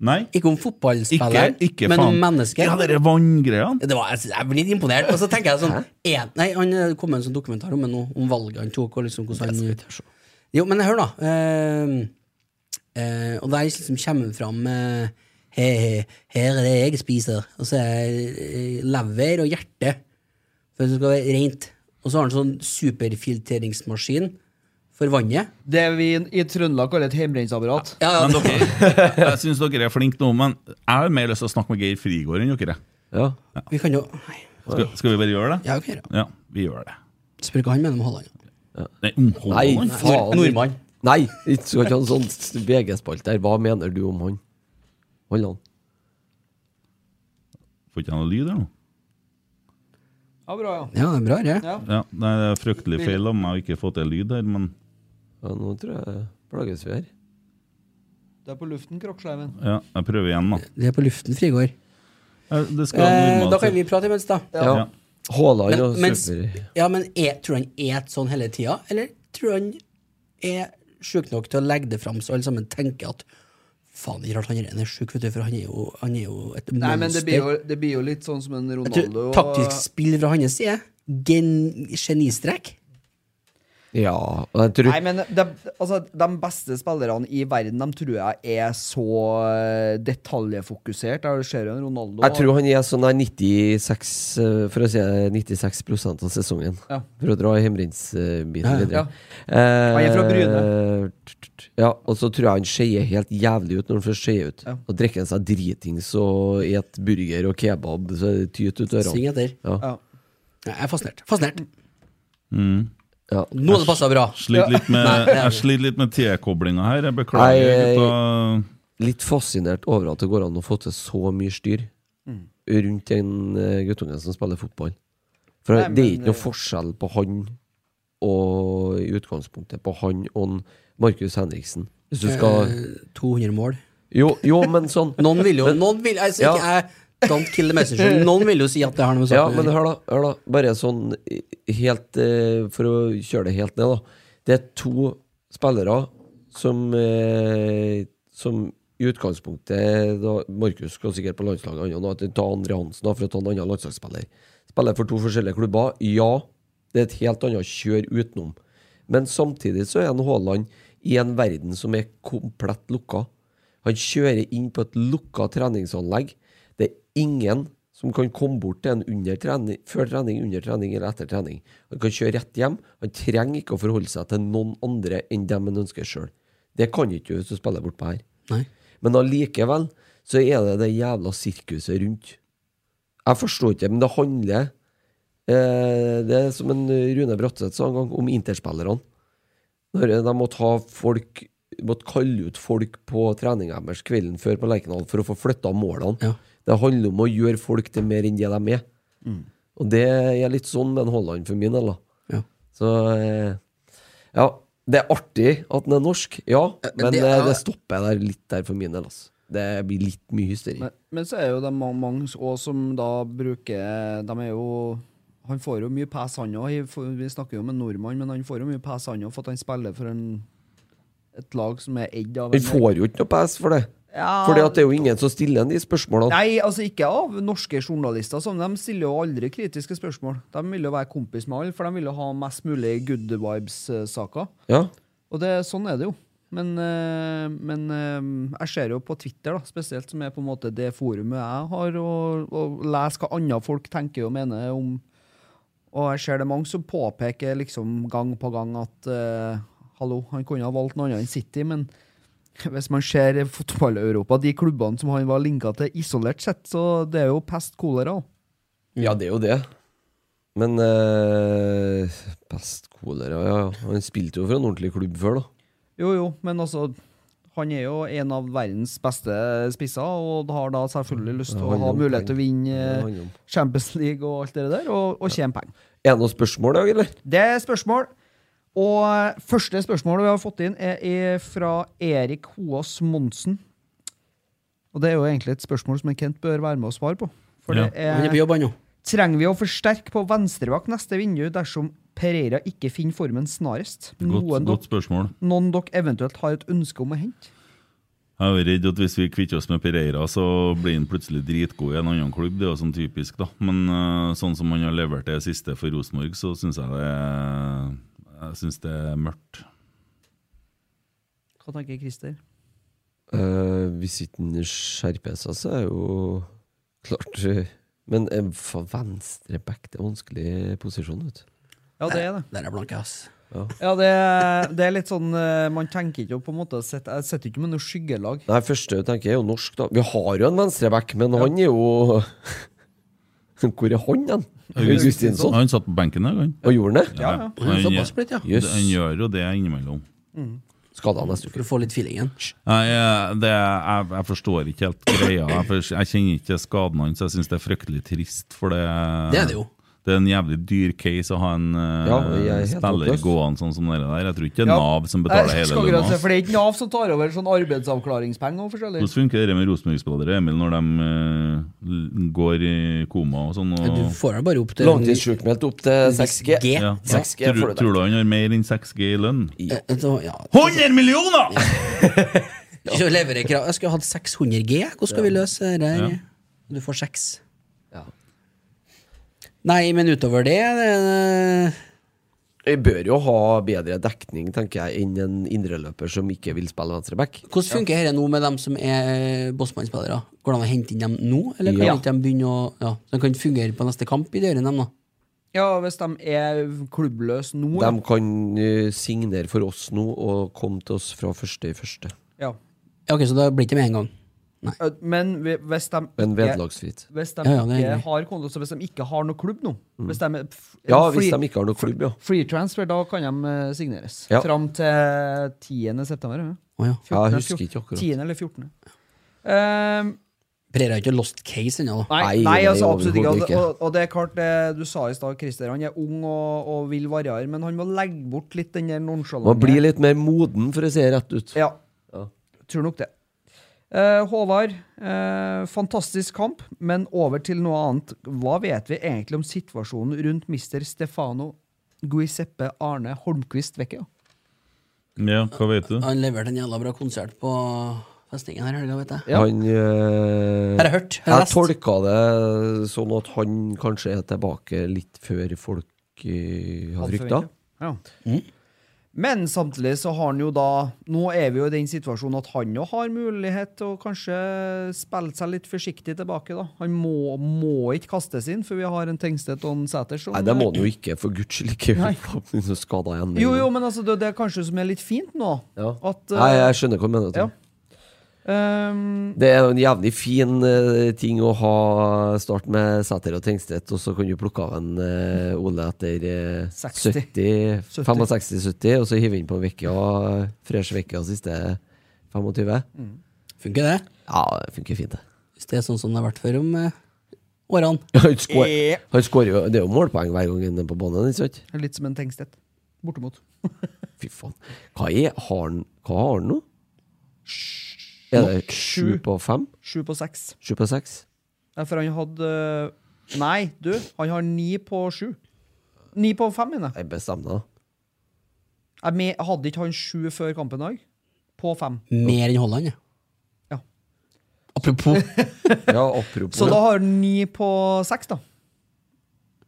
C: Nei.
E: Ikke om
C: Ikke,
E: fotballspilleren,
C: ikke
E: men om
C: faen.
E: mennesket.
C: Ja, dere vanngreiene.
E: Det var, jeg, jeg ble litt imponert. Og så tenker jeg sånn en, Nei, han kom med en sånn dokumentar om, noe, om valget han tok, og liksom hvordan han Jo, men hør, da. eh, eh, og der liksom kommer han fram eh, he, he, Her er det jeg spiser. Og så er det eh, lever og hjerte. For det skal være rent. Og så har han sånn superfiltreringsmaskin for vannet.
G: Det vi i Trøndelag kaller et hjemmebrensapparat.
E: Ja, ja,
C: Men
E: det,
C: dere, jeg syns dere er flinke nå, men jeg har mer lyst til å snakke med Geir Frigård enn dere.
D: Ja.
E: vi kan jo nei,
C: Skal, skal vi bare gjøre det?
E: Ja, vi kan gjøre det.
C: Ja, vi gjør det.
E: Spør hva han mener om Halland.
C: Nei, om
D: Nei,
C: Haaland?
D: faen.
E: Nordmann.
D: Nei, ikke skal ikke ha en sånn VG-spalte her. Hva mener du om han? Hold han.
C: Får ikke jeg noe lyd her nå?
G: Ja, bra, ja.
E: Ja, det er bra, det.
C: Ja, nei, det er fryktelig feil av meg å ikke få til lyd her, men
D: Ja, nå tror jeg plages vi her.
G: Du er på luften, Krokkskleiven.
C: ja, jeg prøver igjen, da.
E: Det er på luften, Frigård.
C: Ja, Det skal
E: Eh, da
C: normalt
E: kan
C: sett
E: vi prate imens, da.
D: Ja.
C: Ja.
D: Haaland og
E: Men, men,
D: super...
E: ja, men er, tror han et sånn hele tida, eller tror han er sjuk nok til å legge det fram så alle sammen tenker at faen, det er rart han er- han er sjuk, vet du, for han er jo, han er jo et
G: Nei, men
E: monster.
G: det blir, jo, det blir jo litt sånn som en
E: Jeg tror,
G: Ronaldo
E: taktisk spill fra hans side. Gen, genistrek.
D: Ja, og jeg tror
G: Nei, men de, altså, de beste spillerne i verden De tror jeg er så eh, detaljfokusert. Jeg ser jo en Ronaldo
D: Jeg tror han er sånn der 96 eh, For å si det, 96 av sesongen.
G: Ja.
D: For å dra Hemrins-biten
E: Ja, ja.
D: videre.
G: Ja. Han er fra
D: Eh, t- t- t- Ja, og så tror jeg han skeier helt jævlig ut når han først skeier ut.
G: Ja.
D: Og drikker han seg dritings og et burger og kebab, så er det tyt ut
E: Sving
D: ørene.
E: etter.
D: Ja.
G: ja.
E: Jeg er fascinert. Fascinert.
D: Ja.
E: Nå hadde det passa bra.
C: Mm. sliter litt
E: Nei,
C: med,
E: det er-
C: jeg sliter litt med T-koblinga her. Jeg
D: Nei,
C: beklager,
D: jeg-
C: gutta.
D: Litt fascinert over at det går an å få til så mye styr
G: Mm.
D: rundt den eh, guttungen som spiller fotball. For
G: Nei,
D: det er
G: men,
D: ikke noe
G: eh,
D: forskjell på han og i utgangspunktet på han og en Markus Henriksen. Hvis du skal
E: Eh, 200 mål.
D: Jo, jo men sånn
E: Noen vil jo noen vil, altså,
D: Ja.
E: ikke, jeg, Don't kill the messenger. Noen vil jo si at det har noe med
D: Ja,
E: saken å
D: men
E: gjøre.
D: hør da, hør da. Bare sånn eh, helt eh, For å kjøre det helt ned, da. Det er to spillere som eh, Som i utgangspunktet da, Markus skal sikkert på landslaget, han og ta Andre Hansen da, for å ta en annen landslagsspiller. Spiller for to forskjellige klubber. Ja, det er et helt annet kjør utenom. Men samtidig så er han Haaland i en verden som er komplett lukka. Han kjører inn på et lukka treningsanlegg. Det er ingen som kan komme bort til en under trening, før trening, under trening eller etter trening. Han kan kjøre rett hjem. Han trenger ikke å forholde seg til noen andre enn dem han ønsker sjøl. Det kan ikke du hvis du spiller bortpå her.
E: Nei.
D: Men allikevel så er det det jævla sirkuset rundt. Jeg forstår ikke, men det handler eh, Det er som en Rune Bratseth sa en gang, om interspillerne. Når de måtte ha folk Måtte kalle ut folk på treninga deres kvelden før på Lerkendal for å få flytta målene.
E: Ja. Mm.
D: Det handler om å gjøre folk til mer enn det de er. Og det er litt sånn med en Haaland for min del, da.
E: Ja.
D: Så eh, ja. Det er artig at den er norsk, ja, men
E: det
D: det,
E: er-
D: det stopper der litt der for min del. Altså. Det blir litt mye hysteri.
G: Men, men så er jo det mange, mange også som da bruker De er jo Han får jo mye pass, han òg. Vi snakker jo om en nordmann, men han får jo mye pass, han òg, for at han spiller for en, et lag som er eid av en-
D: Han får jo ikke noe pass for det.
G: Ja.
D: Fordi at det er jo ingen som stiller han de spørsmålene.
G: Nei, altså ikke av norske journalister. Sånn. De stiller jo aldri kritiske spørsmål. De vil jo være kompis med alle, for de vil jo ha mest mulig good vibes-saker.
D: Ja.
G: Og det, sånn er det jo. Men, eh, men eh, jeg ser jo på Twitter, da, spesielt, som er på en måte det forumet jeg har, og, og leser hva andre folk tenker og mener om Og jeg ser det mange som påpeker liksom gang på gang at eh, hallo, han kunne ha valgt noe annet enn City, men hvis man ser i fotball-Europa, de klubbene som han var linka til, isolert sett, så det er jo pest kolera. også.
D: ja, det er jo det. Men eh, Pest kolera, ja. ja. Han spilte jo for en ordentlig klubb før, da.
G: Jo, jo, men altså han er jo en av verdens beste spisser, og har da selvfølgelig lyst til å
D: Mm. handler
G: ha
D: om
G: mulighet til å vinne
D: Det
G: eh,
D: handler om-
G: Champions League og alt det der, og, og tjene penger.
D: Er det noe spørsmål, da, eller?
G: Det er spørsmål. Og første spørsmålet vi har fått inn, er, er fra Erik Hoas Monsen. Og det er jo egentlig et spørsmål som en Kent bør være med og svare på. For
C: Ja.
G: det
E: Han er på
G: er
E: jobb, han nå.
G: Trenger vi å forsterke på venstrebakk neste vindu dersom Pereira ikke finner formen snarest?
C: Godt,
G: Noen,
C: godt spørsmål.
G: dok noen dere eventuelt har et ønske om å hente?
C: Jeg er redd at hvis vi kvitter oss med Pereira, så blir han plutselig dritgod i en annen klubb. Det er jo sånn typisk, da. Men eh, sånn som han har levert det siste for Rosenborg, så syns jeg det er, jeg synes det er mørkt.
G: Hva tenker Christer?
D: Eh, hvis ikke den skjerper seg, så er jo klart eh, Men eh, for venstreback det er vanskelig posisjon, vet du.
G: Ja, det er det.
E: Der er blanke, ass.
G: Ja, det er, det er litt sånn eh, Man tenker ikke på en måte sett- Jeg sitter ikke med noe skyggelag.
D: Nei, første tenker jeg er jo norsk, da. Vi har jo en venstreback, men han er jo Hvor er han hen? Augustinsson?
C: Han satt på benken der, han.
D: Og gjorde han det?
C: Ja,
E: Såpass blitt, ja.
D: Jøss.
C: Han gjør jo det innimellom.
D: Skada neste uke.
E: For å få litt feelingen.
C: Nei, jeg- det, jeg, jeg forstår ikke helt greia. Jeg, for, jeg kjenner ikke skaden hans, så jeg syns det er fryktelig trist. For det,
E: Det er det jo.
C: Det er en jævlig dyr case å ha en eh,
D: Ja, jeg er helt
C: spiller
D: oppløst.
C: gående sånn som dere der. Jeg tror ikke det er
G: Ja.
C: Nav som betaler
G: Jeg
C: hele
G: skal akkurat si,
C: lønna.
G: For det er ikke Nav som tar over sånn arbeidsavklaringspenger og forskjellig.
C: Hvordan funker det med Rosenborg-spillere, Emil, når de eh, l- går i koma og sånn?
E: Du
C: Og,
E: får jo bare opp til
D: Langtidssjukmeldt opp til 6G.
E: G.
C: ja.
D: Ja. 6G får
C: Tror,
D: du der.
C: tror du han har mer enn 6G i lønn?
E: Eh, eh, så- Ja.
C: 100 millioner!
E: Så leverer jeg krav. Jeg skulle hatt 600 G. Hvordan skal vi løse det her? Du får seks.
D: Ja.
E: Nei, men utover det, det
D: Vi bør jo ha bedre dekning, tenker jeg, enn en indreløper som ikke vil spille venstreback.
E: Hvordan funker dette nå med dem som er Bossmann-spillere? Går det an å hente inn dem nå, eller kan
D: Ja.
E: ikke de begynne å ja, Så de kan fungere på neste kamp i døren, dem, da?
G: Ja, Hvis de er klubbløse nå,
D: De kan eh, signere for oss nå og komme til oss fra første i første.
G: ja.
E: Ja, ok, Så da blir det ikke med en gang.
G: Eh, Men vi- hvis de
D: Men
G: ikke,
D: vederlagsfritt. Mm.
G: hvis de
E: Ja, ja, det er
G: ikke
E: greit.
G: har konto, så hvis de ikke har noe klubb nå Hvis de er f-
D: Ja, hvis
G: free-
D: de ikke har noe klubb, ja.
G: Free transfer, da kan de eh, signeres.
D: Ja.
G: Fram til 10. september. Ja.
E: Å ja.
G: 14,
D: jeg husker ikke akkurat.
G: 10. eller 14. Ehm,
E: Pereira har ikke lost case ennå, da.
G: Nei,
D: Nei,
G: nei
D: det er
G: altså, absolutt ikke.
D: overhodet
G: Og, og, og det er klart, det du sa i stad, Christer, han er ung og, og vil variere, men han må legge bort litt den der
D: Man
G: nonsjalante
D: blir litt mer moden, for å si det rett ut.
G: Ja.
D: Ja.
G: Tror nok det. Eh, Håvard, eh, fantastisk kamp, men over til noe annet. Hva vet vi egentlig om situasjonen rundt mister Stefano Guiseppe Arne Holmquist Vecchia?
C: Ja, hva vet du?
E: Han leverte en jævla bra konsert på festningen her i helga, vet jeg.
G: Ja.
D: Han eh,
E: Har jeg hørt? Har
D: Jeg
E: jeg lest?
D: tolka det sånn at han kanskje er tilbake litt før folk eh, har rykta.
G: Ja.
E: Mm.
G: Men samtidig så har han jo da Nå er vi jo i den situasjonen at han jo har mulighet til å kanskje spille seg litt forsiktig tilbake, da. Han må, må ikke kastes inn, for vi har en Tengstedt og en Sæter som
D: Nei, det må han jo ikke, for guds skyld ikke bli så skada igjen.
G: Jo, jo, men altså, det, det er kanskje som er litt fint nå.
D: Ja.
G: At
D: Nei,
G: eh,
D: jeg skjønner hva du mener. Tom.
G: ja. Ehm,
D: Det er jo en jævlig fin eh, ting å ha start med Sæter og Tengstedt, og så kan du plukke av en eh, Ole etter eh,
G: 60.
D: 70,
G: 70.
D: 65-70, og så hive inn på en uke og eh, fresh uke av siste 25.
G: Mm.
E: Funker det?
D: Ja, det funker fint, det.
E: Hvis det er sånn som det har vært før om eh, årene.
D: Han skår- han skårer jo Det er jo målpoeng hver gang han er på banen, ikke sant?
G: Eh, litt som en Tengstedt. Bortimot.
D: Fy faen. Hva er har han Hva har han nå? Er det sju på fem?
G: Sju på seks.
D: Sju på seks?
G: Ja, for han hadde eh, Nei, du, han har ni på sju. Ni på fem, mener jeg.
D: Jeg bestemmer meg.
G: Jeg me- hadde ikke han sju før kampen i dag? På fem.
E: Mer enn Holland, ja.
G: Ja.
E: Apropos
D: Ja, apropos
G: Så da har han ni på seks, da.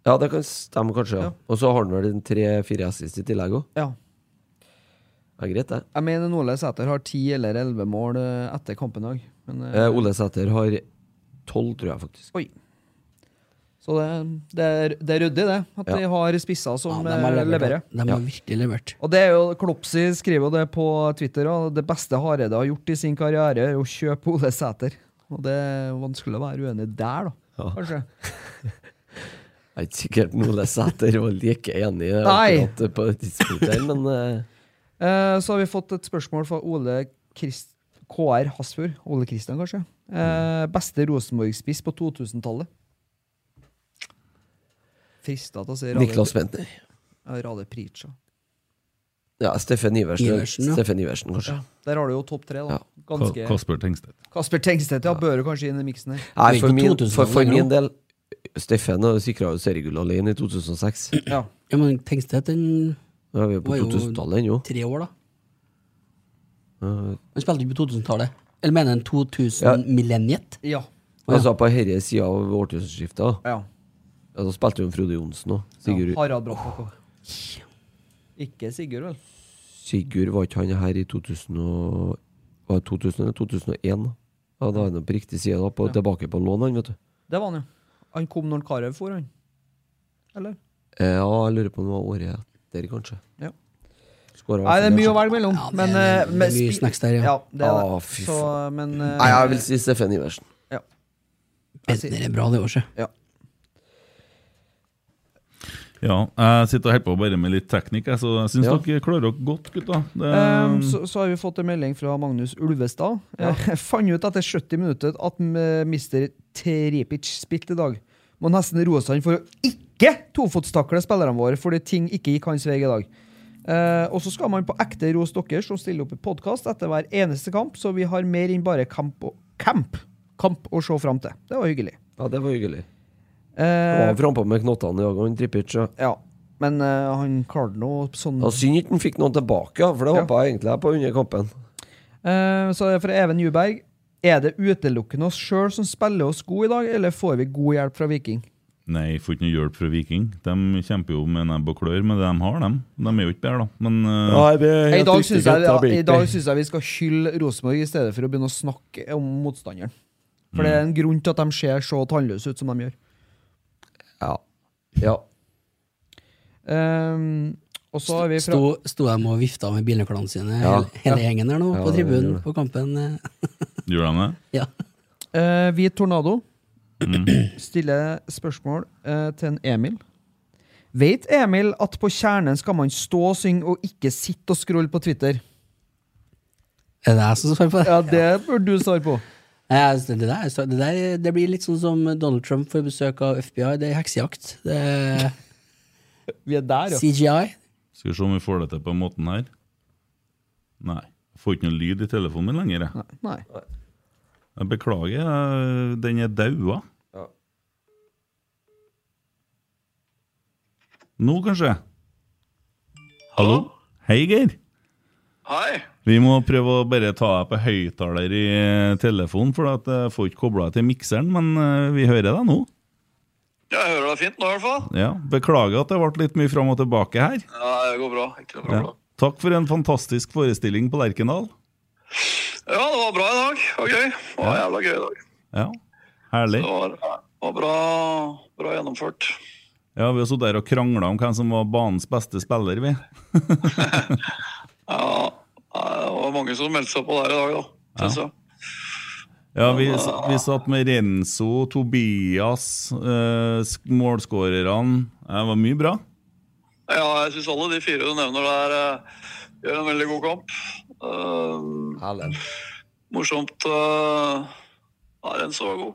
D: Ja, det kan stemme, kanskje. Ja.
G: Ja.
D: Og så har han vel en tre-fire assist i tillegg òg.
G: Ja.
D: Ja, greit, det.
G: Jeg mener Ole Sæter har ti eller elleve mål eh, etter kampen i dag. Men, eh,
D: Eh, Ole Sæter har tolv, tror jeg faktisk.
G: Oi. Så det, det, er, det er ryddig, det. At
D: Ja.
G: de har spisser som
E: de har
G: eh,
E: levert,
G: leverer.
E: De har virkelig levert.
G: Og det er jo, Klopsi skriver jo det på Twitter, og det beste Hareide har gjort i sin karriere, er å kjøpe Ole Sæter. Og det er vanskelig å være uenig der, da.
D: Ja.
G: Kanskje.
D: Jeg er ikke sikkert om Ole Sæter var like enig i det
G: Nei.
D: akkurat på det tidspunktet her, men eh,
G: Eh, Så har vi fått et spørsmål fra Ole Krist KR Hasfjord. Ole Kristian, kanskje. Eh, beste Rosenborg-spiss på 2000-tallet? Frista til å si Rade-
D: Niklas Bentner.
G: Ja, Rade Prica.
D: Ja, Steffen Iversen.
E: Iversen, ja.
D: Steffen Iversen, kanskje.
G: Der har du jo topp tre,
D: Ja.
G: da.
C: Ka-
G: Ganske
C: Kasper Tengstedt.
G: Kasper Tengstedt, ja. Bør jo kanskje inn i miksen her.
D: Nei,
E: Men
D: for
E: ikke
D: min, for, for
E: 2000-tallet
D: min del Steffen har sikra jo seriegull alene i 2006.
G: Ja.
E: Ja, men Tengstedt den
D: Nå er vi jo på
E: Var jo-
D: 2000-tallet ennå.
E: tre år, da. Han spilte ikke på 2000-tallet. Eller mener han 2000-millenniet?
G: Ja.
D: Altså på denne sida av årtusenskiftet. da.
G: ja.
D: Ja, da spilte jo Frode Johnsen òg.
G: ja.
D: Sigurd,
G: Harald Brattbakk òg. Ikke Sigurd, vel?
D: Sigurd var ikke han her i 2000 og, var det 2000 eller 2001? da? Ja, da er han på riktig side, da. På, Tilbake på lån, han, vet du.
G: Det var han, ja. Han kom når Karev for, han. Eller?
D: Eh, Ja, jeg lurer på om det var året etter, kanskje.
G: Ja.
D: Skåret i
G: Nei,
D: hvert
G: det
D: fall
G: er mye
D: der,
G: å velge mellom.
E: Ja, det
G: men,
E: er
G: eh, men
E: mye
G: spi-
E: snacks der, ja.
G: ja. det er
D: Å,
G: det.
D: Ah, fy
G: Så, men
D: så-
G: eh,
D: Nei, jeg vil si Steffen Iversen.
E: Bedner er bra, det år, sjø.
C: Ja, jeg sitter og holder på bare med litt teknikk, jeg, så jeg syns
D: Ja.
C: dere klarer dere godt, gutta. Det,
G: Ehm, så, så har vi fått en melding fra Magnus Ulvestad. Jeg fant ut etter 70 minutter at eh, Mr. Tripic spilte i dag. Må nesten rose han for å ikke tofotstakle spillerne våre fordi ting ikke gikk hans vei i dag. Eh, og så skal man på ekte rose dere som stiller opp i podkast etter hver eneste kamp, så vi har mer enn bare kamp og kamp, kamp å se fram til. Det var hyggelig.
D: Ja, det var hyggelig. Han
G: Eh,
D: var frampå med knottene i dag, han Trippic. Ja.
G: ja. Men eh, han klarte nå sånn
D: Ja, Synd ikke han fikk noen tilbake, ja, for det
G: Ja.
D: håpa jeg egentlig jeg på under kampen.
G: Eh, Så er det fra Even Juberg. Er det utelukkende oss sjøl som spiller oss gode i dag, eller får vi god hjelp fra Viking?
C: Nei, jeg får ikke noe hjelp fra Viking. De kjemper jo med nebb og klør med det de har, dem. De er jo ikke bedre, da. Men eh,
G: I dag syns jeg, i dag synes jeg vi skal skylde Rosenborg i stedet for å begynne å snakke om motstanderen. For det er
D: Mm.
G: en grunn til at de ser så tannløse ut som de gjør.
D: Ja. ja.
G: Ehm, og så har vi fra
E: Sto, sto de og vifta med bilnøklene sine,
D: Ja.
E: hele, hele gjengen der nå,
D: Ja,
E: på
D: det gjorde
E: tribunen
D: det.
E: på kampen? eh,
C: gjør de det?
E: Ja.
G: Eh, Hvit tornado stiller spørsmål eh, til en Emil. Veit Emil at på kjernen skal man stå og synge og ikke sitte og scrolle på Twitter?
E: Er det jeg som svarer på det?
G: Ja, det burde du svare på.
E: Nei, altså, det, der, så- det der det blir litt sånn som Donald Trump får besøk av FBI. Det er heksejakt. Det er
G: Vi er der, ja.
E: CGI.
C: Skal vi se om vi får det til på den måten her. Nei. Jeg får ikke noe lyd i telefonen min lenger. Jeg,
G: Nei.
C: jeg beklager, jeg- den er daua.
D: Ja.
C: Nå, kanskje? Hallo? Hei, Geir.
H: Hei!
C: Vi må prøve å bare ta deg på høyttaler i eh, telefonen, for at jeg får ikke kobla deg til mikseren, men eh, vi hører deg nå.
H: Jeg hører deg fint nå, i hvert fall.
C: Ja, Beklager at det ble litt mye fram og tilbake her.
H: Ja, det går bra. Ikke
C: Ja.
H: noe problem.
C: Takk for en fantastisk forestilling på Lerkendal.
H: Ja, det var bra i dag. Det var gøy. Det var jævla gøy i dag.
C: Ja, Herlig.
H: Det var, var bra, bra gjennomført.
C: Ja, Vi har sittet der og krangla om hvem som var banens beste spiller. vi.
H: Ja, det var mange som meldte seg på der i dag, da. Synes jeg.
C: Ja, Vi, vi satt med Renzo, Tobias, eh, sk- målskårerne. Det var mye bra.
H: Ja, jeg syns alle de fire du nevner der, eh, gjør en veldig god kamp. Eh,
D: Herlig.
H: morsomt. Uh, Renzo var god.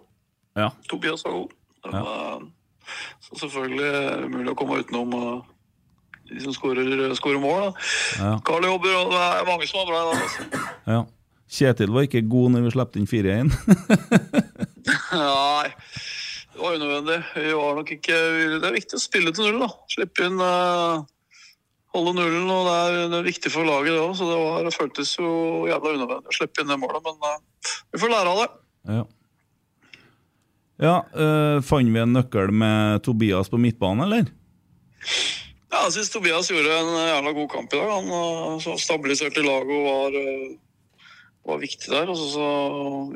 C: Ja,
H: Tobias var god. De,
C: Ja.
H: eh, så selvfølgelig er det umulig å komme utenom eh, de som skårer skårer mål. da.
C: Ja.
H: Carl jobber, og det er mange som er bra i dag. Altså.
C: ja. Kjetil var ikke god når vi slapp inn 4-1.
H: Nei, det var unødvendig. Vi var nok ikke Det er viktig å spille til null, da. Slippe inn eh, Holde nullen, og det er, det er viktig for laget, det òg. Så det, var, det føltes jo jævla unødvendig å slippe inn det målet, men eh, vi får lære av det.
C: Ja, ja eh, Fant vi en nøkkel med Tobias på midtbanen, eller?
H: Ja, jeg syns Tobias gjorde en jævla god kamp i dag. Han eh, så stabiliserte laget og var, eh, var viktig der. Og så, så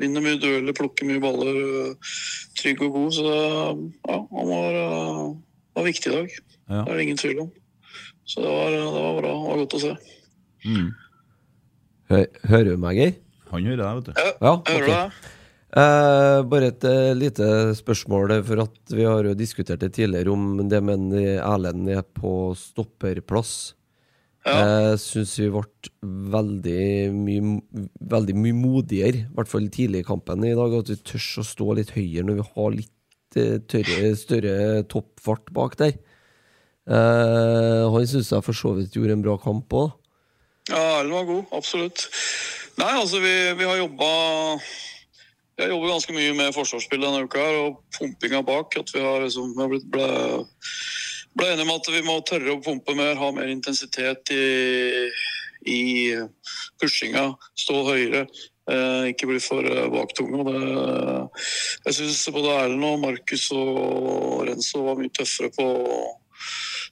H: vinner mye dueller, plukker mye baller, eh, trygg og god. Så det, ja, han var, eh, var viktig i dag.
C: Ja.
H: Det er det ingen tvil om. Så det var, det var bra. Det var godt å se.
D: Hø- Hører du meg, Geir?
C: Mm. Han hører deg, vet du.
D: Ja,
H: Hører
D: ok.
H: du det?
D: Eh, bare et eh, lite spørsmål, eh, for at vi har jo diskutert det tidligere om det med en, eh, Erlend er på stopperplass. Jeg syns vi ble veldig mye, veldig mye modigere, i hvert fall tidlig i kampen i dag, at vi tør å stå litt høyere når vi har litt eh, tørre, større toppfart bak der. Eh, han syns jeg for så vidt gjorde en bra kamp òg.
H: Ja, Erlend var god. Absolutt. Nei, altså, vi, vi har jobba Jeg jobber ganske mye med forsvarsspill denne uka her, og pumpinga bak. At vi har liksom vi har blitt ble, ble enige om at vi må tørre å pumpe mer, ha mer intensitet i, i pushinga, stå høyere. Eh, ikke bli for eh, baktunge. og det- Jeg syns både Erlend og Markus og Renzo var mye tøffere på å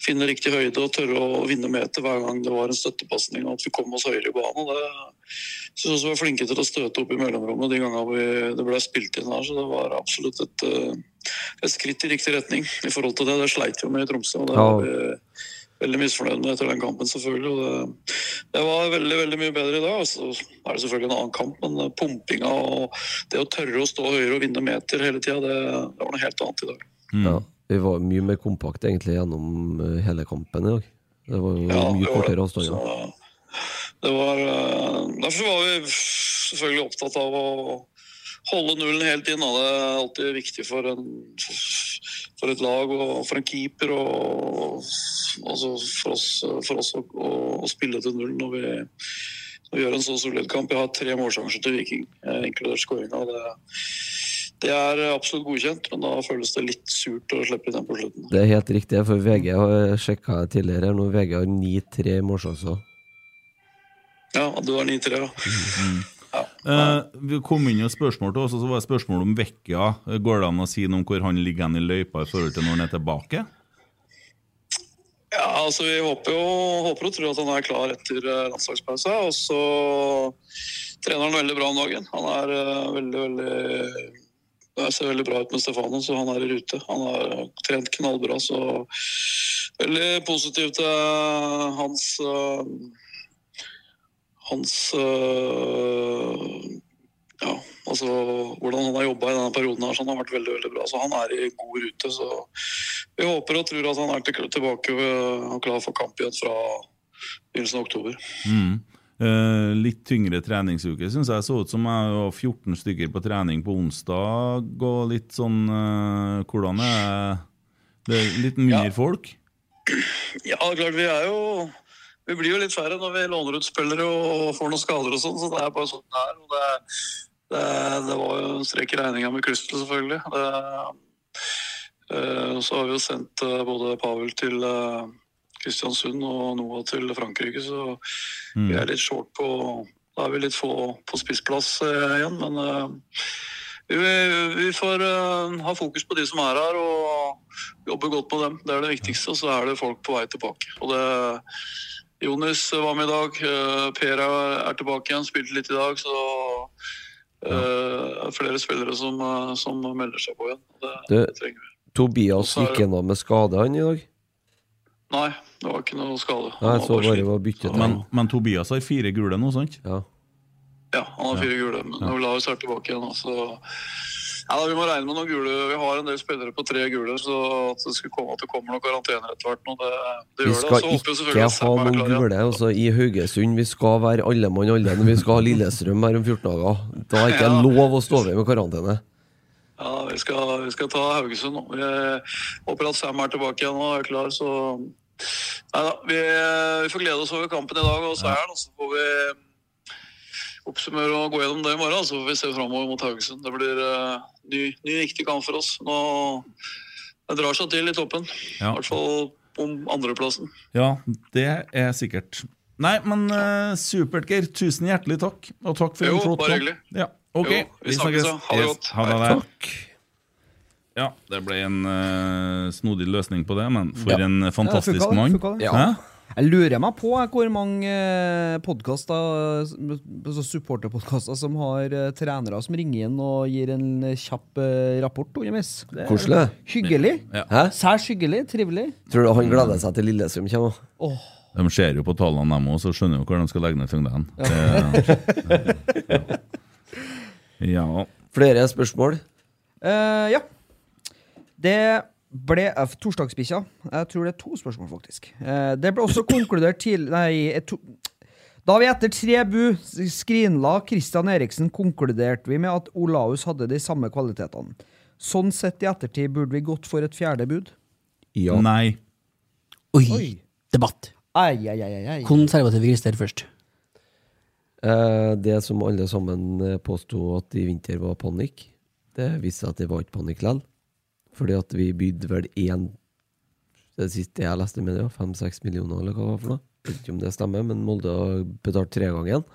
H: finne riktig høyde og tørre å vinne meter hver gang det var en støttepasning. og At vi kom oss høyere i banen. og Det syns vi var flinke til å støte opp i mellomrommet de gangene vi, det ble spilt inn her. Så det var absolutt et, eh, et skritt i riktig retning i forhold til det. Det sleit vi jo med i Tromsø. og det
D: Ja.
H: var vi veldig misfornøyd med etter den kampen, selvfølgelig. og det, det var veldig veldig mye bedre i dag. og Så er det selvfølgelig en annen kamp, men pumpinga og det å tørre å stå høyere og vinne meter hele tida, det, det var noe helt annet i dag.
D: Ja, vi var mye mer kompakte egentlig gjennom eh, hele kampen i dag. Det var jo mye
H: det var det.
D: kortere avstander.
H: Så, Det var eh, Derfor var vi selvfølgelig opptatt av å holde nullen helt inn. da. Det er alltid viktig for, en, for et lag og for en keeper og altså for oss, for oss å, å, å spille til null når vi å gjøre en så solid kamp. Jeg har tre målsjanser til Viking, eh, inkludert skåringa. Det, det er absolutt godkjent, men da føles det litt surt å slippe inn den på slutten.
D: Det er helt riktig, for VG har sjekka tidligere her nå. VG har 9-3 målsjanser.
H: Ja, du har 9-3, ja.
C: Eh, vi kom inn i et spørsmål til oss, og så var det spørsmål om Vekka. Går det an å si noe om hvor han ligger hen i løypa i forhold til når han er tilbake?
H: Ja, altså Vi håper jo håper og tror at han er klar etter eh, landslagspause. Og så trener han veldig bra om dagen. Han er eh, veldig, veldig det ser veldig bra ut med Stefano, så han er i rute. Han har eh, trent knallbra, så veldig positiv til hans eh, Hans eh, Ja, altså hvordan han har jobba i denne perioden her, så han har vært veldig, veldig bra. Så han er i god rute, så vi håper og tror at han er til- tilbake ved- og klar for kamp igjen fra begynnelsen av oktober.
C: Mm. Eh, litt tyngre treningsuke, syns jeg. Så ut som jeg var 14 stykker på trening på onsdag. Og litt sånn eh, Hvordan er det? er Litt mindre folk?
H: Ja, det er klart vi er jo Vi blir jo litt færre når vi låner ut spillere og får noen skader og sånn, så det er bare sånn det er. Og det, det, det var jo en strek i regninga med Crystal, selvfølgelig. Det, eh, så har vi jo sendt eh, både Pavel til eh, Kristiansund og Noah til Frankrike, så
C: Mm.
D: Mm.
H: vi er litt short på Da er vi litt få på spissplass eh, igjen, men eh, vi, vi får eh, ha fokus på de som er her, og jobbe godt med dem. Det er det viktigste. Og så er det folk på vei tilbake. Og det, Jonis var med i dag. eh, per er, er tilbake igjen, spilte litt i dag. Så eh, det er flere spillere som, eh, som melder seg på igjen. og Det,
D: Du-
H: det trenger vi.
D: Tobias
H: Og så er
D: gikk
H: det-
D: ennå med skade, han i dag.
H: Nei, det var ikke noe skade. Han
D: Nei,
H: var
D: så
H: bare
D: bare
H: sliten.
D: var byttet til
C: Men, men Tobias har fire gule nå, sant?
D: Ja.
H: Ja, han har fire gule, men ja. Olaus er tilbake igjen. da, Så ja, da, vi må regne med noen gule. Vi har en del spillere på tre gule, så at det, skulle komme, at det kommer noen karantener etter hvert. nå, det, det
D: Vi
H: gjør det. Så
D: skal
H: håper vi
D: ikke
H: selvfølgelig
D: ha
H: at Sam er
D: noen
H: klar igjen.
D: gule altså, i Haugesund. Vi skal være alle mann alle. Når vi skal ha Lillestrøm her om 14 dager. Da er ikke
H: Ja.
D: lov å stå ved med karantene.
H: Ja, vi skal, vi skal ta Haugesund nå. Vi håper at Sam er tilbake igjen og er klar, så Nei da. Vi, vi får glede oss over kampen i dag og seieren, og så får vi oppsummere og gå gjennom det i morgen. Så får vi se framover mot Haugesund. Det blir eh, ny, ny viktig kamp for oss. Nå det drar seg til i toppen.
C: Ja.
H: I hvert fall om andreplassen.
C: Ja, det er sikkert. Nei, men eh, supert, Geir. Tusen hjertelig takk. Og takk for
H: Jo,
C: en flott
H: bare
C: kamp.
H: hyggelig.
C: Ja, ok.
H: Jo, vi snakkes da. Ha det
C: Yes,
H: godt.
C: Ha det
H: Hei.
C: der. Ja, det ble en eh, snodig løsning på det, men for
F: Ja.
C: en fantastisk
F: funka det,
C: mann.
F: funka det.
C: Hæ?
F: Jeg lurer meg på jeg, hvor mange eh, podkaster, eh, altså supporterpodkaster, som har eh, trenere som ringer inn og gir en eh, kjapp eh, rapport underveis. Det er
D: Koselig.
F: Hyggelig.
D: Hæ?
F: Særs hyggelig. Trivelig.
D: Tror du han gleder seg til Lillestrøm kommer?
C: De ser jo på tallene, dem òg, så skjønner jo hvor de skal legge ned tyngden. Eh, ja.
D: Flere spørsmål?
F: Eh, ja. Det ble eh, torsdagsbikkja. Jeg tror det er to spørsmål, faktisk. Eh, det ble også konkludert til Nei, eh, to, da vi etter tre bu skrinla Christian Eriksen, konkluderte vi med at Olaus hadde de samme kvalitetene. Sånn sett i ettertid burde vi gått for et fjerde bud.
D: Ja.
C: Nei.
E: Oi,
F: Oi.
E: debatt.
F: Ai, ai, ai, ai, ai.
E: Konservative Christer først.
D: Eh, det som alle sammen eh, påsto at i vinter var panikk, det viste seg at det var ikke panikk likevel. Fordi at vi bydde vel én Det siste jeg leste i media, fem-seks millioner, eller hva det var for noe. Jeg Vet ikke om det stemmer, men Molde har betalt tre ganger igjen.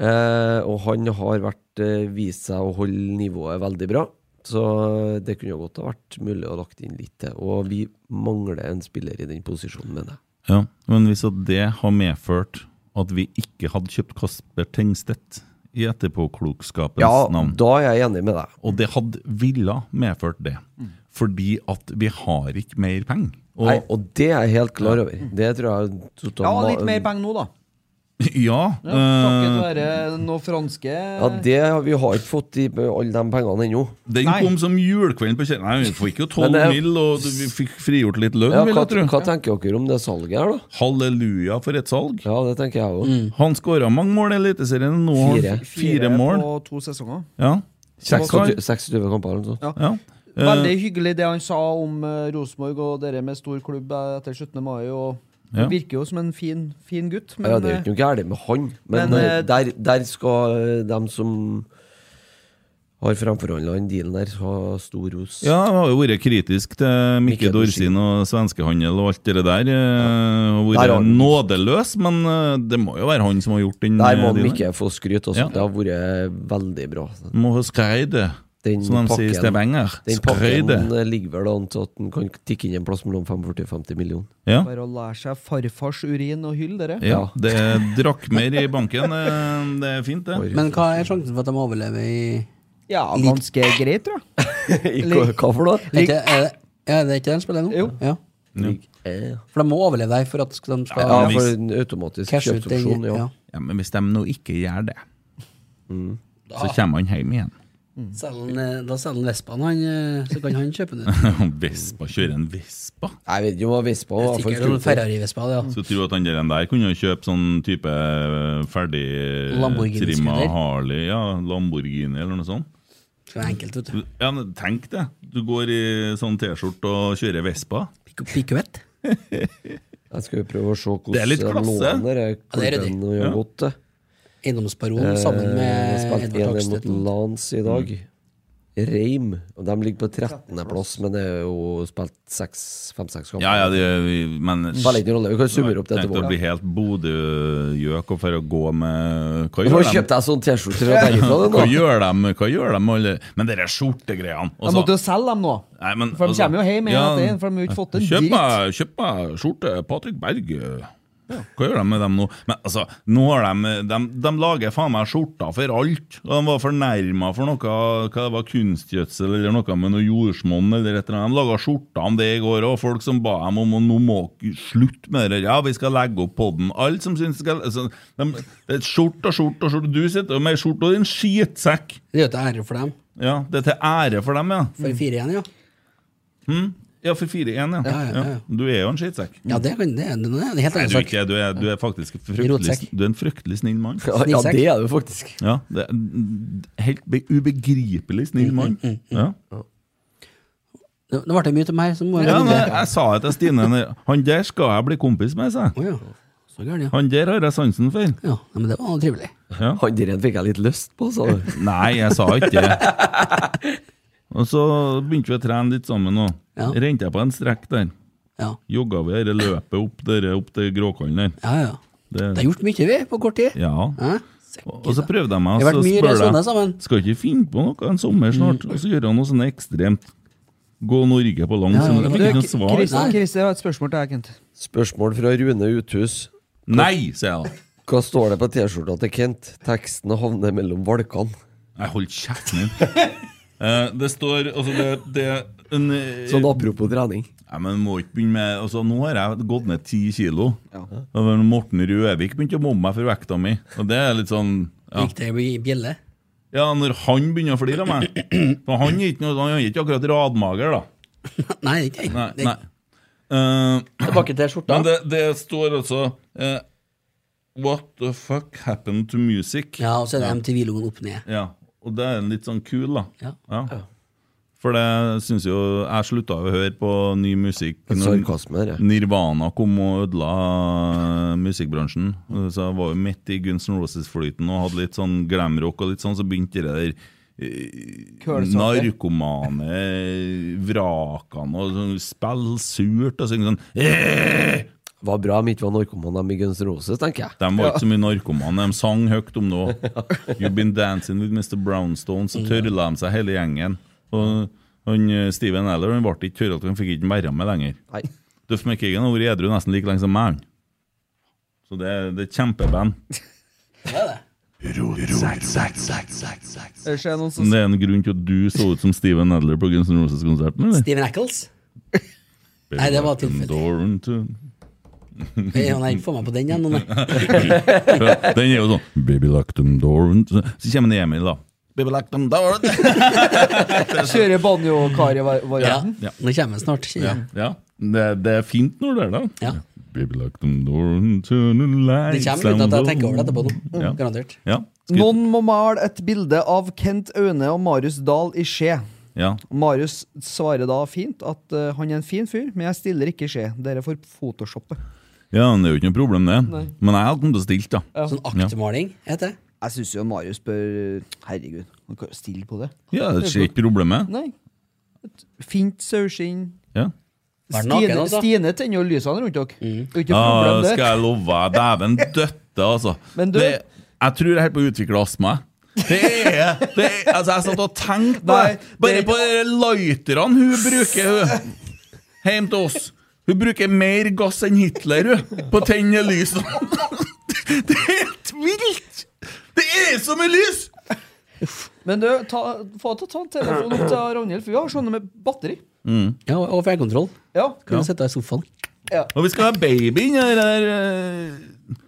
D: Eh, og han har vært, eh, vist seg å holde nivået veldig bra. Så eh, det kunne jo godt ha vært mulig å lagt inn litt til. Og vi mangler en spiller i den posisjonen, mener jeg.
C: Ja, men hvis at det har medført at vi ikke hadde kjøpt Kasper Tengstedt i etterpåklokskapens
D: Ja,
C: navn
D: da er jeg enig med deg.
C: Og det hadde ville medført det.
G: Mm.
C: Fordi at vi har ikke mer penger. Og
D: Nei, og det er jeg helt klar over. Det tror jeg totalt-
G: Ja, litt mer penger nå, da.
C: ja, eh,
G: Ja, takket
E: Eh,
G: være noen franske
D: Ja, det, har- vi har ikke fått i alle de pengene ennå.
C: eh, den
G: Nei.
C: kom som julekvelden på kjelleren. Nei, vi fikk jo 12
D: Men det er-
C: mil, og vi fikk frigjort litt lønn,
D: Ja,
C: vil
D: hva,
C: jeg tro.
D: hva tenker dere om det salget her, da?
C: Halleluja for et salg. Mm.
D: Ja, det tenker jeg òg.
C: Han skåra mange mål i Eliteserien. Nå har han
D: Fire.
C: f- fire mål.
G: Eh, på to sesonger. sånn-
C: Ja. Kjekk kar.
D: 26 kamper eller noe sånt.
C: Ja. Eh,
G: Veldig hyggelig det han sa om eh, Rosenborg og dere med stor klubb eh, etter 17. mai. Og
C: Ja.
G: Virker jo som en fin, fin gutt, men eh,
D: Ja, det er jo ikke noe galt med han, men,
G: men,
D: eh,
G: eh,
D: der, der skal eh, dem som har framforhandla den dealen der, ha stor ros.
C: Ja, jeg har jo vært kritisk til Mikke
D: Mikke Dorsin.
C: Dorsin og svenskehandel og alt det der. eh, Og
D: Der har
C: vært
D: han-
C: nådeløs, men eh, det må jo være han som har gjort den.
D: Der må
C: eh,
D: de
C: dealen.
D: ikke få skryt. Altså.
C: Ja.
D: Det har vært veldig bra.
C: Må ha skreide,
D: Den
C: som de sier i
D: pakken,
C: Stavanger.
D: den
C: Skreide.
D: pakken eh, ligger vel an til at den kan tikke inn en plass mellom 45 og 50 millioner.
C: Ja.
G: bare å lære seg farfars urin og hylle dere.
C: ja, det er drakmer i banken. eh, Det er fint, det.
E: Men hva er sjansen for at de overlever i
G: Ja, ganske greit, tror jeg.
D: I hva, hva for noe?
E: Er ikke- er det- Ja, det er ikke det de spiller nå?
G: Jo.
E: Ja.
D: Eh,
E: For de må overleve der for at de skal
D: Ja,
C: hvis-
D: for en automatisk
E: cashe ut den.
D: kjøpsopsjon, ja.
E: Ja.
C: Ja, men hvis de nå ikke gjør det,
D: Mm.
C: så kommer han hjem igjen.
E: Selger han, eh, Da selger han Vespaen, han, eh, så kan han kjøpe den ut.
C: Vespa kjører en Vespa?
D: Jeg vet ikke om det var Vespa var for
E: Sikkert en
D: skrot.
E: Ferrari-Vespa, det, ja.
C: Så tror jeg at han der, der kunne jo kjøpe sånn type eh, ferdig eh,
E: Lamborghini-scooter.
C: trimma Harley, ja, Lamborghini eller noe sånt.
E: Det er enkelt, vet du.
C: Ja, men Tenk det. Du går i sånn T-skjorte og kjører Vespa.
E: Pico- Picovett.
D: Jeg skal jo prøve å se hvordan
C: Det er litt
D: de
C: klasse.
D: låner eh,
E: Ja, det er det.
D: klubben og gjør
C: Ja.
D: godt det. Eh,
E: Eiendomsbaron sammen med
D: Spilt
E: Edvard
D: 1 mot
E: Takstedt.
D: Lans i dag.
C: Mm.
D: Reim. og De ligger på 13. plass, men det er jo spilt 5-6 kamper.
C: Ja, ja, det, men
D: Spiller ikke noen rolle. Vi kan summere opp det
C: Tenk å
D: etterpå.
C: bli helt Bodø-gjøk og for å gå med Hva
D: Du må
C: gjør de?
D: kjøpe deg sånn T-skjorte derifra, du,
C: Hva
D: nå.
C: gjør de, hva gjør de med alle Men det er skjortegreiene. altså-
G: De måtte jo selge dem nå.
C: Nei, men,
G: For de
C: altså-
G: kommer jo hjem en
C: Ja,
G: etter en, for de har jo ikke fått en
C: kjøp
G: dritt.
C: meg, kjøp meg skjorte Patrick Berg. Hva gjør de med dem nå? Men altså, nå har de, de, de lager faen meg skjorter for alt. Og de var fornærma for noe Hva det var kunstgjødsel eller noe med noe jordsmonn. eller et eller annet. De laga skjorter om det i går òg. Folk som ba dem om å nå må dere slutte med det der. Ja, vi skal legge opp podden. Alle som syns skal altså, de, det er Skjorte og skjorte og skjorte. Du sitter jo med ei skjorte og en skitsekk.
E: Det er jo til ære for dem.
C: Ja, Det er til ære for dem, ja.
E: For 4-1, ja.
C: Hm? Ja, for 4-1, ja.
E: ja, ja, ja.
C: Ja. Du er jo en skittsekk.
E: Ja, det, kan, det, er- det er en helt
C: Nei,
E: annen
C: du er
E: sak.
C: ikke, du er, du er faktisk
E: Rotsekk.
C: fryktelig, du er en fryktelig snill mann.
D: Ja, ja, det er det jo faktisk.
C: Ja, det er en Helt be- ubegripelig
E: Mm,
C: snill mann. Ja.
E: Nå nå ble det mye til meg, så må jeg
C: Ja,
E: gå
C: men
E: videre.
C: jeg sa det til Stine. Han der skal jeg bli kompis med, sa jeg.
E: Å ja. Så gæren, ja.
C: Han der har jeg sansen for.
E: ja. nei, Men det var trivelig.
C: Ja.
D: Han der fikk jeg litt lyst på, sa du.
C: Nei, jeg sa ikke det. Og så begynte vi å trene litt sammen òg.
E: Ja.
C: Rente jeg på en strekk der.
E: Ja,
C: Jogga vi dette løpet opp, dere, opp til Gråkollen der.
E: ja. ja. Det har gjort mye, vi, på kort tid.
C: ja.
E: Hæ?
C: Og og så prøvde jeg meg og
E: Det har vært
C: så
E: mye
C: spør
E: resoner
C: jeg,
E: sammen. Mm.
C: Skal ikke finne på noe en sommer snart Og så gjør han noe sånn ekstremt Gå Norge på langs
E: Ja,
C: men
E: ja,
C: Jeg
E: ja.
C: fikk ikke
G: Du,
C: noe svar
G: Christian, Christian, jeg har et spørsmål til deg, Kent.
D: Spørsmål fra Rune Uthus.
C: Nei, sier jeg da
D: Hva står det på T-skjorta til Kent? Teksten havner mellom valkene.
C: Jeg holdt kjeften min Eh, Det står altså det, det, en, eh,
D: Sånn apropos trening.
C: Nei, men må ikke begynne med altså, Nå har jeg gått ned 10 kilo Og når Morten Røvik begynte å mobbe meg for vekta mi Og det er litt sånn ja.
E: Gikk det i bjelle?
C: ja, når han begynner å flire av meg For han er ikke, noe- han er ikke akkurat radmager da
E: Nei, ikke jeg.
C: Nei,
E: Det-
C: nei Eh,
E: Tilbake til skjorta.
C: Men det, det står altså eh, What the fuck happened to music?
E: Ja, og så er det MTV-logoen opp ned.
C: Ja, Og det er en litt sånn kul, da.
E: Ja.
C: For det syns jo Jeg slutta jo å høre på ny musikk når
D: Sarkasme, det.
C: Nirvana kom og ødela eh, musikkbransjen. Så jeg var jo midt i Guns N' Roses-flyten og hadde litt sånn glamrock og litt sånn, så begynte det der eh,
G: Kølsaker.
C: narkomane vrakene og sånn, spille surt og synge sånn «Eh!»
D: var bra de ikke var narkomane, de i Guns N' Roses, tenker jeg.
C: De var ikke så mye narkomane. De sang høyt om det òg. You've been dancing with Mr. Brownstone. Så tørla de seg, hele gjengen. Og han, eh, Steven Eller han ble ikke tørret, han fikk ikke være med lenger.
D: Nei.
C: Duff McKagan har vært edru nesten like lenge som meg. han. Så det, er- det er et kjempeband.
G: Det skjer noen som
C: Men Det er en grunn til at du så ut som Steven Adler på Guns N' Roses-konserten, eller?
E: Steven Eccles? Nei, det var tilfeldig.
C: Door into-
E: Nei, Han har ikke fått meg på den igjen. nå, nei.
C: Den er jo sånn Baby lock them door into- Så kommer det Emil, da. Baby lock them door into-
G: kjører banjo-kari-varianten.
C: Ja.
E: Nå kommer han snart.
C: Ja.
E: kjenner jeg.
C: ja. Det, det er fint når det er da.
E: Ja.
C: Baby lock them door into the lights
E: Det kommer uten at jeg tenker over det etterpå. nå Mm,
C: Ja.
E: Garantert.
C: Ja. Skal vi-
G: Noen må male et bilde av Kent Aune og Marius Dahl i Skje.
C: ja.
G: Marius svarer da fint at eh, han er en fin fyr, men jeg stiller ikke i Skje. Dere får photoshoppe.
C: ja, men det er jo ikke noe problem, det. Men jeg hadde kommet til å stille, da.
E: Sånn aktemaling heter det.
G: Jeg syns jo Marius bør Herregud, han kan jo stille på det.
C: Ja, det skjer ikke problemet.
G: Nei. Et fint saueskinn.
C: Ja.
E: Vær naken,
G: Stine,
E: altså. Mm.
G: Stine tenner jo lysene rundt dere. Det er jo ikke
C: Ja,
G: problem, det.
C: skal jeg love deg. Dæven døtte, altså.
G: Men du-
C: det, jeg tror jeg er helt på å utvikle astma. jeg. Det er, det er, altså Jeg satt og tenkte på
G: Nei,
C: det. Bare
G: det er
C: på de lighterne hun bruker hun. hjem til oss. Hun bruker mer gass enn Hitler hun, på å tenne lys. Det er helt vilt! Det er så mye lys!
G: Men du, ta, få til å ta en telefon opp til Ragnhild, for vi har sånne med batteri.
E: Ja, og og fjernkontroll.
G: Ja,
E: Kunne sitte i sofaen.
C: Og vi skal ha baby inni det der eh,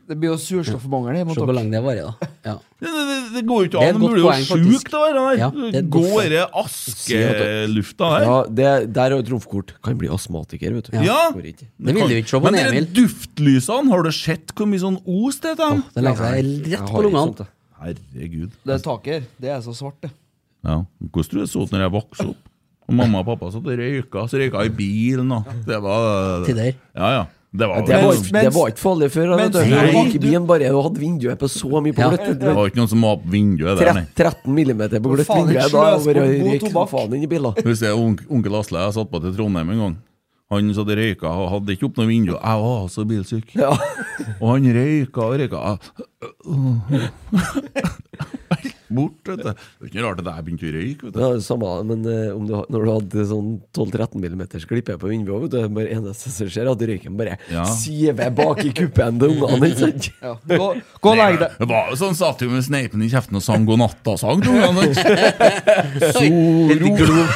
G: Det blir jo surstoffmangel hjemme
E: Se hvor lang det varer, da. Ja.
C: Det, det, det går jo ikke
E: Det er et
C: an. Du
E: godt
C: burde jo
E: poeng, faktisk.
C: sjuk til å være der.
E: Ja, det er et godt
C: går
E: poeng.
C: det askelufta der?
D: Ja, det, Der har du trumfkort. Kan bli astmatiker, vet du.
C: Ja.
D: Går ikke.
E: Det ville vi ikke se på
C: Men dere
E: Emil.
C: duftlysene, har du sett hvor mye sånn os det er? til dem?
E: Det legger seg
D: Jeg
E: rett
D: har
E: på
D: ikke sånt,
E: lungene.
D: jeg.
C: Herregud.
G: Det taket her, det er så svart, det.
C: Ja. Hvordan tror du det så ut når jeg vokste opp? Og mamma og pappa satt og røyka, så røyka jeg i bilen og Det var
E: Tider.
C: Ja, ja. Det var,
D: Det var,
C: det
D: ikke- det var ikke farlig før. da, vet du.
G: Mens-
D: Det var
C: Nei.
D: ikke bilen bare Du hadde vinduet på så mye på
E: Ja.
D: gløtt. vet du.
C: var ikke noen som var opp vinduet der, nei.
D: Tre- 13 millimeter på gløtt
G: Faen,
D: vindu. Da
G: ikke sløs
D: var det
G: bort god
D: røyk som
G: tobakk.
D: faen inn i biler.
C: Hvis det er onk- onkel Asle jeg satt på til Trondheim en gang. Han satt og røyka og hadde ikke opp noe vindu. Jeg var så bilsyk.
D: Ja.
C: Og han røyka og røyka. Bort, vet du. Det er ikke rart at jeg begynte å røyke. vet du.
D: Ja, det er samme, men eh, om du, har- når du hadde sånn 12-13 millimeters glippe på vinduet, vet du, det bare eneste som skjer, er at røyken bare
C: Ja.
D: siver bak i kuppen til ungene. ikke sant?
G: Ja. Gå, gå og legg deg.
C: Det var jo sånn satt jo med sneipen i kjeften og sang god natta-sang. tror jeg, sant?
E: Litt glo,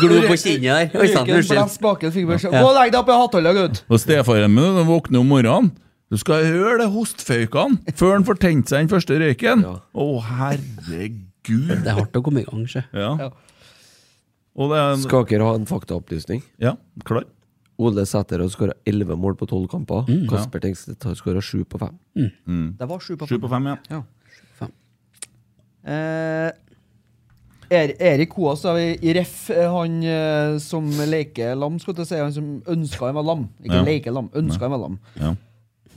E: glo på kinnet der. Oi sann,
G: Røyken
E: unnskyld.
G: blæs baken, fikk beskjed. Gå og legg deg oppi hattholda, gutt!
C: Og stefaren min han våkner om morgenen. Du skal høre det hostføykene før han får tent seg den første røyken. Å, herregud.
E: Det er hardt å komme i gang, sjø.
C: Ja. Og det er
D: Skal dere ha en faktaopplysning?
C: Ja, klar.
D: Ole Sæter har skåra 11 mål på 12 kamper.
E: Mm,
D: Kasper Tengstedt har skåra 7 på 5.
C: Mm.
G: Det var sju på
C: Sju på fem, ja.
G: Eh, er, Erik Hoas da, i i Ref, eh, han eh, som leker lam, skulle jeg til å si, han som ønska han var lam. Ikke
C: Ja.
G: leker lam, ønska han var lam.
C: Ja.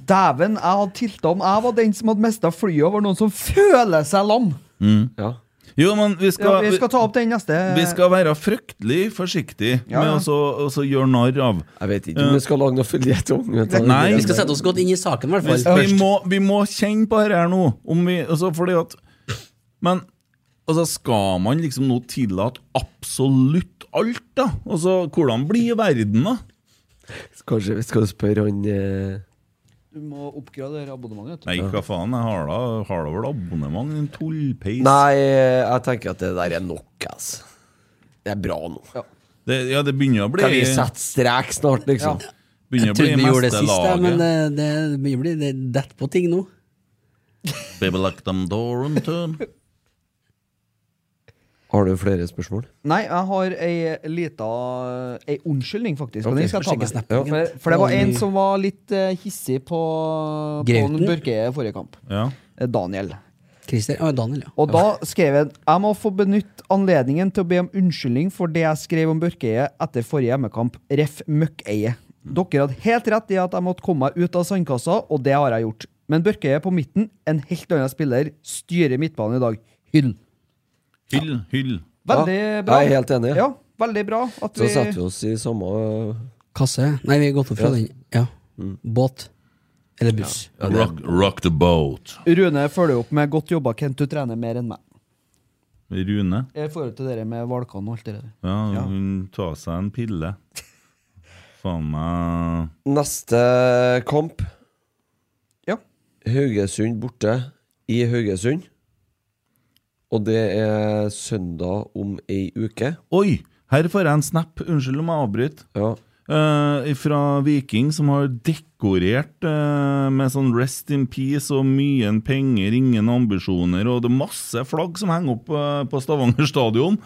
G: Dæven, jeg hadde tilta om jeg var den som hadde mista flyet over noen som føler seg lam!
D: Ja.
C: Mm. Jo, men vi
G: Ja,
C: skal,
G: vi skal ta opp den neste.
D: Eh,
C: vi skal være fryktelig forsiktige
G: Ja, ja.
C: med å så- å så gjøre narr av. Eh,
D: Jeg vet ikke om vi skal lage noe føljetong. vet du.
C: Nei.
E: Vi skal sette oss godt inn i saken, i hvert
C: Hvis-
E: fall.
C: Vi må, vi må kjenne på dette her nå. Om vi, altså fordi at, men altså skal man liksom nå tillate absolutt alt, da? Altså, Hvordan blir verden, da?
D: Kanskje vi skal spørre han eh,
G: Du må oppgradere abonnementet.
C: Nei, hva faen? Jeg har da, har da vel abonnement? En tullpeis?
D: Nei, eh, jeg tenker at det der er nok, altså. Det er bra nå.
C: Det, ja, det begynner å bli
D: Kan vi sette strek snart, liksom?
C: begynner å bli
E: Jeg trodde vi gjorde det
C: meste
E: sist, da,
C: laget.
E: men eh, det begynner å bli det detter på ting nå.
C: Baby like them door and turn.
D: Har du flere spørsmål?
G: Nei, jeg har ei lita Ei unnskyldning, faktisk. og
D: Ok,
G: den skal jeg ta
E: sjekke
G: med.
E: snappen,
G: Ja,
E: gitt.
G: for, for det var en
E: Oi.
G: som var litt eh, hissig på, på
E: Grauten?
G: Børke i forrige kamp.
C: Ja.
G: Eh, Daniel.
E: Christer, ah, Daniel, ja.
G: Og da skrev han Jeg må få benytte anledningen til å be om unnskyldning for det jeg skrev om Børkeie etter forrige hjemmekamp, ref. Møkkeie. Dere hadde helt rett i at jeg måtte komme meg ut av sandkassa, og det har jeg gjort. Men Børkeie på midten, en helt annen spiller, styrer midtbanen i dag. Hyll.
C: Hyll, hyll.
G: Veldig
D: Ja,
G: bra.
D: jeg er helt enig.
G: Ja, veldig bra at
D: Så
G: vi
D: setter vi oss i samme
E: Kasse? Nei, vi har gått opp fra
D: Ja. Mm.
E: den. Ja. båt eller buss.
C: Rock, rock the boat.
G: Rune følger opp med 'godt jobba, Kent, du trener mer enn meg'.
C: Rune.
G: I forhold til det med valkene og alt det der.
C: Ja, hun tar seg en pille. Faen meg
D: Neste kamp
G: Ja.
D: Haugesund borte i Haugesund. Og det er søndag om ei uke.
C: Oi! Her får jeg en snap. Unnskyld om jeg avbryter.
D: Ja.
C: Eh, fra Viking, som har dekorert eh, med sånn 'rest in peace' og mye penger, ingen ambisjoner, og det er masse flagg som henger opp eh, på Stavanger stadion.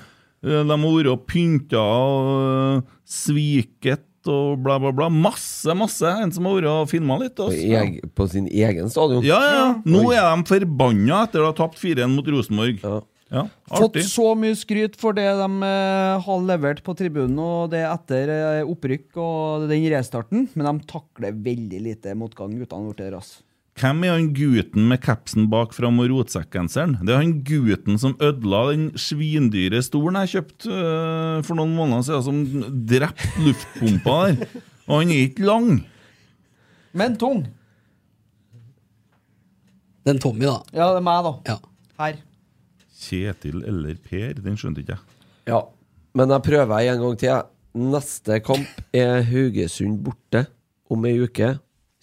C: Eh, de har vært og pynta og eh, sviket og bla, bla, bla. Masse, masse! En som har vært og filma litt.
D: På,
C: Også.
D: eg, på sin egen stadion.
C: Ja, ja, ja. Nå er de forbanna etter å ha tapt 4-1 mot Rosenborg.
D: Ja.
C: Ja,
G: Fått
C: artig.
G: så mye skryt for det de eh, har levert på tribunen, og det etter eh, opprykk og den restarten, men de takler veldig lite motgang, guttene borti der, ass.
C: Hvem er han gutten med capsen bak fram og rotsekkgenseren? Det er han gutten som ødela den svindyre stolen jeg kjøpte øh, for noen måneder siden, som drepte luftpumpa der. Og han er ikke lang.
G: Men tung!
E: Den Tommy, da.
G: Ja, det er meg, da.
E: Ja.
G: Her.
C: Kjetil eller Per, den skjønte ikke jeg.
D: Ja. Men jeg prøver en gang til. jeg. Neste kamp er Haugesund borte om ei uke.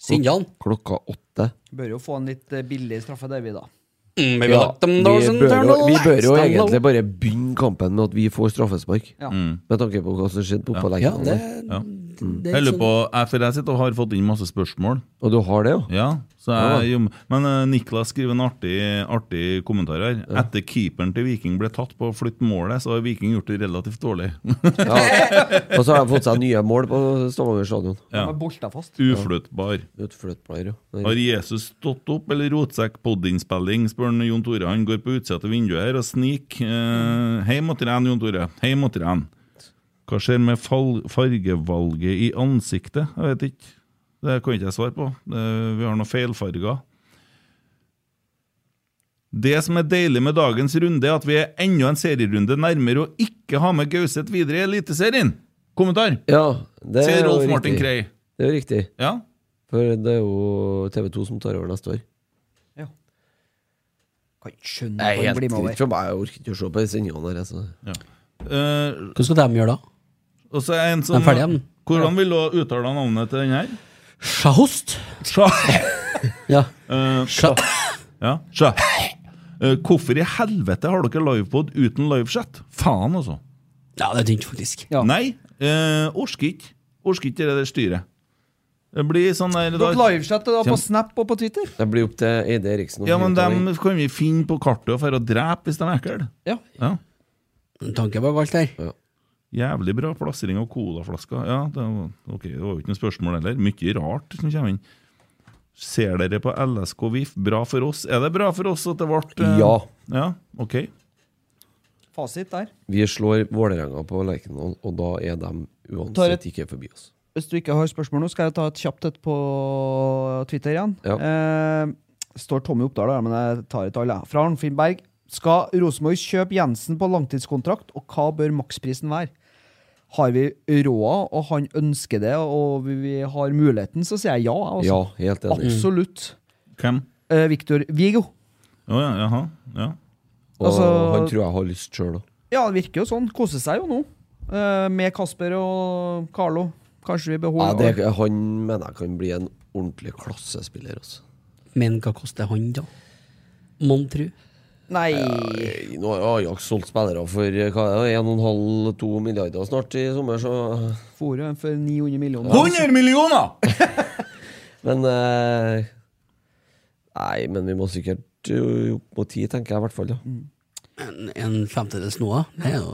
E: Sinjan.
D: Klokka åtte.
G: Bør jo få en litt eh, billig straffe, der Mm, vi, da.
D: Ja, Mm, vi, bør jo, vi bør jo egentlig bare begynne kampen med at vi får straffespark.
G: Ja.
D: Med tanke på hva som skjedde på Mm.
E: Ja,
D: opplegget.
E: det,
C: Mm. Ja.
E: det
C: Jeg
E: er
G: sånn-
C: lurer
E: liksom
C: på, jeg, for jeg sitter og har fått inn masse spørsmål.
D: Og du har det, jo?
C: Ja, så jeg, jo, Men øh, Niklas skriver en artig, artig kommentar her. Etter keeperen til Viking ble tatt på å flytte målet, så har Viking gjort det relativt dårlig.
D: Ja. Og så har de fått seg nye mål på Stavanger stadion.
G: De
C: Ja.
G: er bolta fast.
C: Uflyttbar.
D: Utflyttbar, jo.
C: Har Jesus stått opp eller rotsekk podinnspilling, spør han Jon Tore. Han går på utsida til vinduet her og sniker. Eh, hei, må trene, Jon Tore. Hei, må trene. Hva skjer med fal fargevalget i ansiktet? Jeg vet ikke. Det kan ikke jeg svare på. Eh, vi har noen feilfarger. Det som er deilig med dagens runde, er at vi er enda en serierunde nærmere å ikke ha med Gauseth videre i Eliteserien! Kommentar!
D: Ja, det er
C: Sier
D: jo
C: Rolf Martin
D: riktig.
C: Krei.
D: Det er jo riktig.
C: Ja,
D: For det er jo TV2 som tar over neste år.
G: Mm. Ja. Kan ikke skjønne
D: Nei,
G: at han
D: helt
G: blir med
D: dritt
G: over.
D: for meg. Jeg orker ikke å se på de sendingene her. Altså.
C: Eh,
E: Hva skal de gjøre da?
C: Og så er en som
E: Den er ferdig, den.
C: Hvordan vil du uttale navnet til den her?
E: Sjahost?
C: Sja.
E: Ja.
C: Eh,
E: Sja.
C: ja. Sja. Eh, hvorfor i helvete har dere livepod uten livechat? Faen, altså.
E: ja, det er tynt, faktisk.
G: Ja.
C: Nei, uh, orker ikke. Orker ikke det der styret. Det blir sånn der da-
G: Dere livechatter da på
C: Kjem-
G: Snap og på Twitter?
D: Det blir opp til Eide Eriksen. å
C: Ja, men
D: finne ut av det.
C: dem kan vi finne på kartet og dra og drepe hvis de er ekle.
G: Ja.
C: Ja.
D: Mm.
E: En tanke bak alt her.
C: Jævlig bra plassering av colaflasker. Ja, det var, ok, det var jo ikke noe spørsmål heller. Mye rart som kommer inn. Ser dere på LSK VIF? Bra for oss. Er det bra for oss at det ble eh,
D: Ja.
C: ja? Ok.
G: Fasit der.
D: Vi slår Vålerenga på Lerkendal, og da er de
G: Tar et-
D: uansett ikke forbi oss.
G: Hvis du ikke har spørsmål nå, skal jeg ta et kjapt et på Twitter igjen.
D: Ja.
G: Eh, står Tommy Oppdal der, men jeg tar ikke alle. jeg. Fra Arnfinn Berg. Skal Rosenborg kjøpe Jensen på langtidskontrakt, og hva bør maksprisen være? Har vi råd, og han ønsker det, og vi- vi har muligheten, så sier jeg ja. jeg, Altså.
D: Ja, helt enig.
G: Absolutt.
C: Hvem?
G: Eh, Victor Vigo.
C: Å ja, jaha. Ja.
D: Og
G: Altså-
D: han tror jeg har lyst sjøl òg.
G: Ja, det virker jo sånn. Koser seg jo nå. Eh, med Kasper og Carlo. Kanskje
D: Ja,
G: vi beholder
D: det- han mener jeg kan bli en ordentlig klassespiller. Altså.
E: Men hva koster han, da? Mon tru?
G: Nei.
D: Nei, Eh, Nå har Ajax solgt spillere for eh, 1,5-2 milliarder snart i sommer, så
G: Fôret en for 900 millioner.
C: 100 millioner!
D: Men eh, Nei, men vi må sikkert jo opp mot ti, tenker jeg i hvert fall. Ja.
E: En, en femtedels noe? Det er jo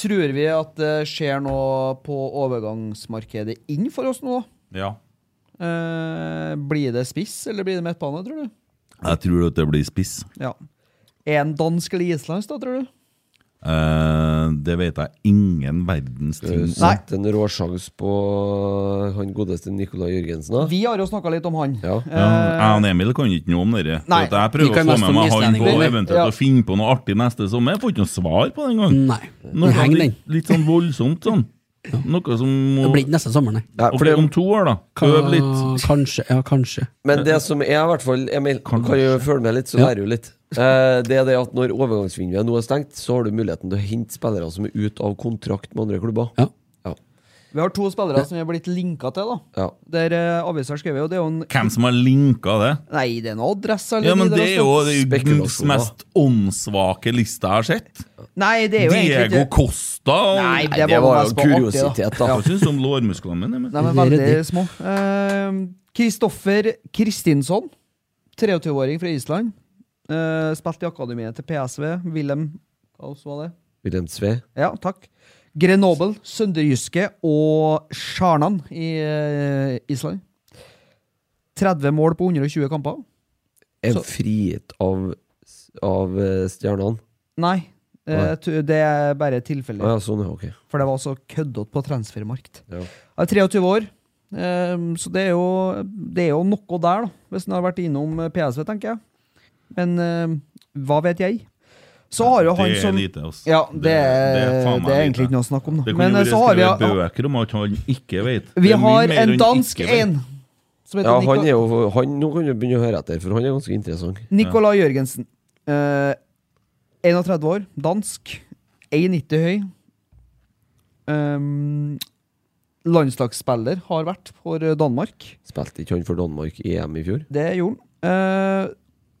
G: Tror vi at det skjer noe på overgangsmarkedet inn for oss nå? da?
C: Ja.
G: Eh, blir det spiss, eller blir det midtbane, tror du?
C: Jeg tror at det blir spiss.
G: Ja. En dansk eller islandsk, da, tror du?
C: Eh, det vet jeg ingen verdens ting om.
G: Nei.
D: Sett en råsjans på eh, han godeste Nicolai Jørgensen. Da.
G: Vi har jo snakka litt om han. Eh,
D: Ja.
C: Ja, jeg og Emil kan ikke noe om det.
G: Nei,
C: Jeg
E: vi
C: prøver å
E: kan
C: få
E: mest
C: med
E: om
C: meg han på
E: islendingene.
C: eventuelt
G: Ja.
C: å finne på noe artig neste sommer. Jeg får ikke noe svar på det engang.
E: Nei.
C: Noe
E: Heng
C: litt,
E: den.
C: litt sånn voldsomt sånn. Noe som
E: Det
C: må
E: blir ikke neste sommer, nei.
D: Nei,
C: Ok,
D: for det,
C: Om to år, da. Øv litt.
E: Kanskje. Ja, kanskje.
D: men det som er i hvert fall Emil,
C: Kanskje.
D: kan jo følge med litt, så
E: Ja.
D: lærer du litt. Eh, det er det at når overgangsvinduet nå er stengt, så har du muligheten til å hente spillere som er ute av kontrakt med andre klubber.
E: Ja.
D: Ja.
G: Vi har to spillere som vi har blitt linka til, da.
D: Ja.
G: Der eh, avisa har skrevet, og det er jo en
C: Hvem som har linka det?
G: Nei, det er noe adresse eller altså.
C: Ja, men
G: de der
C: Det er jo
G: også.
C: det er jo den
D: Spekulasjoner.
C: mest åndssvake lista jeg har sett.
G: Nei, det er jo egentlig
C: Diego
G: ikke
C: Costa. og-
G: Nei,
D: Det,
G: det var,
D: var
G: mest
D: jo
G: på artig, da.
D: kuriositet, da.
C: Hva syns du om lårmusklene mine? men?
G: Nei, men
E: Det er
G: veldig
E: det.
G: små. Ehm, Kristoffer Kristinsson, 23-åring fra Island. Uh, spilte i akademiet til PSV. Wilhelm Hva også var det?
D: Wilhelm Sve.
G: Ja, takk. Grenoble, Sønderjyske og Sjarnan i eh, Island. 30 mål på 120 kamper.
D: Er
G: Så-
D: frigitt av, av eh, stjernene.
G: Nei, eh,
D: Nei.
G: tu- det er bare
D: Å
G: tilfeldig.
D: ja, sånn, ja. Ok.
G: For det var så køddete på transfermarkt.
D: Ja.
G: Jeg er 23 år, ehm, så det er, jo, det er jo noe der, da. Hvis han har vært innom eh, PSV, tenker jeg. Men ehm, hva vet jeg? Så har jo han
C: det er
G: som
C: lite, altså.
G: Ja, det, er-
C: faen meg
G: det er
C: lite.
G: egentlig ikke noe å snakke om. Da.
C: Det kunne
G: Men eh,
C: vært
G: så har
C: skrevet
G: vi
C: bøker om at han ikke vet.
G: Vi
C: Det er mye
G: har
C: mer
G: en
C: han
G: dansk
C: ikke vet.
G: en som heter
D: Ja, han
G: Nico-
D: er jo han, Nå kan du begynne å høre etter, for han er ganske interessant.
G: Nicolai Jørgensen. Eh, 31 år, dansk. 1,90 høy. Um, landslagsspiller har vært for eh, Danmark.
D: Spilte ikke han for Danmark i EM i fjor?
G: Det gjorde han. Eh,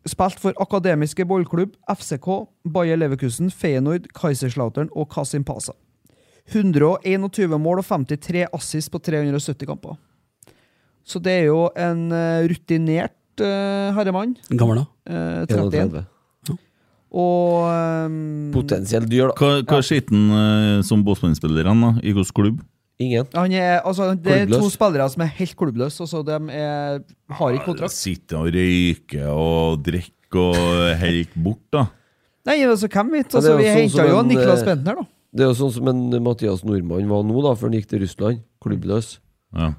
G: spilt for akademiske bollklubb, FCK, Bayer Leverkusen, Feyenoord, Kaiserslautern og Kasim Pasa. 121 mål og 53 assist på 370 kamper. Så det er jo en eh, rutinert eh, herremann.
E: Gammel, da.
G: eh, 31.
D: 31.
G: Og ehm,
D: Potensielt dyr, da.
C: Hva, hva sitter han eh, som bossmannsspillerne da, i hvilken klubb?
D: Ingen.
G: han er, altså, det er to
D: Klubbløs.
G: spillere som er helt klubbløse. Altså, de er, har ikke kontrakt.
C: Sitter og røyker og drikker og helt bort, da.
G: Nei, altså, hvem vet?
D: Ja, det er
G: Altså,
D: jo
G: vi
D: sånn
G: henta
D: som
G: jo
D: en,
G: Niklas
D: eh,
G: Bentner, da.
D: Det er jo sånn som en Mathias Nordmann var nå, da, før han gikk til Russland. Klubbløs.
C: Ja.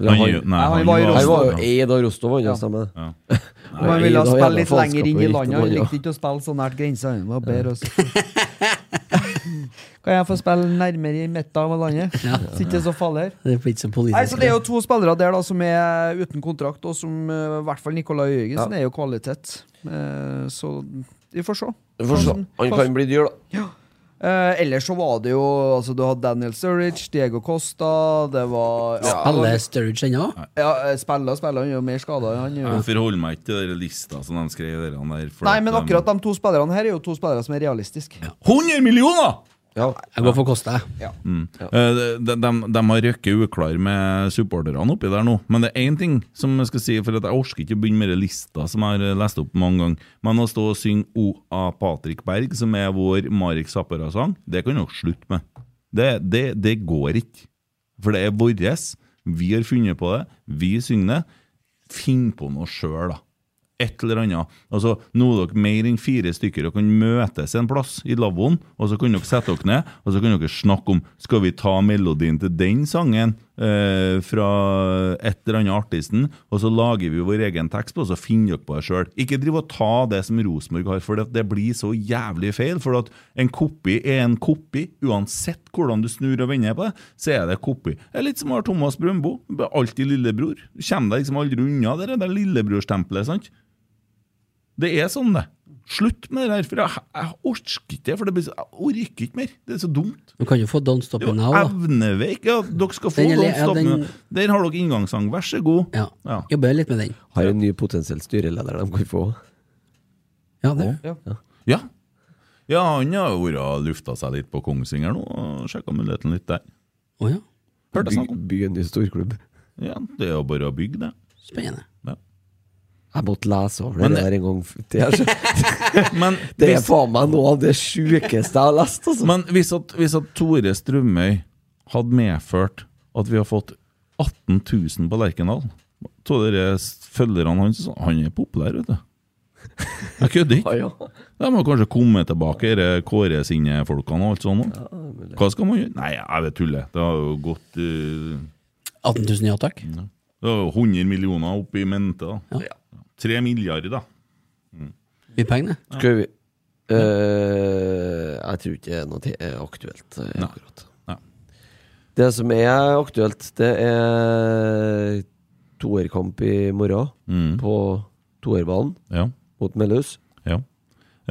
D: Eller
C: Han,
D: han,
C: nei,
G: han
C: han
G: var i
D: han var jo
C: ja.
D: eid av Rostov, han,
G: Ja.
D: ja. stemmer det.
G: Om han ville
D: Nei, da
G: ha
D: er det
G: spilt litt lenger inn i
D: faenskapet
G: landet. Han
D: riktig,
G: likte ikke å spille så nært grensa. Han var bedre også. Kan jeg få spille nærmere i midten av landet? Så ikke det er så farlig her.
E: Det blir ikke så politisk.
G: Nei, så Det er jo to spillere der da som er uten kontrakt, og som eh, i hvert fall Nicolai Jørgensen er jo kvalitet. Eh, Så vi får se.
D: Vi får se. Han kan bli dyr, da.
G: Eh, ellers så var det jo altså, Du hadde Daniel Sturridge, Diego Costa Det var ja,
E: Alle Sturridge ennå?
G: ja, eh, Spiller og spiller, han er jo mer skada.
C: Jeg forholder meg ikke til den lista som de skrev. Der, han der, for
G: Nei,
C: at
G: men
C: de-
G: akkurat de to spillerne her er jo to spillere som er realistiske.
C: 100 millioner!
D: Ja.
E: Jeg går for Kosta. jeg.
C: Eh, De, de, de har røkket uklar med supporterne oppi der nå. Men det er én ting som jeg skal si, for at jeg orker ikke å begynne med den lista som jeg har lest opp mange ganger. Men å stå og synge O.A. Patrik Berg, som er vår Marek Zappara-sang, det kan dere slutte med. Det, det, det går ikke. For det er vårt. Vi har funnet på det. Vi synger det. Finn på noe sjøl, da. Et eller annet. Altså, nå er dere mer enn fire stykker og kan møtes en plass i lavvoen, og så kan dere sette dere ned og så kan dere snakke om skal vi ta melodien til den sangen eh, fra et eller annet artisten, og så lager vi vår egen tekst på, og så finner dere på det sjøl. Ikke driv og ta det som Rosenborg har, for det, det blir så jævlig feil. For at en kopi er en kopi, uansett hvordan du snur og vender på det, så er det kopi. Det er litt som å ha Thomas Brøndbo, alltid lillebror. Du kommer deg liksom aldri unna det der lillebrorstempelet, sant? Det er sånn, det. Slutt med det der, for jeg, jeg orker ikke det. For det blir så, jeg orker ikke mer. Det er så dumt.
E: Du kan jo få Don't Stop
C: Det
E: Me
C: er
E: Now,
C: jo
E: da.
C: evneveik. Ja, dere skal få
E: Den er
C: den,
E: li- ja, den-
C: Der har dere inngangssang. Vær så god.
E: Ja.
C: Ja.
E: Jobber litt med den.
D: Har en ny potensiell styreleder de kan få.
E: Ja, det.
C: Ja, ja han har jo vært og lufta seg litt på Kongsvinger nå, og sjekka muligheten litt der.
E: Å ja.
C: Hørte jeg snakk
D: By-
C: om.
D: Bygge en ny storklubb.
C: Ja, det er jo bare å bygge, det.
E: Spennende.
C: Ja.
D: Jeg måtte lese over
C: Men
D: det
C: det-
D: der en gang. Det er, så-
C: Men
D: det er
C: hvis-
D: faen meg noe av det sjukeste jeg har lest, altså.
C: Men hvis at, hvis at Tore Strømøy hadde medført at vi har fått 18 000 på Lerkendal Av dere følgerne hans Han er populær, vet du. Jeg kødder
D: Ja,
C: ikke.
D: ja.
C: De har kanskje kommet tilbake, dere Kåre sine folkene og alt sånt. Hva skal man gjøre? Nei, jeg vet tuller. Det har jo gått eh,
E: 18 000 ja takk.
C: det har jo 100 millioner opp i mente. da. Tre milliarder, da.
E: Mye penger, det.
D: Skal vi Eh, Jeg tror ikke det er noe te- eh, aktuelt eh, akkurat.
C: Nei.
D: Det Det som er aktuelt, det er toerkamp i morgen
C: Mm.
D: på toerbanen
C: Ja.
D: mot Melhus.
C: Ja.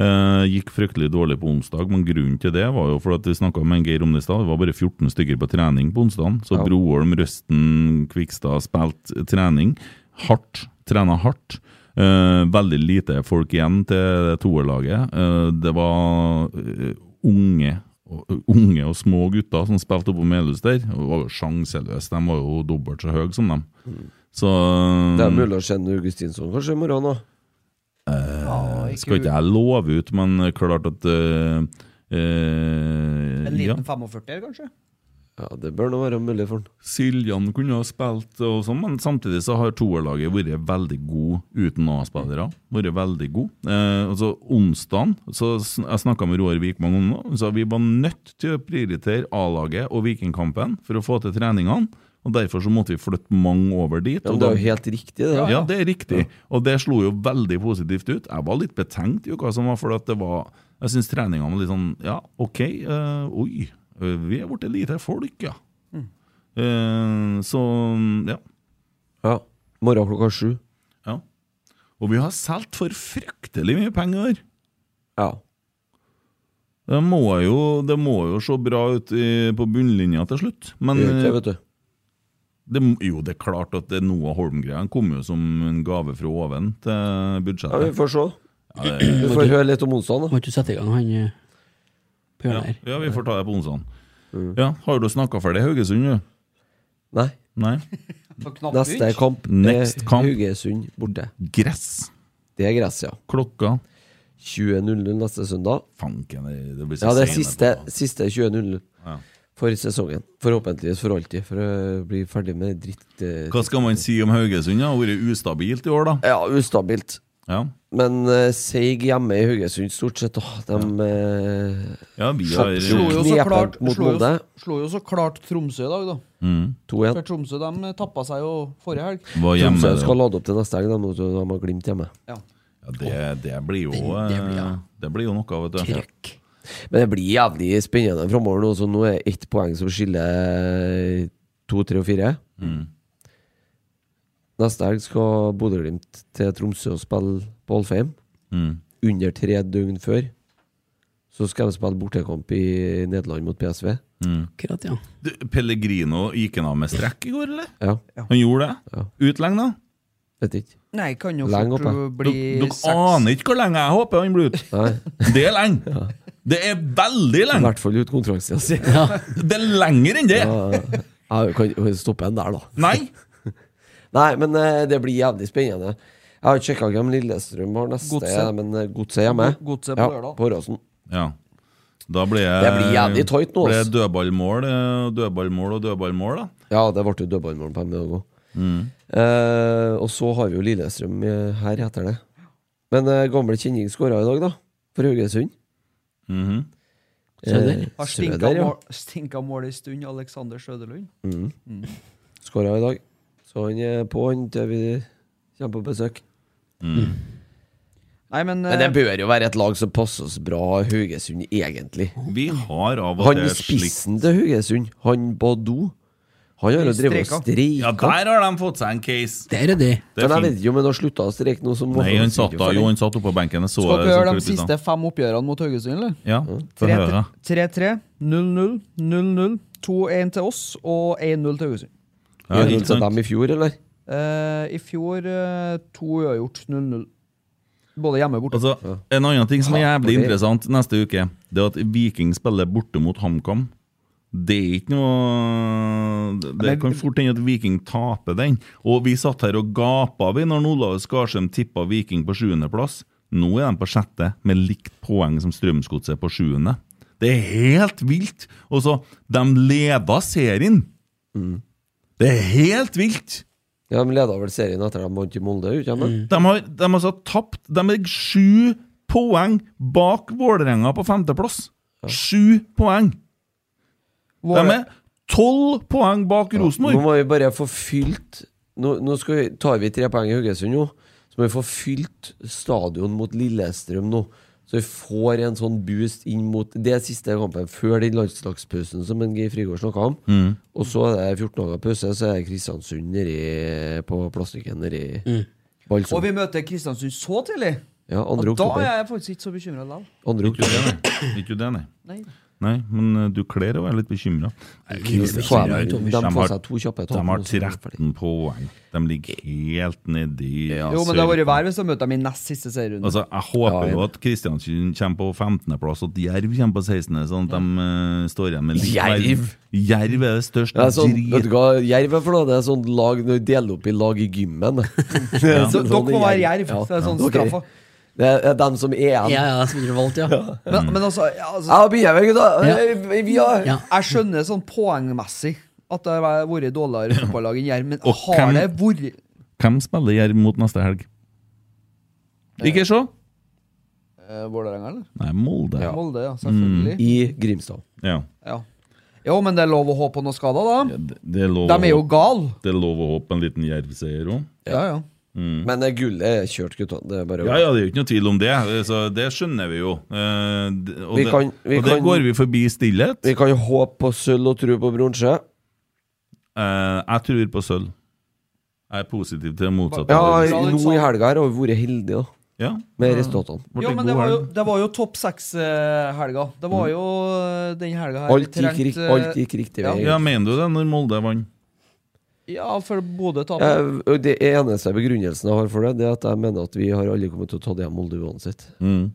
C: Eh, gikk fryktelig dårlig på onsdag, men grunnen til det var jo for at vi snakka med en Geir om det i stad. Det var bare 14 stykker på trening på onsdag. Så
D: Ja.
C: Broholm, Røsten, Kvikstad spilte trening. Hardt. Trena hardt. Eh, veldig lite folk igjen til toerlaget. Eh, det var eh, unge eh, unge og små gutter som spilte oppe på Melhus der. Det var jo sjanseløst. De var jo dobbelt så høye som dem. Så
D: Mm.
C: eh, Mm.
D: Det er mulig å sende Augustinsson kanskje i morgen òg.
C: Eh, skal ikke jeg love ut, men klart at eh, eh,
G: En
C: ja.
G: liten 45-er, kanskje?
D: Ja, det bør nå være mulig for han.
C: Siljan kunne ha spilt og sånn, men samtidig så har toerlaget vært veldig god uten A-spillere. Vært veldig god. Eh, altså onsdagen, så sn jeg snakka med Roar Vikman om det, så vi var nødt til å prioritere A-laget og Vikingkampen for å få til treningene. Og Derfor så måtte vi flytte mange over dit. og
D: Ja, men det
C: da-
D: er jo helt riktig, det.
C: Ja, det er riktig. Og det slo jo veldig positivt ut. Jeg var litt betenkt i uka som var, for at det var Jeg syns treningene var litt sånn Ja, OK. eh, oi. eh, Vi er blitt lite folk, ja. Eh, så ja.
D: Ja. Morgen klokka sju.
C: ja. Og vi har solgt for fryktelig mye penger.
D: Ja.
C: Det må jo, det må jo se bra ut i, på bunnlinja til slutt. Men
D: Det gjør ikke det, vet du.
C: det, jo, det er klart at det Noah Holm-greia kom jo som en gave fra oven til
D: Ja, vi
C: budsjettet.
D: får se. Vi får høre litt om onsdagen, da.
E: Må ikke du sette i gang han eh, på
C: Ja,
E: hjørnet her?
C: ja, vi får ta det på onsdag.
D: Mm.
C: Ja, har du snakka ferdig Haugesund, du?
D: Nei.
C: Nei.
D: Neste kamp
C: Next
D: er
C: kamp.
D: Haugesund borte.
C: Gress.
D: Det er gress, ja.
C: Klokka
D: 20.00 neste søndag.
C: Fanken, det det blir så
D: Ja, det er
C: sent
D: siste,
C: etterpå.
D: siste 20.00
C: Ja.
D: for sesongen. Forhåpentligvis for alltid, for å bli ferdig med dritt... eh,
C: Hva skal man si om Haugesund? da? Har vært ustabilt i år, da.
D: Ja, ustabilt.
C: Ja,
D: Men eh, seig hjemme i Haugesund, stort sett. Da. De eh,
C: ja vi
D: Slapp
C: har
D: slo
G: Slo jo så
D: Knepet
G: klart,
D: mot
G: slo jo,
D: Molde.
G: slo jo så klart Tromsø i dag, da. For
D: 2-1.
G: Tromsø de tappa seg jo forrige helg.
C: Mm. var hjemme.
D: Tromsø
C: det.
D: skal lade opp til neste helg, da, mot- de har Glimt hjemme.
G: Ja.
C: Ja, det, det blir jo
E: Den- det blir, ja.
C: eh, Det blir jo noe, vet du.
E: Trøkk.
D: Men det blir jævlig spennende framover nå, så nå er det ett poeng som skiller to, tre og fire.
C: Mm.
D: Neste helg skal Bodø-Glimt til Tromsø og spille på Alfheim.
C: Mm.
D: Under tre døgn før. Så skal de spille bortekamp i Nederland mot PSV.
C: Mm.
E: Akkurat, ja.
C: Du, Pellegrino gikk han av med strekk i går, eller?
D: Ja,
C: Han gjorde det?
D: Ja.
C: Ut lenge, da?
D: vet ikke.
G: Nei, kan jo
D: Lenge
G: fort
D: oppe.
G: uh, bli
C: Dere dere
G: seks.
C: aner ikke hvor lenge jeg håper han blir ute.
D: Nei,
C: Det er lenge! Det er veldig
D: I
C: lenge!
D: hvert fall ut kontraktstida si.
C: Det er lenger enn det!
D: Ja, vi kan jo stoppe en der, da.
C: Nei!
D: Nei, men eh, det blir jævlig spennende. Jeg har ikke sjekka hvem Lillestrøm har neste,
G: Godset.
D: men eh, Godset hjemme.
G: Godset på
D: ja,
G: lørdag.
D: på Åråsen.
C: Ja. Da ble jeg,
D: Det blir jævlig tight nå,
C: Ble
D: ass.
C: dødballmål, eh, dødballmål og dødballmål, da.
D: Ja, det ble jo dødballmål på MDG òg. Eh, og så har vi jo Lillestrøm eh, her etter det. Men eh, gamle kjenning skåra i dag, da. For Haugesund.
C: Mhm.
E: Eh, Søder.
G: Har stinka,
D: Søder, ja. Mm.
G: mål, stinka mål en stund, Alexander Søderlund. Mm.
D: Skåra i dag. Så han er på, han, til vi kommer på besøk.
G: Nei, men,
D: Men det
G: eh,
D: bør jo være et lag som passer oss bra, Haugesund, egentlig.
C: Vi har av og
D: Han
C: til slikt
D: spissen til Haugesund, han Badou, han har jo drevet og
G: Streika.
C: Ja,
D: streika.
C: der har de fått seg en case!
E: Det er det.
C: Det
D: Men
C: er
D: jeg vet
C: fint.
D: ikke om han har slutta å streke nå. som
C: Nei,
D: Wolfgang
C: han
D: sier
C: satt
D: jo
C: da,
D: for
C: jo,
D: det.
C: han satt oppe på benken. Jeg så
G: skal
C: det
G: dere
C: så
G: høre de
C: klipp ut da.
G: siste fem oppgjørene mot Haugesund, eller?
C: Ja, få høre.
G: 3-3, 0-0, 0-0, 2-1 til oss og 1-0 til Haugesund.
C: Ja,
D: Gjør
C: ikke
D: han til
C: sant?
D: dem i fjor, eller?
G: Eh, I fjor eh, to uavgjort, 0-0. Både hjemme og borte.
C: Altså, en annen ting som er jævlig
D: det-
C: interessant neste uke, det er at Viking spiller borte mot HamKam. Det er ikke noe Det det kan fort hende at Viking taper den. Og vi satt her og gapa vi når Olav Skarsheim tippa Viking på sjuendeplass. Nå er de på sjette, med likt poeng som Strømsgodset på sjuende. Det er helt vilt! Og så, de leder serien! Det er helt vilt!
D: Mm. Ja, De leda vel serien etter at de vant i Molde, gjorde de ikke?
C: De har, de har altså tapt De er sju poeng bak Vålerenga på femteplass. Sju poeng! De er tolv poeng bak
D: Nå
C: Rosenborg!
D: må vi bare få fylt Nå, nå skal vi, tar vi tre poeng i Haugesund nå. Så må vi få fylt stadion mot Lillestrøm nå. Så vi får en sånn boost inn mot Det er siste kampen før den landslagspausen som en Geir Frigård snakka om.
C: Mm.
D: Og så er det 14 dager pause, så er det Kristiansund nedi på plastikken nedi
G: Mm. Og
D: Balsam.
G: vi møter Kristiansund så tidlig!
D: Ja,
G: Og
D: 2.
G: da
D: oktober.
G: er jeg faktisk ikke så bekymra likevel.
D: Andre
C: Ikke du
D: oktober.
C: det, nei? Ikke du det, nei?
G: Nei.
C: Nei, men eh, du kler å være litt bekymra.
D: Så får jeg-
C: Tommy.
D: De
C: De
D: får
C: har-
D: seg to
C: De
D: kjappe tap,
C: har
D: og så er det
C: 13
D: ferdig.
C: poeng. De ligger helt nedi ja,
G: Jo, men det har vært verre hvis jeg møter dem i nest siste serierunde.
C: Altså, Jeg håper
D: Ja,
C: jo
D: ja.
C: at Kristiansund kommer på 15.-plass, og at Jerv kommer på 16., sånn at de eh, står igjen med litt
D: Jerv?
C: mer- Jerv er det største
D: Det er sånn, vet du
C: drit...
D: hva Jerv er for noe? Det er sånn lag når du deler opp i lag i gymmen. Sånn
G: Så dere må være jerv.
D: Ja.
G: Så det er sånn
D: Ok.
G: straffa.
D: Det er- det er dem som er igjen.
E: Ja, ja, som ikke valgt, ja.
C: Mm.
G: Men, men altså, ja, altså
D: Jeg begynner, vet du, da.
E: Ja.
D: Eh, Vi har
E: Ja.
G: Jeg skjønner sånn poengmessig at det har vært dårligere fotballag enn Jerv, men
C: Og
G: har
C: hvem-
G: det vært
C: Hvem spiller Jerv mot neste helg? Ikke se!
G: eh, Vålerenga, eller?
C: Nei, Molde. Mm. Ja.
G: Molde, ja. Selvfølgelig.
D: i Grimstad.
G: Ja. Jo, men det er lov å håpe på noen skader, da.
C: Ja, Det, det, er lov,
G: De er jo
C: å håpe-
G: gale.
C: det er lov å håpe en liten Jerv-seier òg.
G: Ja, ja.
D: Mm. Men det gullet er kjørt, gutta. Det er bare å-
C: Ja, ja, det er jo ikke noe tvil om det. Så det skjønner vi jo. Eh, d- og
D: Vi
C: det,
D: kan- vi
C: og det
D: kan-
C: går vi forbi stillhet.
D: Vi kan jo håpe på sølv og tro på bronse.
C: Eh, jeg tror på sølv. Jeg er positiv til det motsatte.
D: Ja,
G: Bra,
D: nå
G: liksom.
D: i helga her har vi vært heldige, da.
C: Ja.
D: Med resultatene.
C: Ble
G: ja, men
C: god
G: det var jo,
C: helg. Mm.
G: det var jo topp seks-helga. Det var jo eh, den helga her
D: Alt gikk,
G: trengt,
D: rik-
G: eh,
D: alt gikk riktig vei.
C: Ja, mener du det når Molde vant?
G: Ja, for Bodø taper.
D: Jeg- Eh, og Det eneste begrunnelsen jeg har for det, Det er at jeg mener at vi har aldri kommet til å ta det igjen Molde uansett.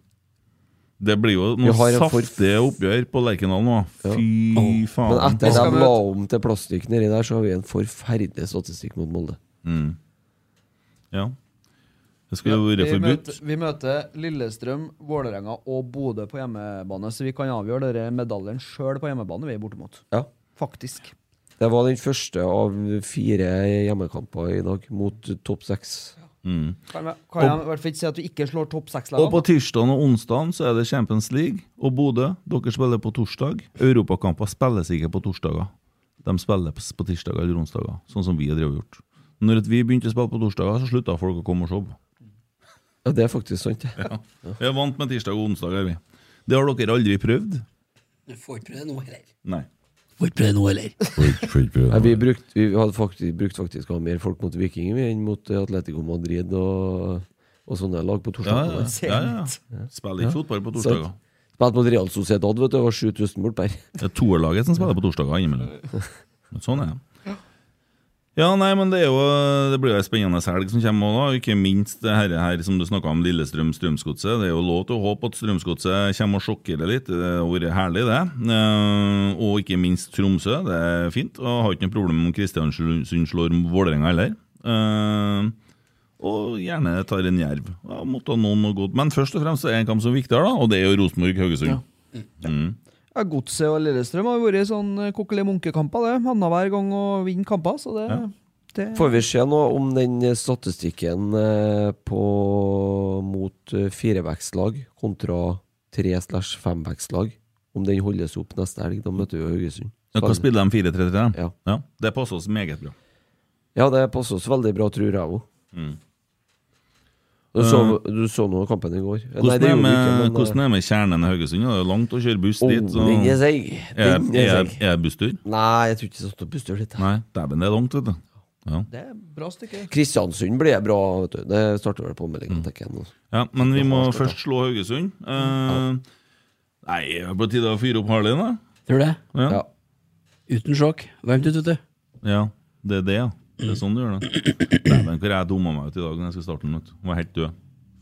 C: Det blir jo
D: Mm. Vi har
C: noen
D: en for-
C: saftige oppgjør på Lerkendal nå. Fy
D: Men
C: faen.
D: etter
G: Vi skal
D: at de
G: møte-
D: la om til plastikk nedi der, så har vi en forferdelig statistikk mot Molde.
C: Mm. Ja. Det skulle jo vært
G: vi,
C: forbudt.
G: møter, vi møter Lillestrøm, Vålerenga og Bodø på hjemmebane, så vi kan avgjøre dere medaljen sjøl på hjemmebane. Vi er bortimot.
D: Ja.
G: Faktisk.
D: Det var den første av fire hjemmekamper i dag mot topp seks.
C: Mm.
G: Kan jeg, kan jeg i hvert fall ikke si at vi ikke slår topp
C: Og på
G: seks-lagene?
C: tirsdag og onsdag så er det Champions League og Bodø. Dere spiller på torsdag. Europakamper spilles ikke på torsdager. De spilles på tirsdager eller onsdager, sånn som vi har drevet og gjort. Når at vi begynte å spille på torsdager, så slutta folk å komme og se på.
D: Ja, det er faktisk sant. det.
C: Vi er vant med tirsdag og onsdag, er vi. Det har dere aldri prøvd?
E: Du får ikke prøve det nå heller.
C: Nei.
E: Får ikke prøve det nå heller.
D: Nei, vi, brukt, vi hadde faktisk, brukt faktisk å ha mer folk mot Viking vi, enn mot eh, Atletico Madrid og, og sånne lag på
C: Ja,
D: torsdag.
C: ja, ja, ja. Spiller ikke fotball på torsdager.
D: Spilte mot Real Sociedad, vet du. Det var 7000 bort der.
C: Det er toerlaget som spiller på torsdager innimellom. Men sånn er det. Ja, nei, men det, er jo, det blir jo ei spennende helg som kommer også, da. Ikke minst det her, her som du snakka om, Lillestrøm-Strømsgodset. Det er jo lov til å håpe at Strømsgodset kommer og sjokkerer litt. Det har vært herlig, det. Eh, og ikke minst Tromsø. Det er fint. Og har ikke noe problem om Kristiansund slår Vålerenga heller. Eh, og gjerne tar en jerv. Ja, måtte ha noen noe godt. Men først og fremst er det en kamp som er viktigere, da, og det er jo Rosenborg-Haugesund. Mm.
G: Ja, Godset og Lillestrøm har vært sånn eh, kokkeli munkekamper, det. Annenhver gang å vinne kamper, så det, det
D: Får vi se nå om den statistikken eh, på, mot eh, firevektslag kontra tre- slash femvektslag, om den holdes opp neste helg. Da møter vi Haugesund.
C: Ja, hva spiller de 4-3-3?
D: Ja.
C: ja. Det passer oss meget bra.
D: Ja, det passer oss veldig bra, tror jeg òg.
C: Mm.
D: Du, så- du så nå kampen i går? Eh,
C: Eh. Hvordan,
D: det
C: er,
D: gjorde du
C: med,
D: ikke, men, eh,
C: hvordan er med kjernen i Haugesund? Det er jo langt å kjøre buss
D: oh,
C: dit. Så
D: Den er seig!
C: er,
D: Den er
C: er,
D: seig.
C: er busstur?
D: Nei, jeg tror ikke sånn jeg satt og puster litt.
C: Nei, dæven, det er langt, vet du. Ja.
G: det er et bra stykke.
D: Kristiansund blir bra, vet du. Det starter vel
C: Mm.
D: på ommeldinga, tenker jeg nå.
C: ja, Men vi må først slå Haugesund. Eh, nei, er det på tide å fyre opp Harleyen, da?
E: Tror du det?
C: Ja.
D: Ja.
E: Uten sjokk. Varmt ut, vet du.
C: Ja, det er det, ja. Det er sånn du gjør det. Dæven, hvor jeg dumma meg ut i dag når jeg skulle starte den. vet du. Var helt død.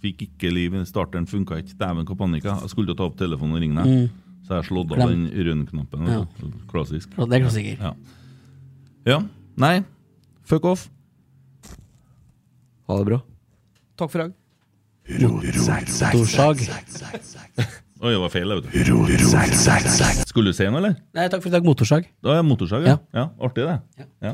C: Fikk ikke liv. Starteren funka ikke. Dæven, hva panikk jeg Jeg skulle til å ta opp telefonen og ringe deg. Så jeg slått av den
E: Mm. Glem.
C: rønnknappen. vet du. Klassisk.
E: Det er klassiker.
C: Ja. ja. Nei, fuck off.
D: Ha det bra.
G: Takk for i dag.
E: Torsdag.
C: Oi, det var feil, det, vet du. Skulle du si noe, eller?
E: Nei, takk for i dag. Motorsag.
C: Da er motorsag, ja. ja. Artig, det. Ja.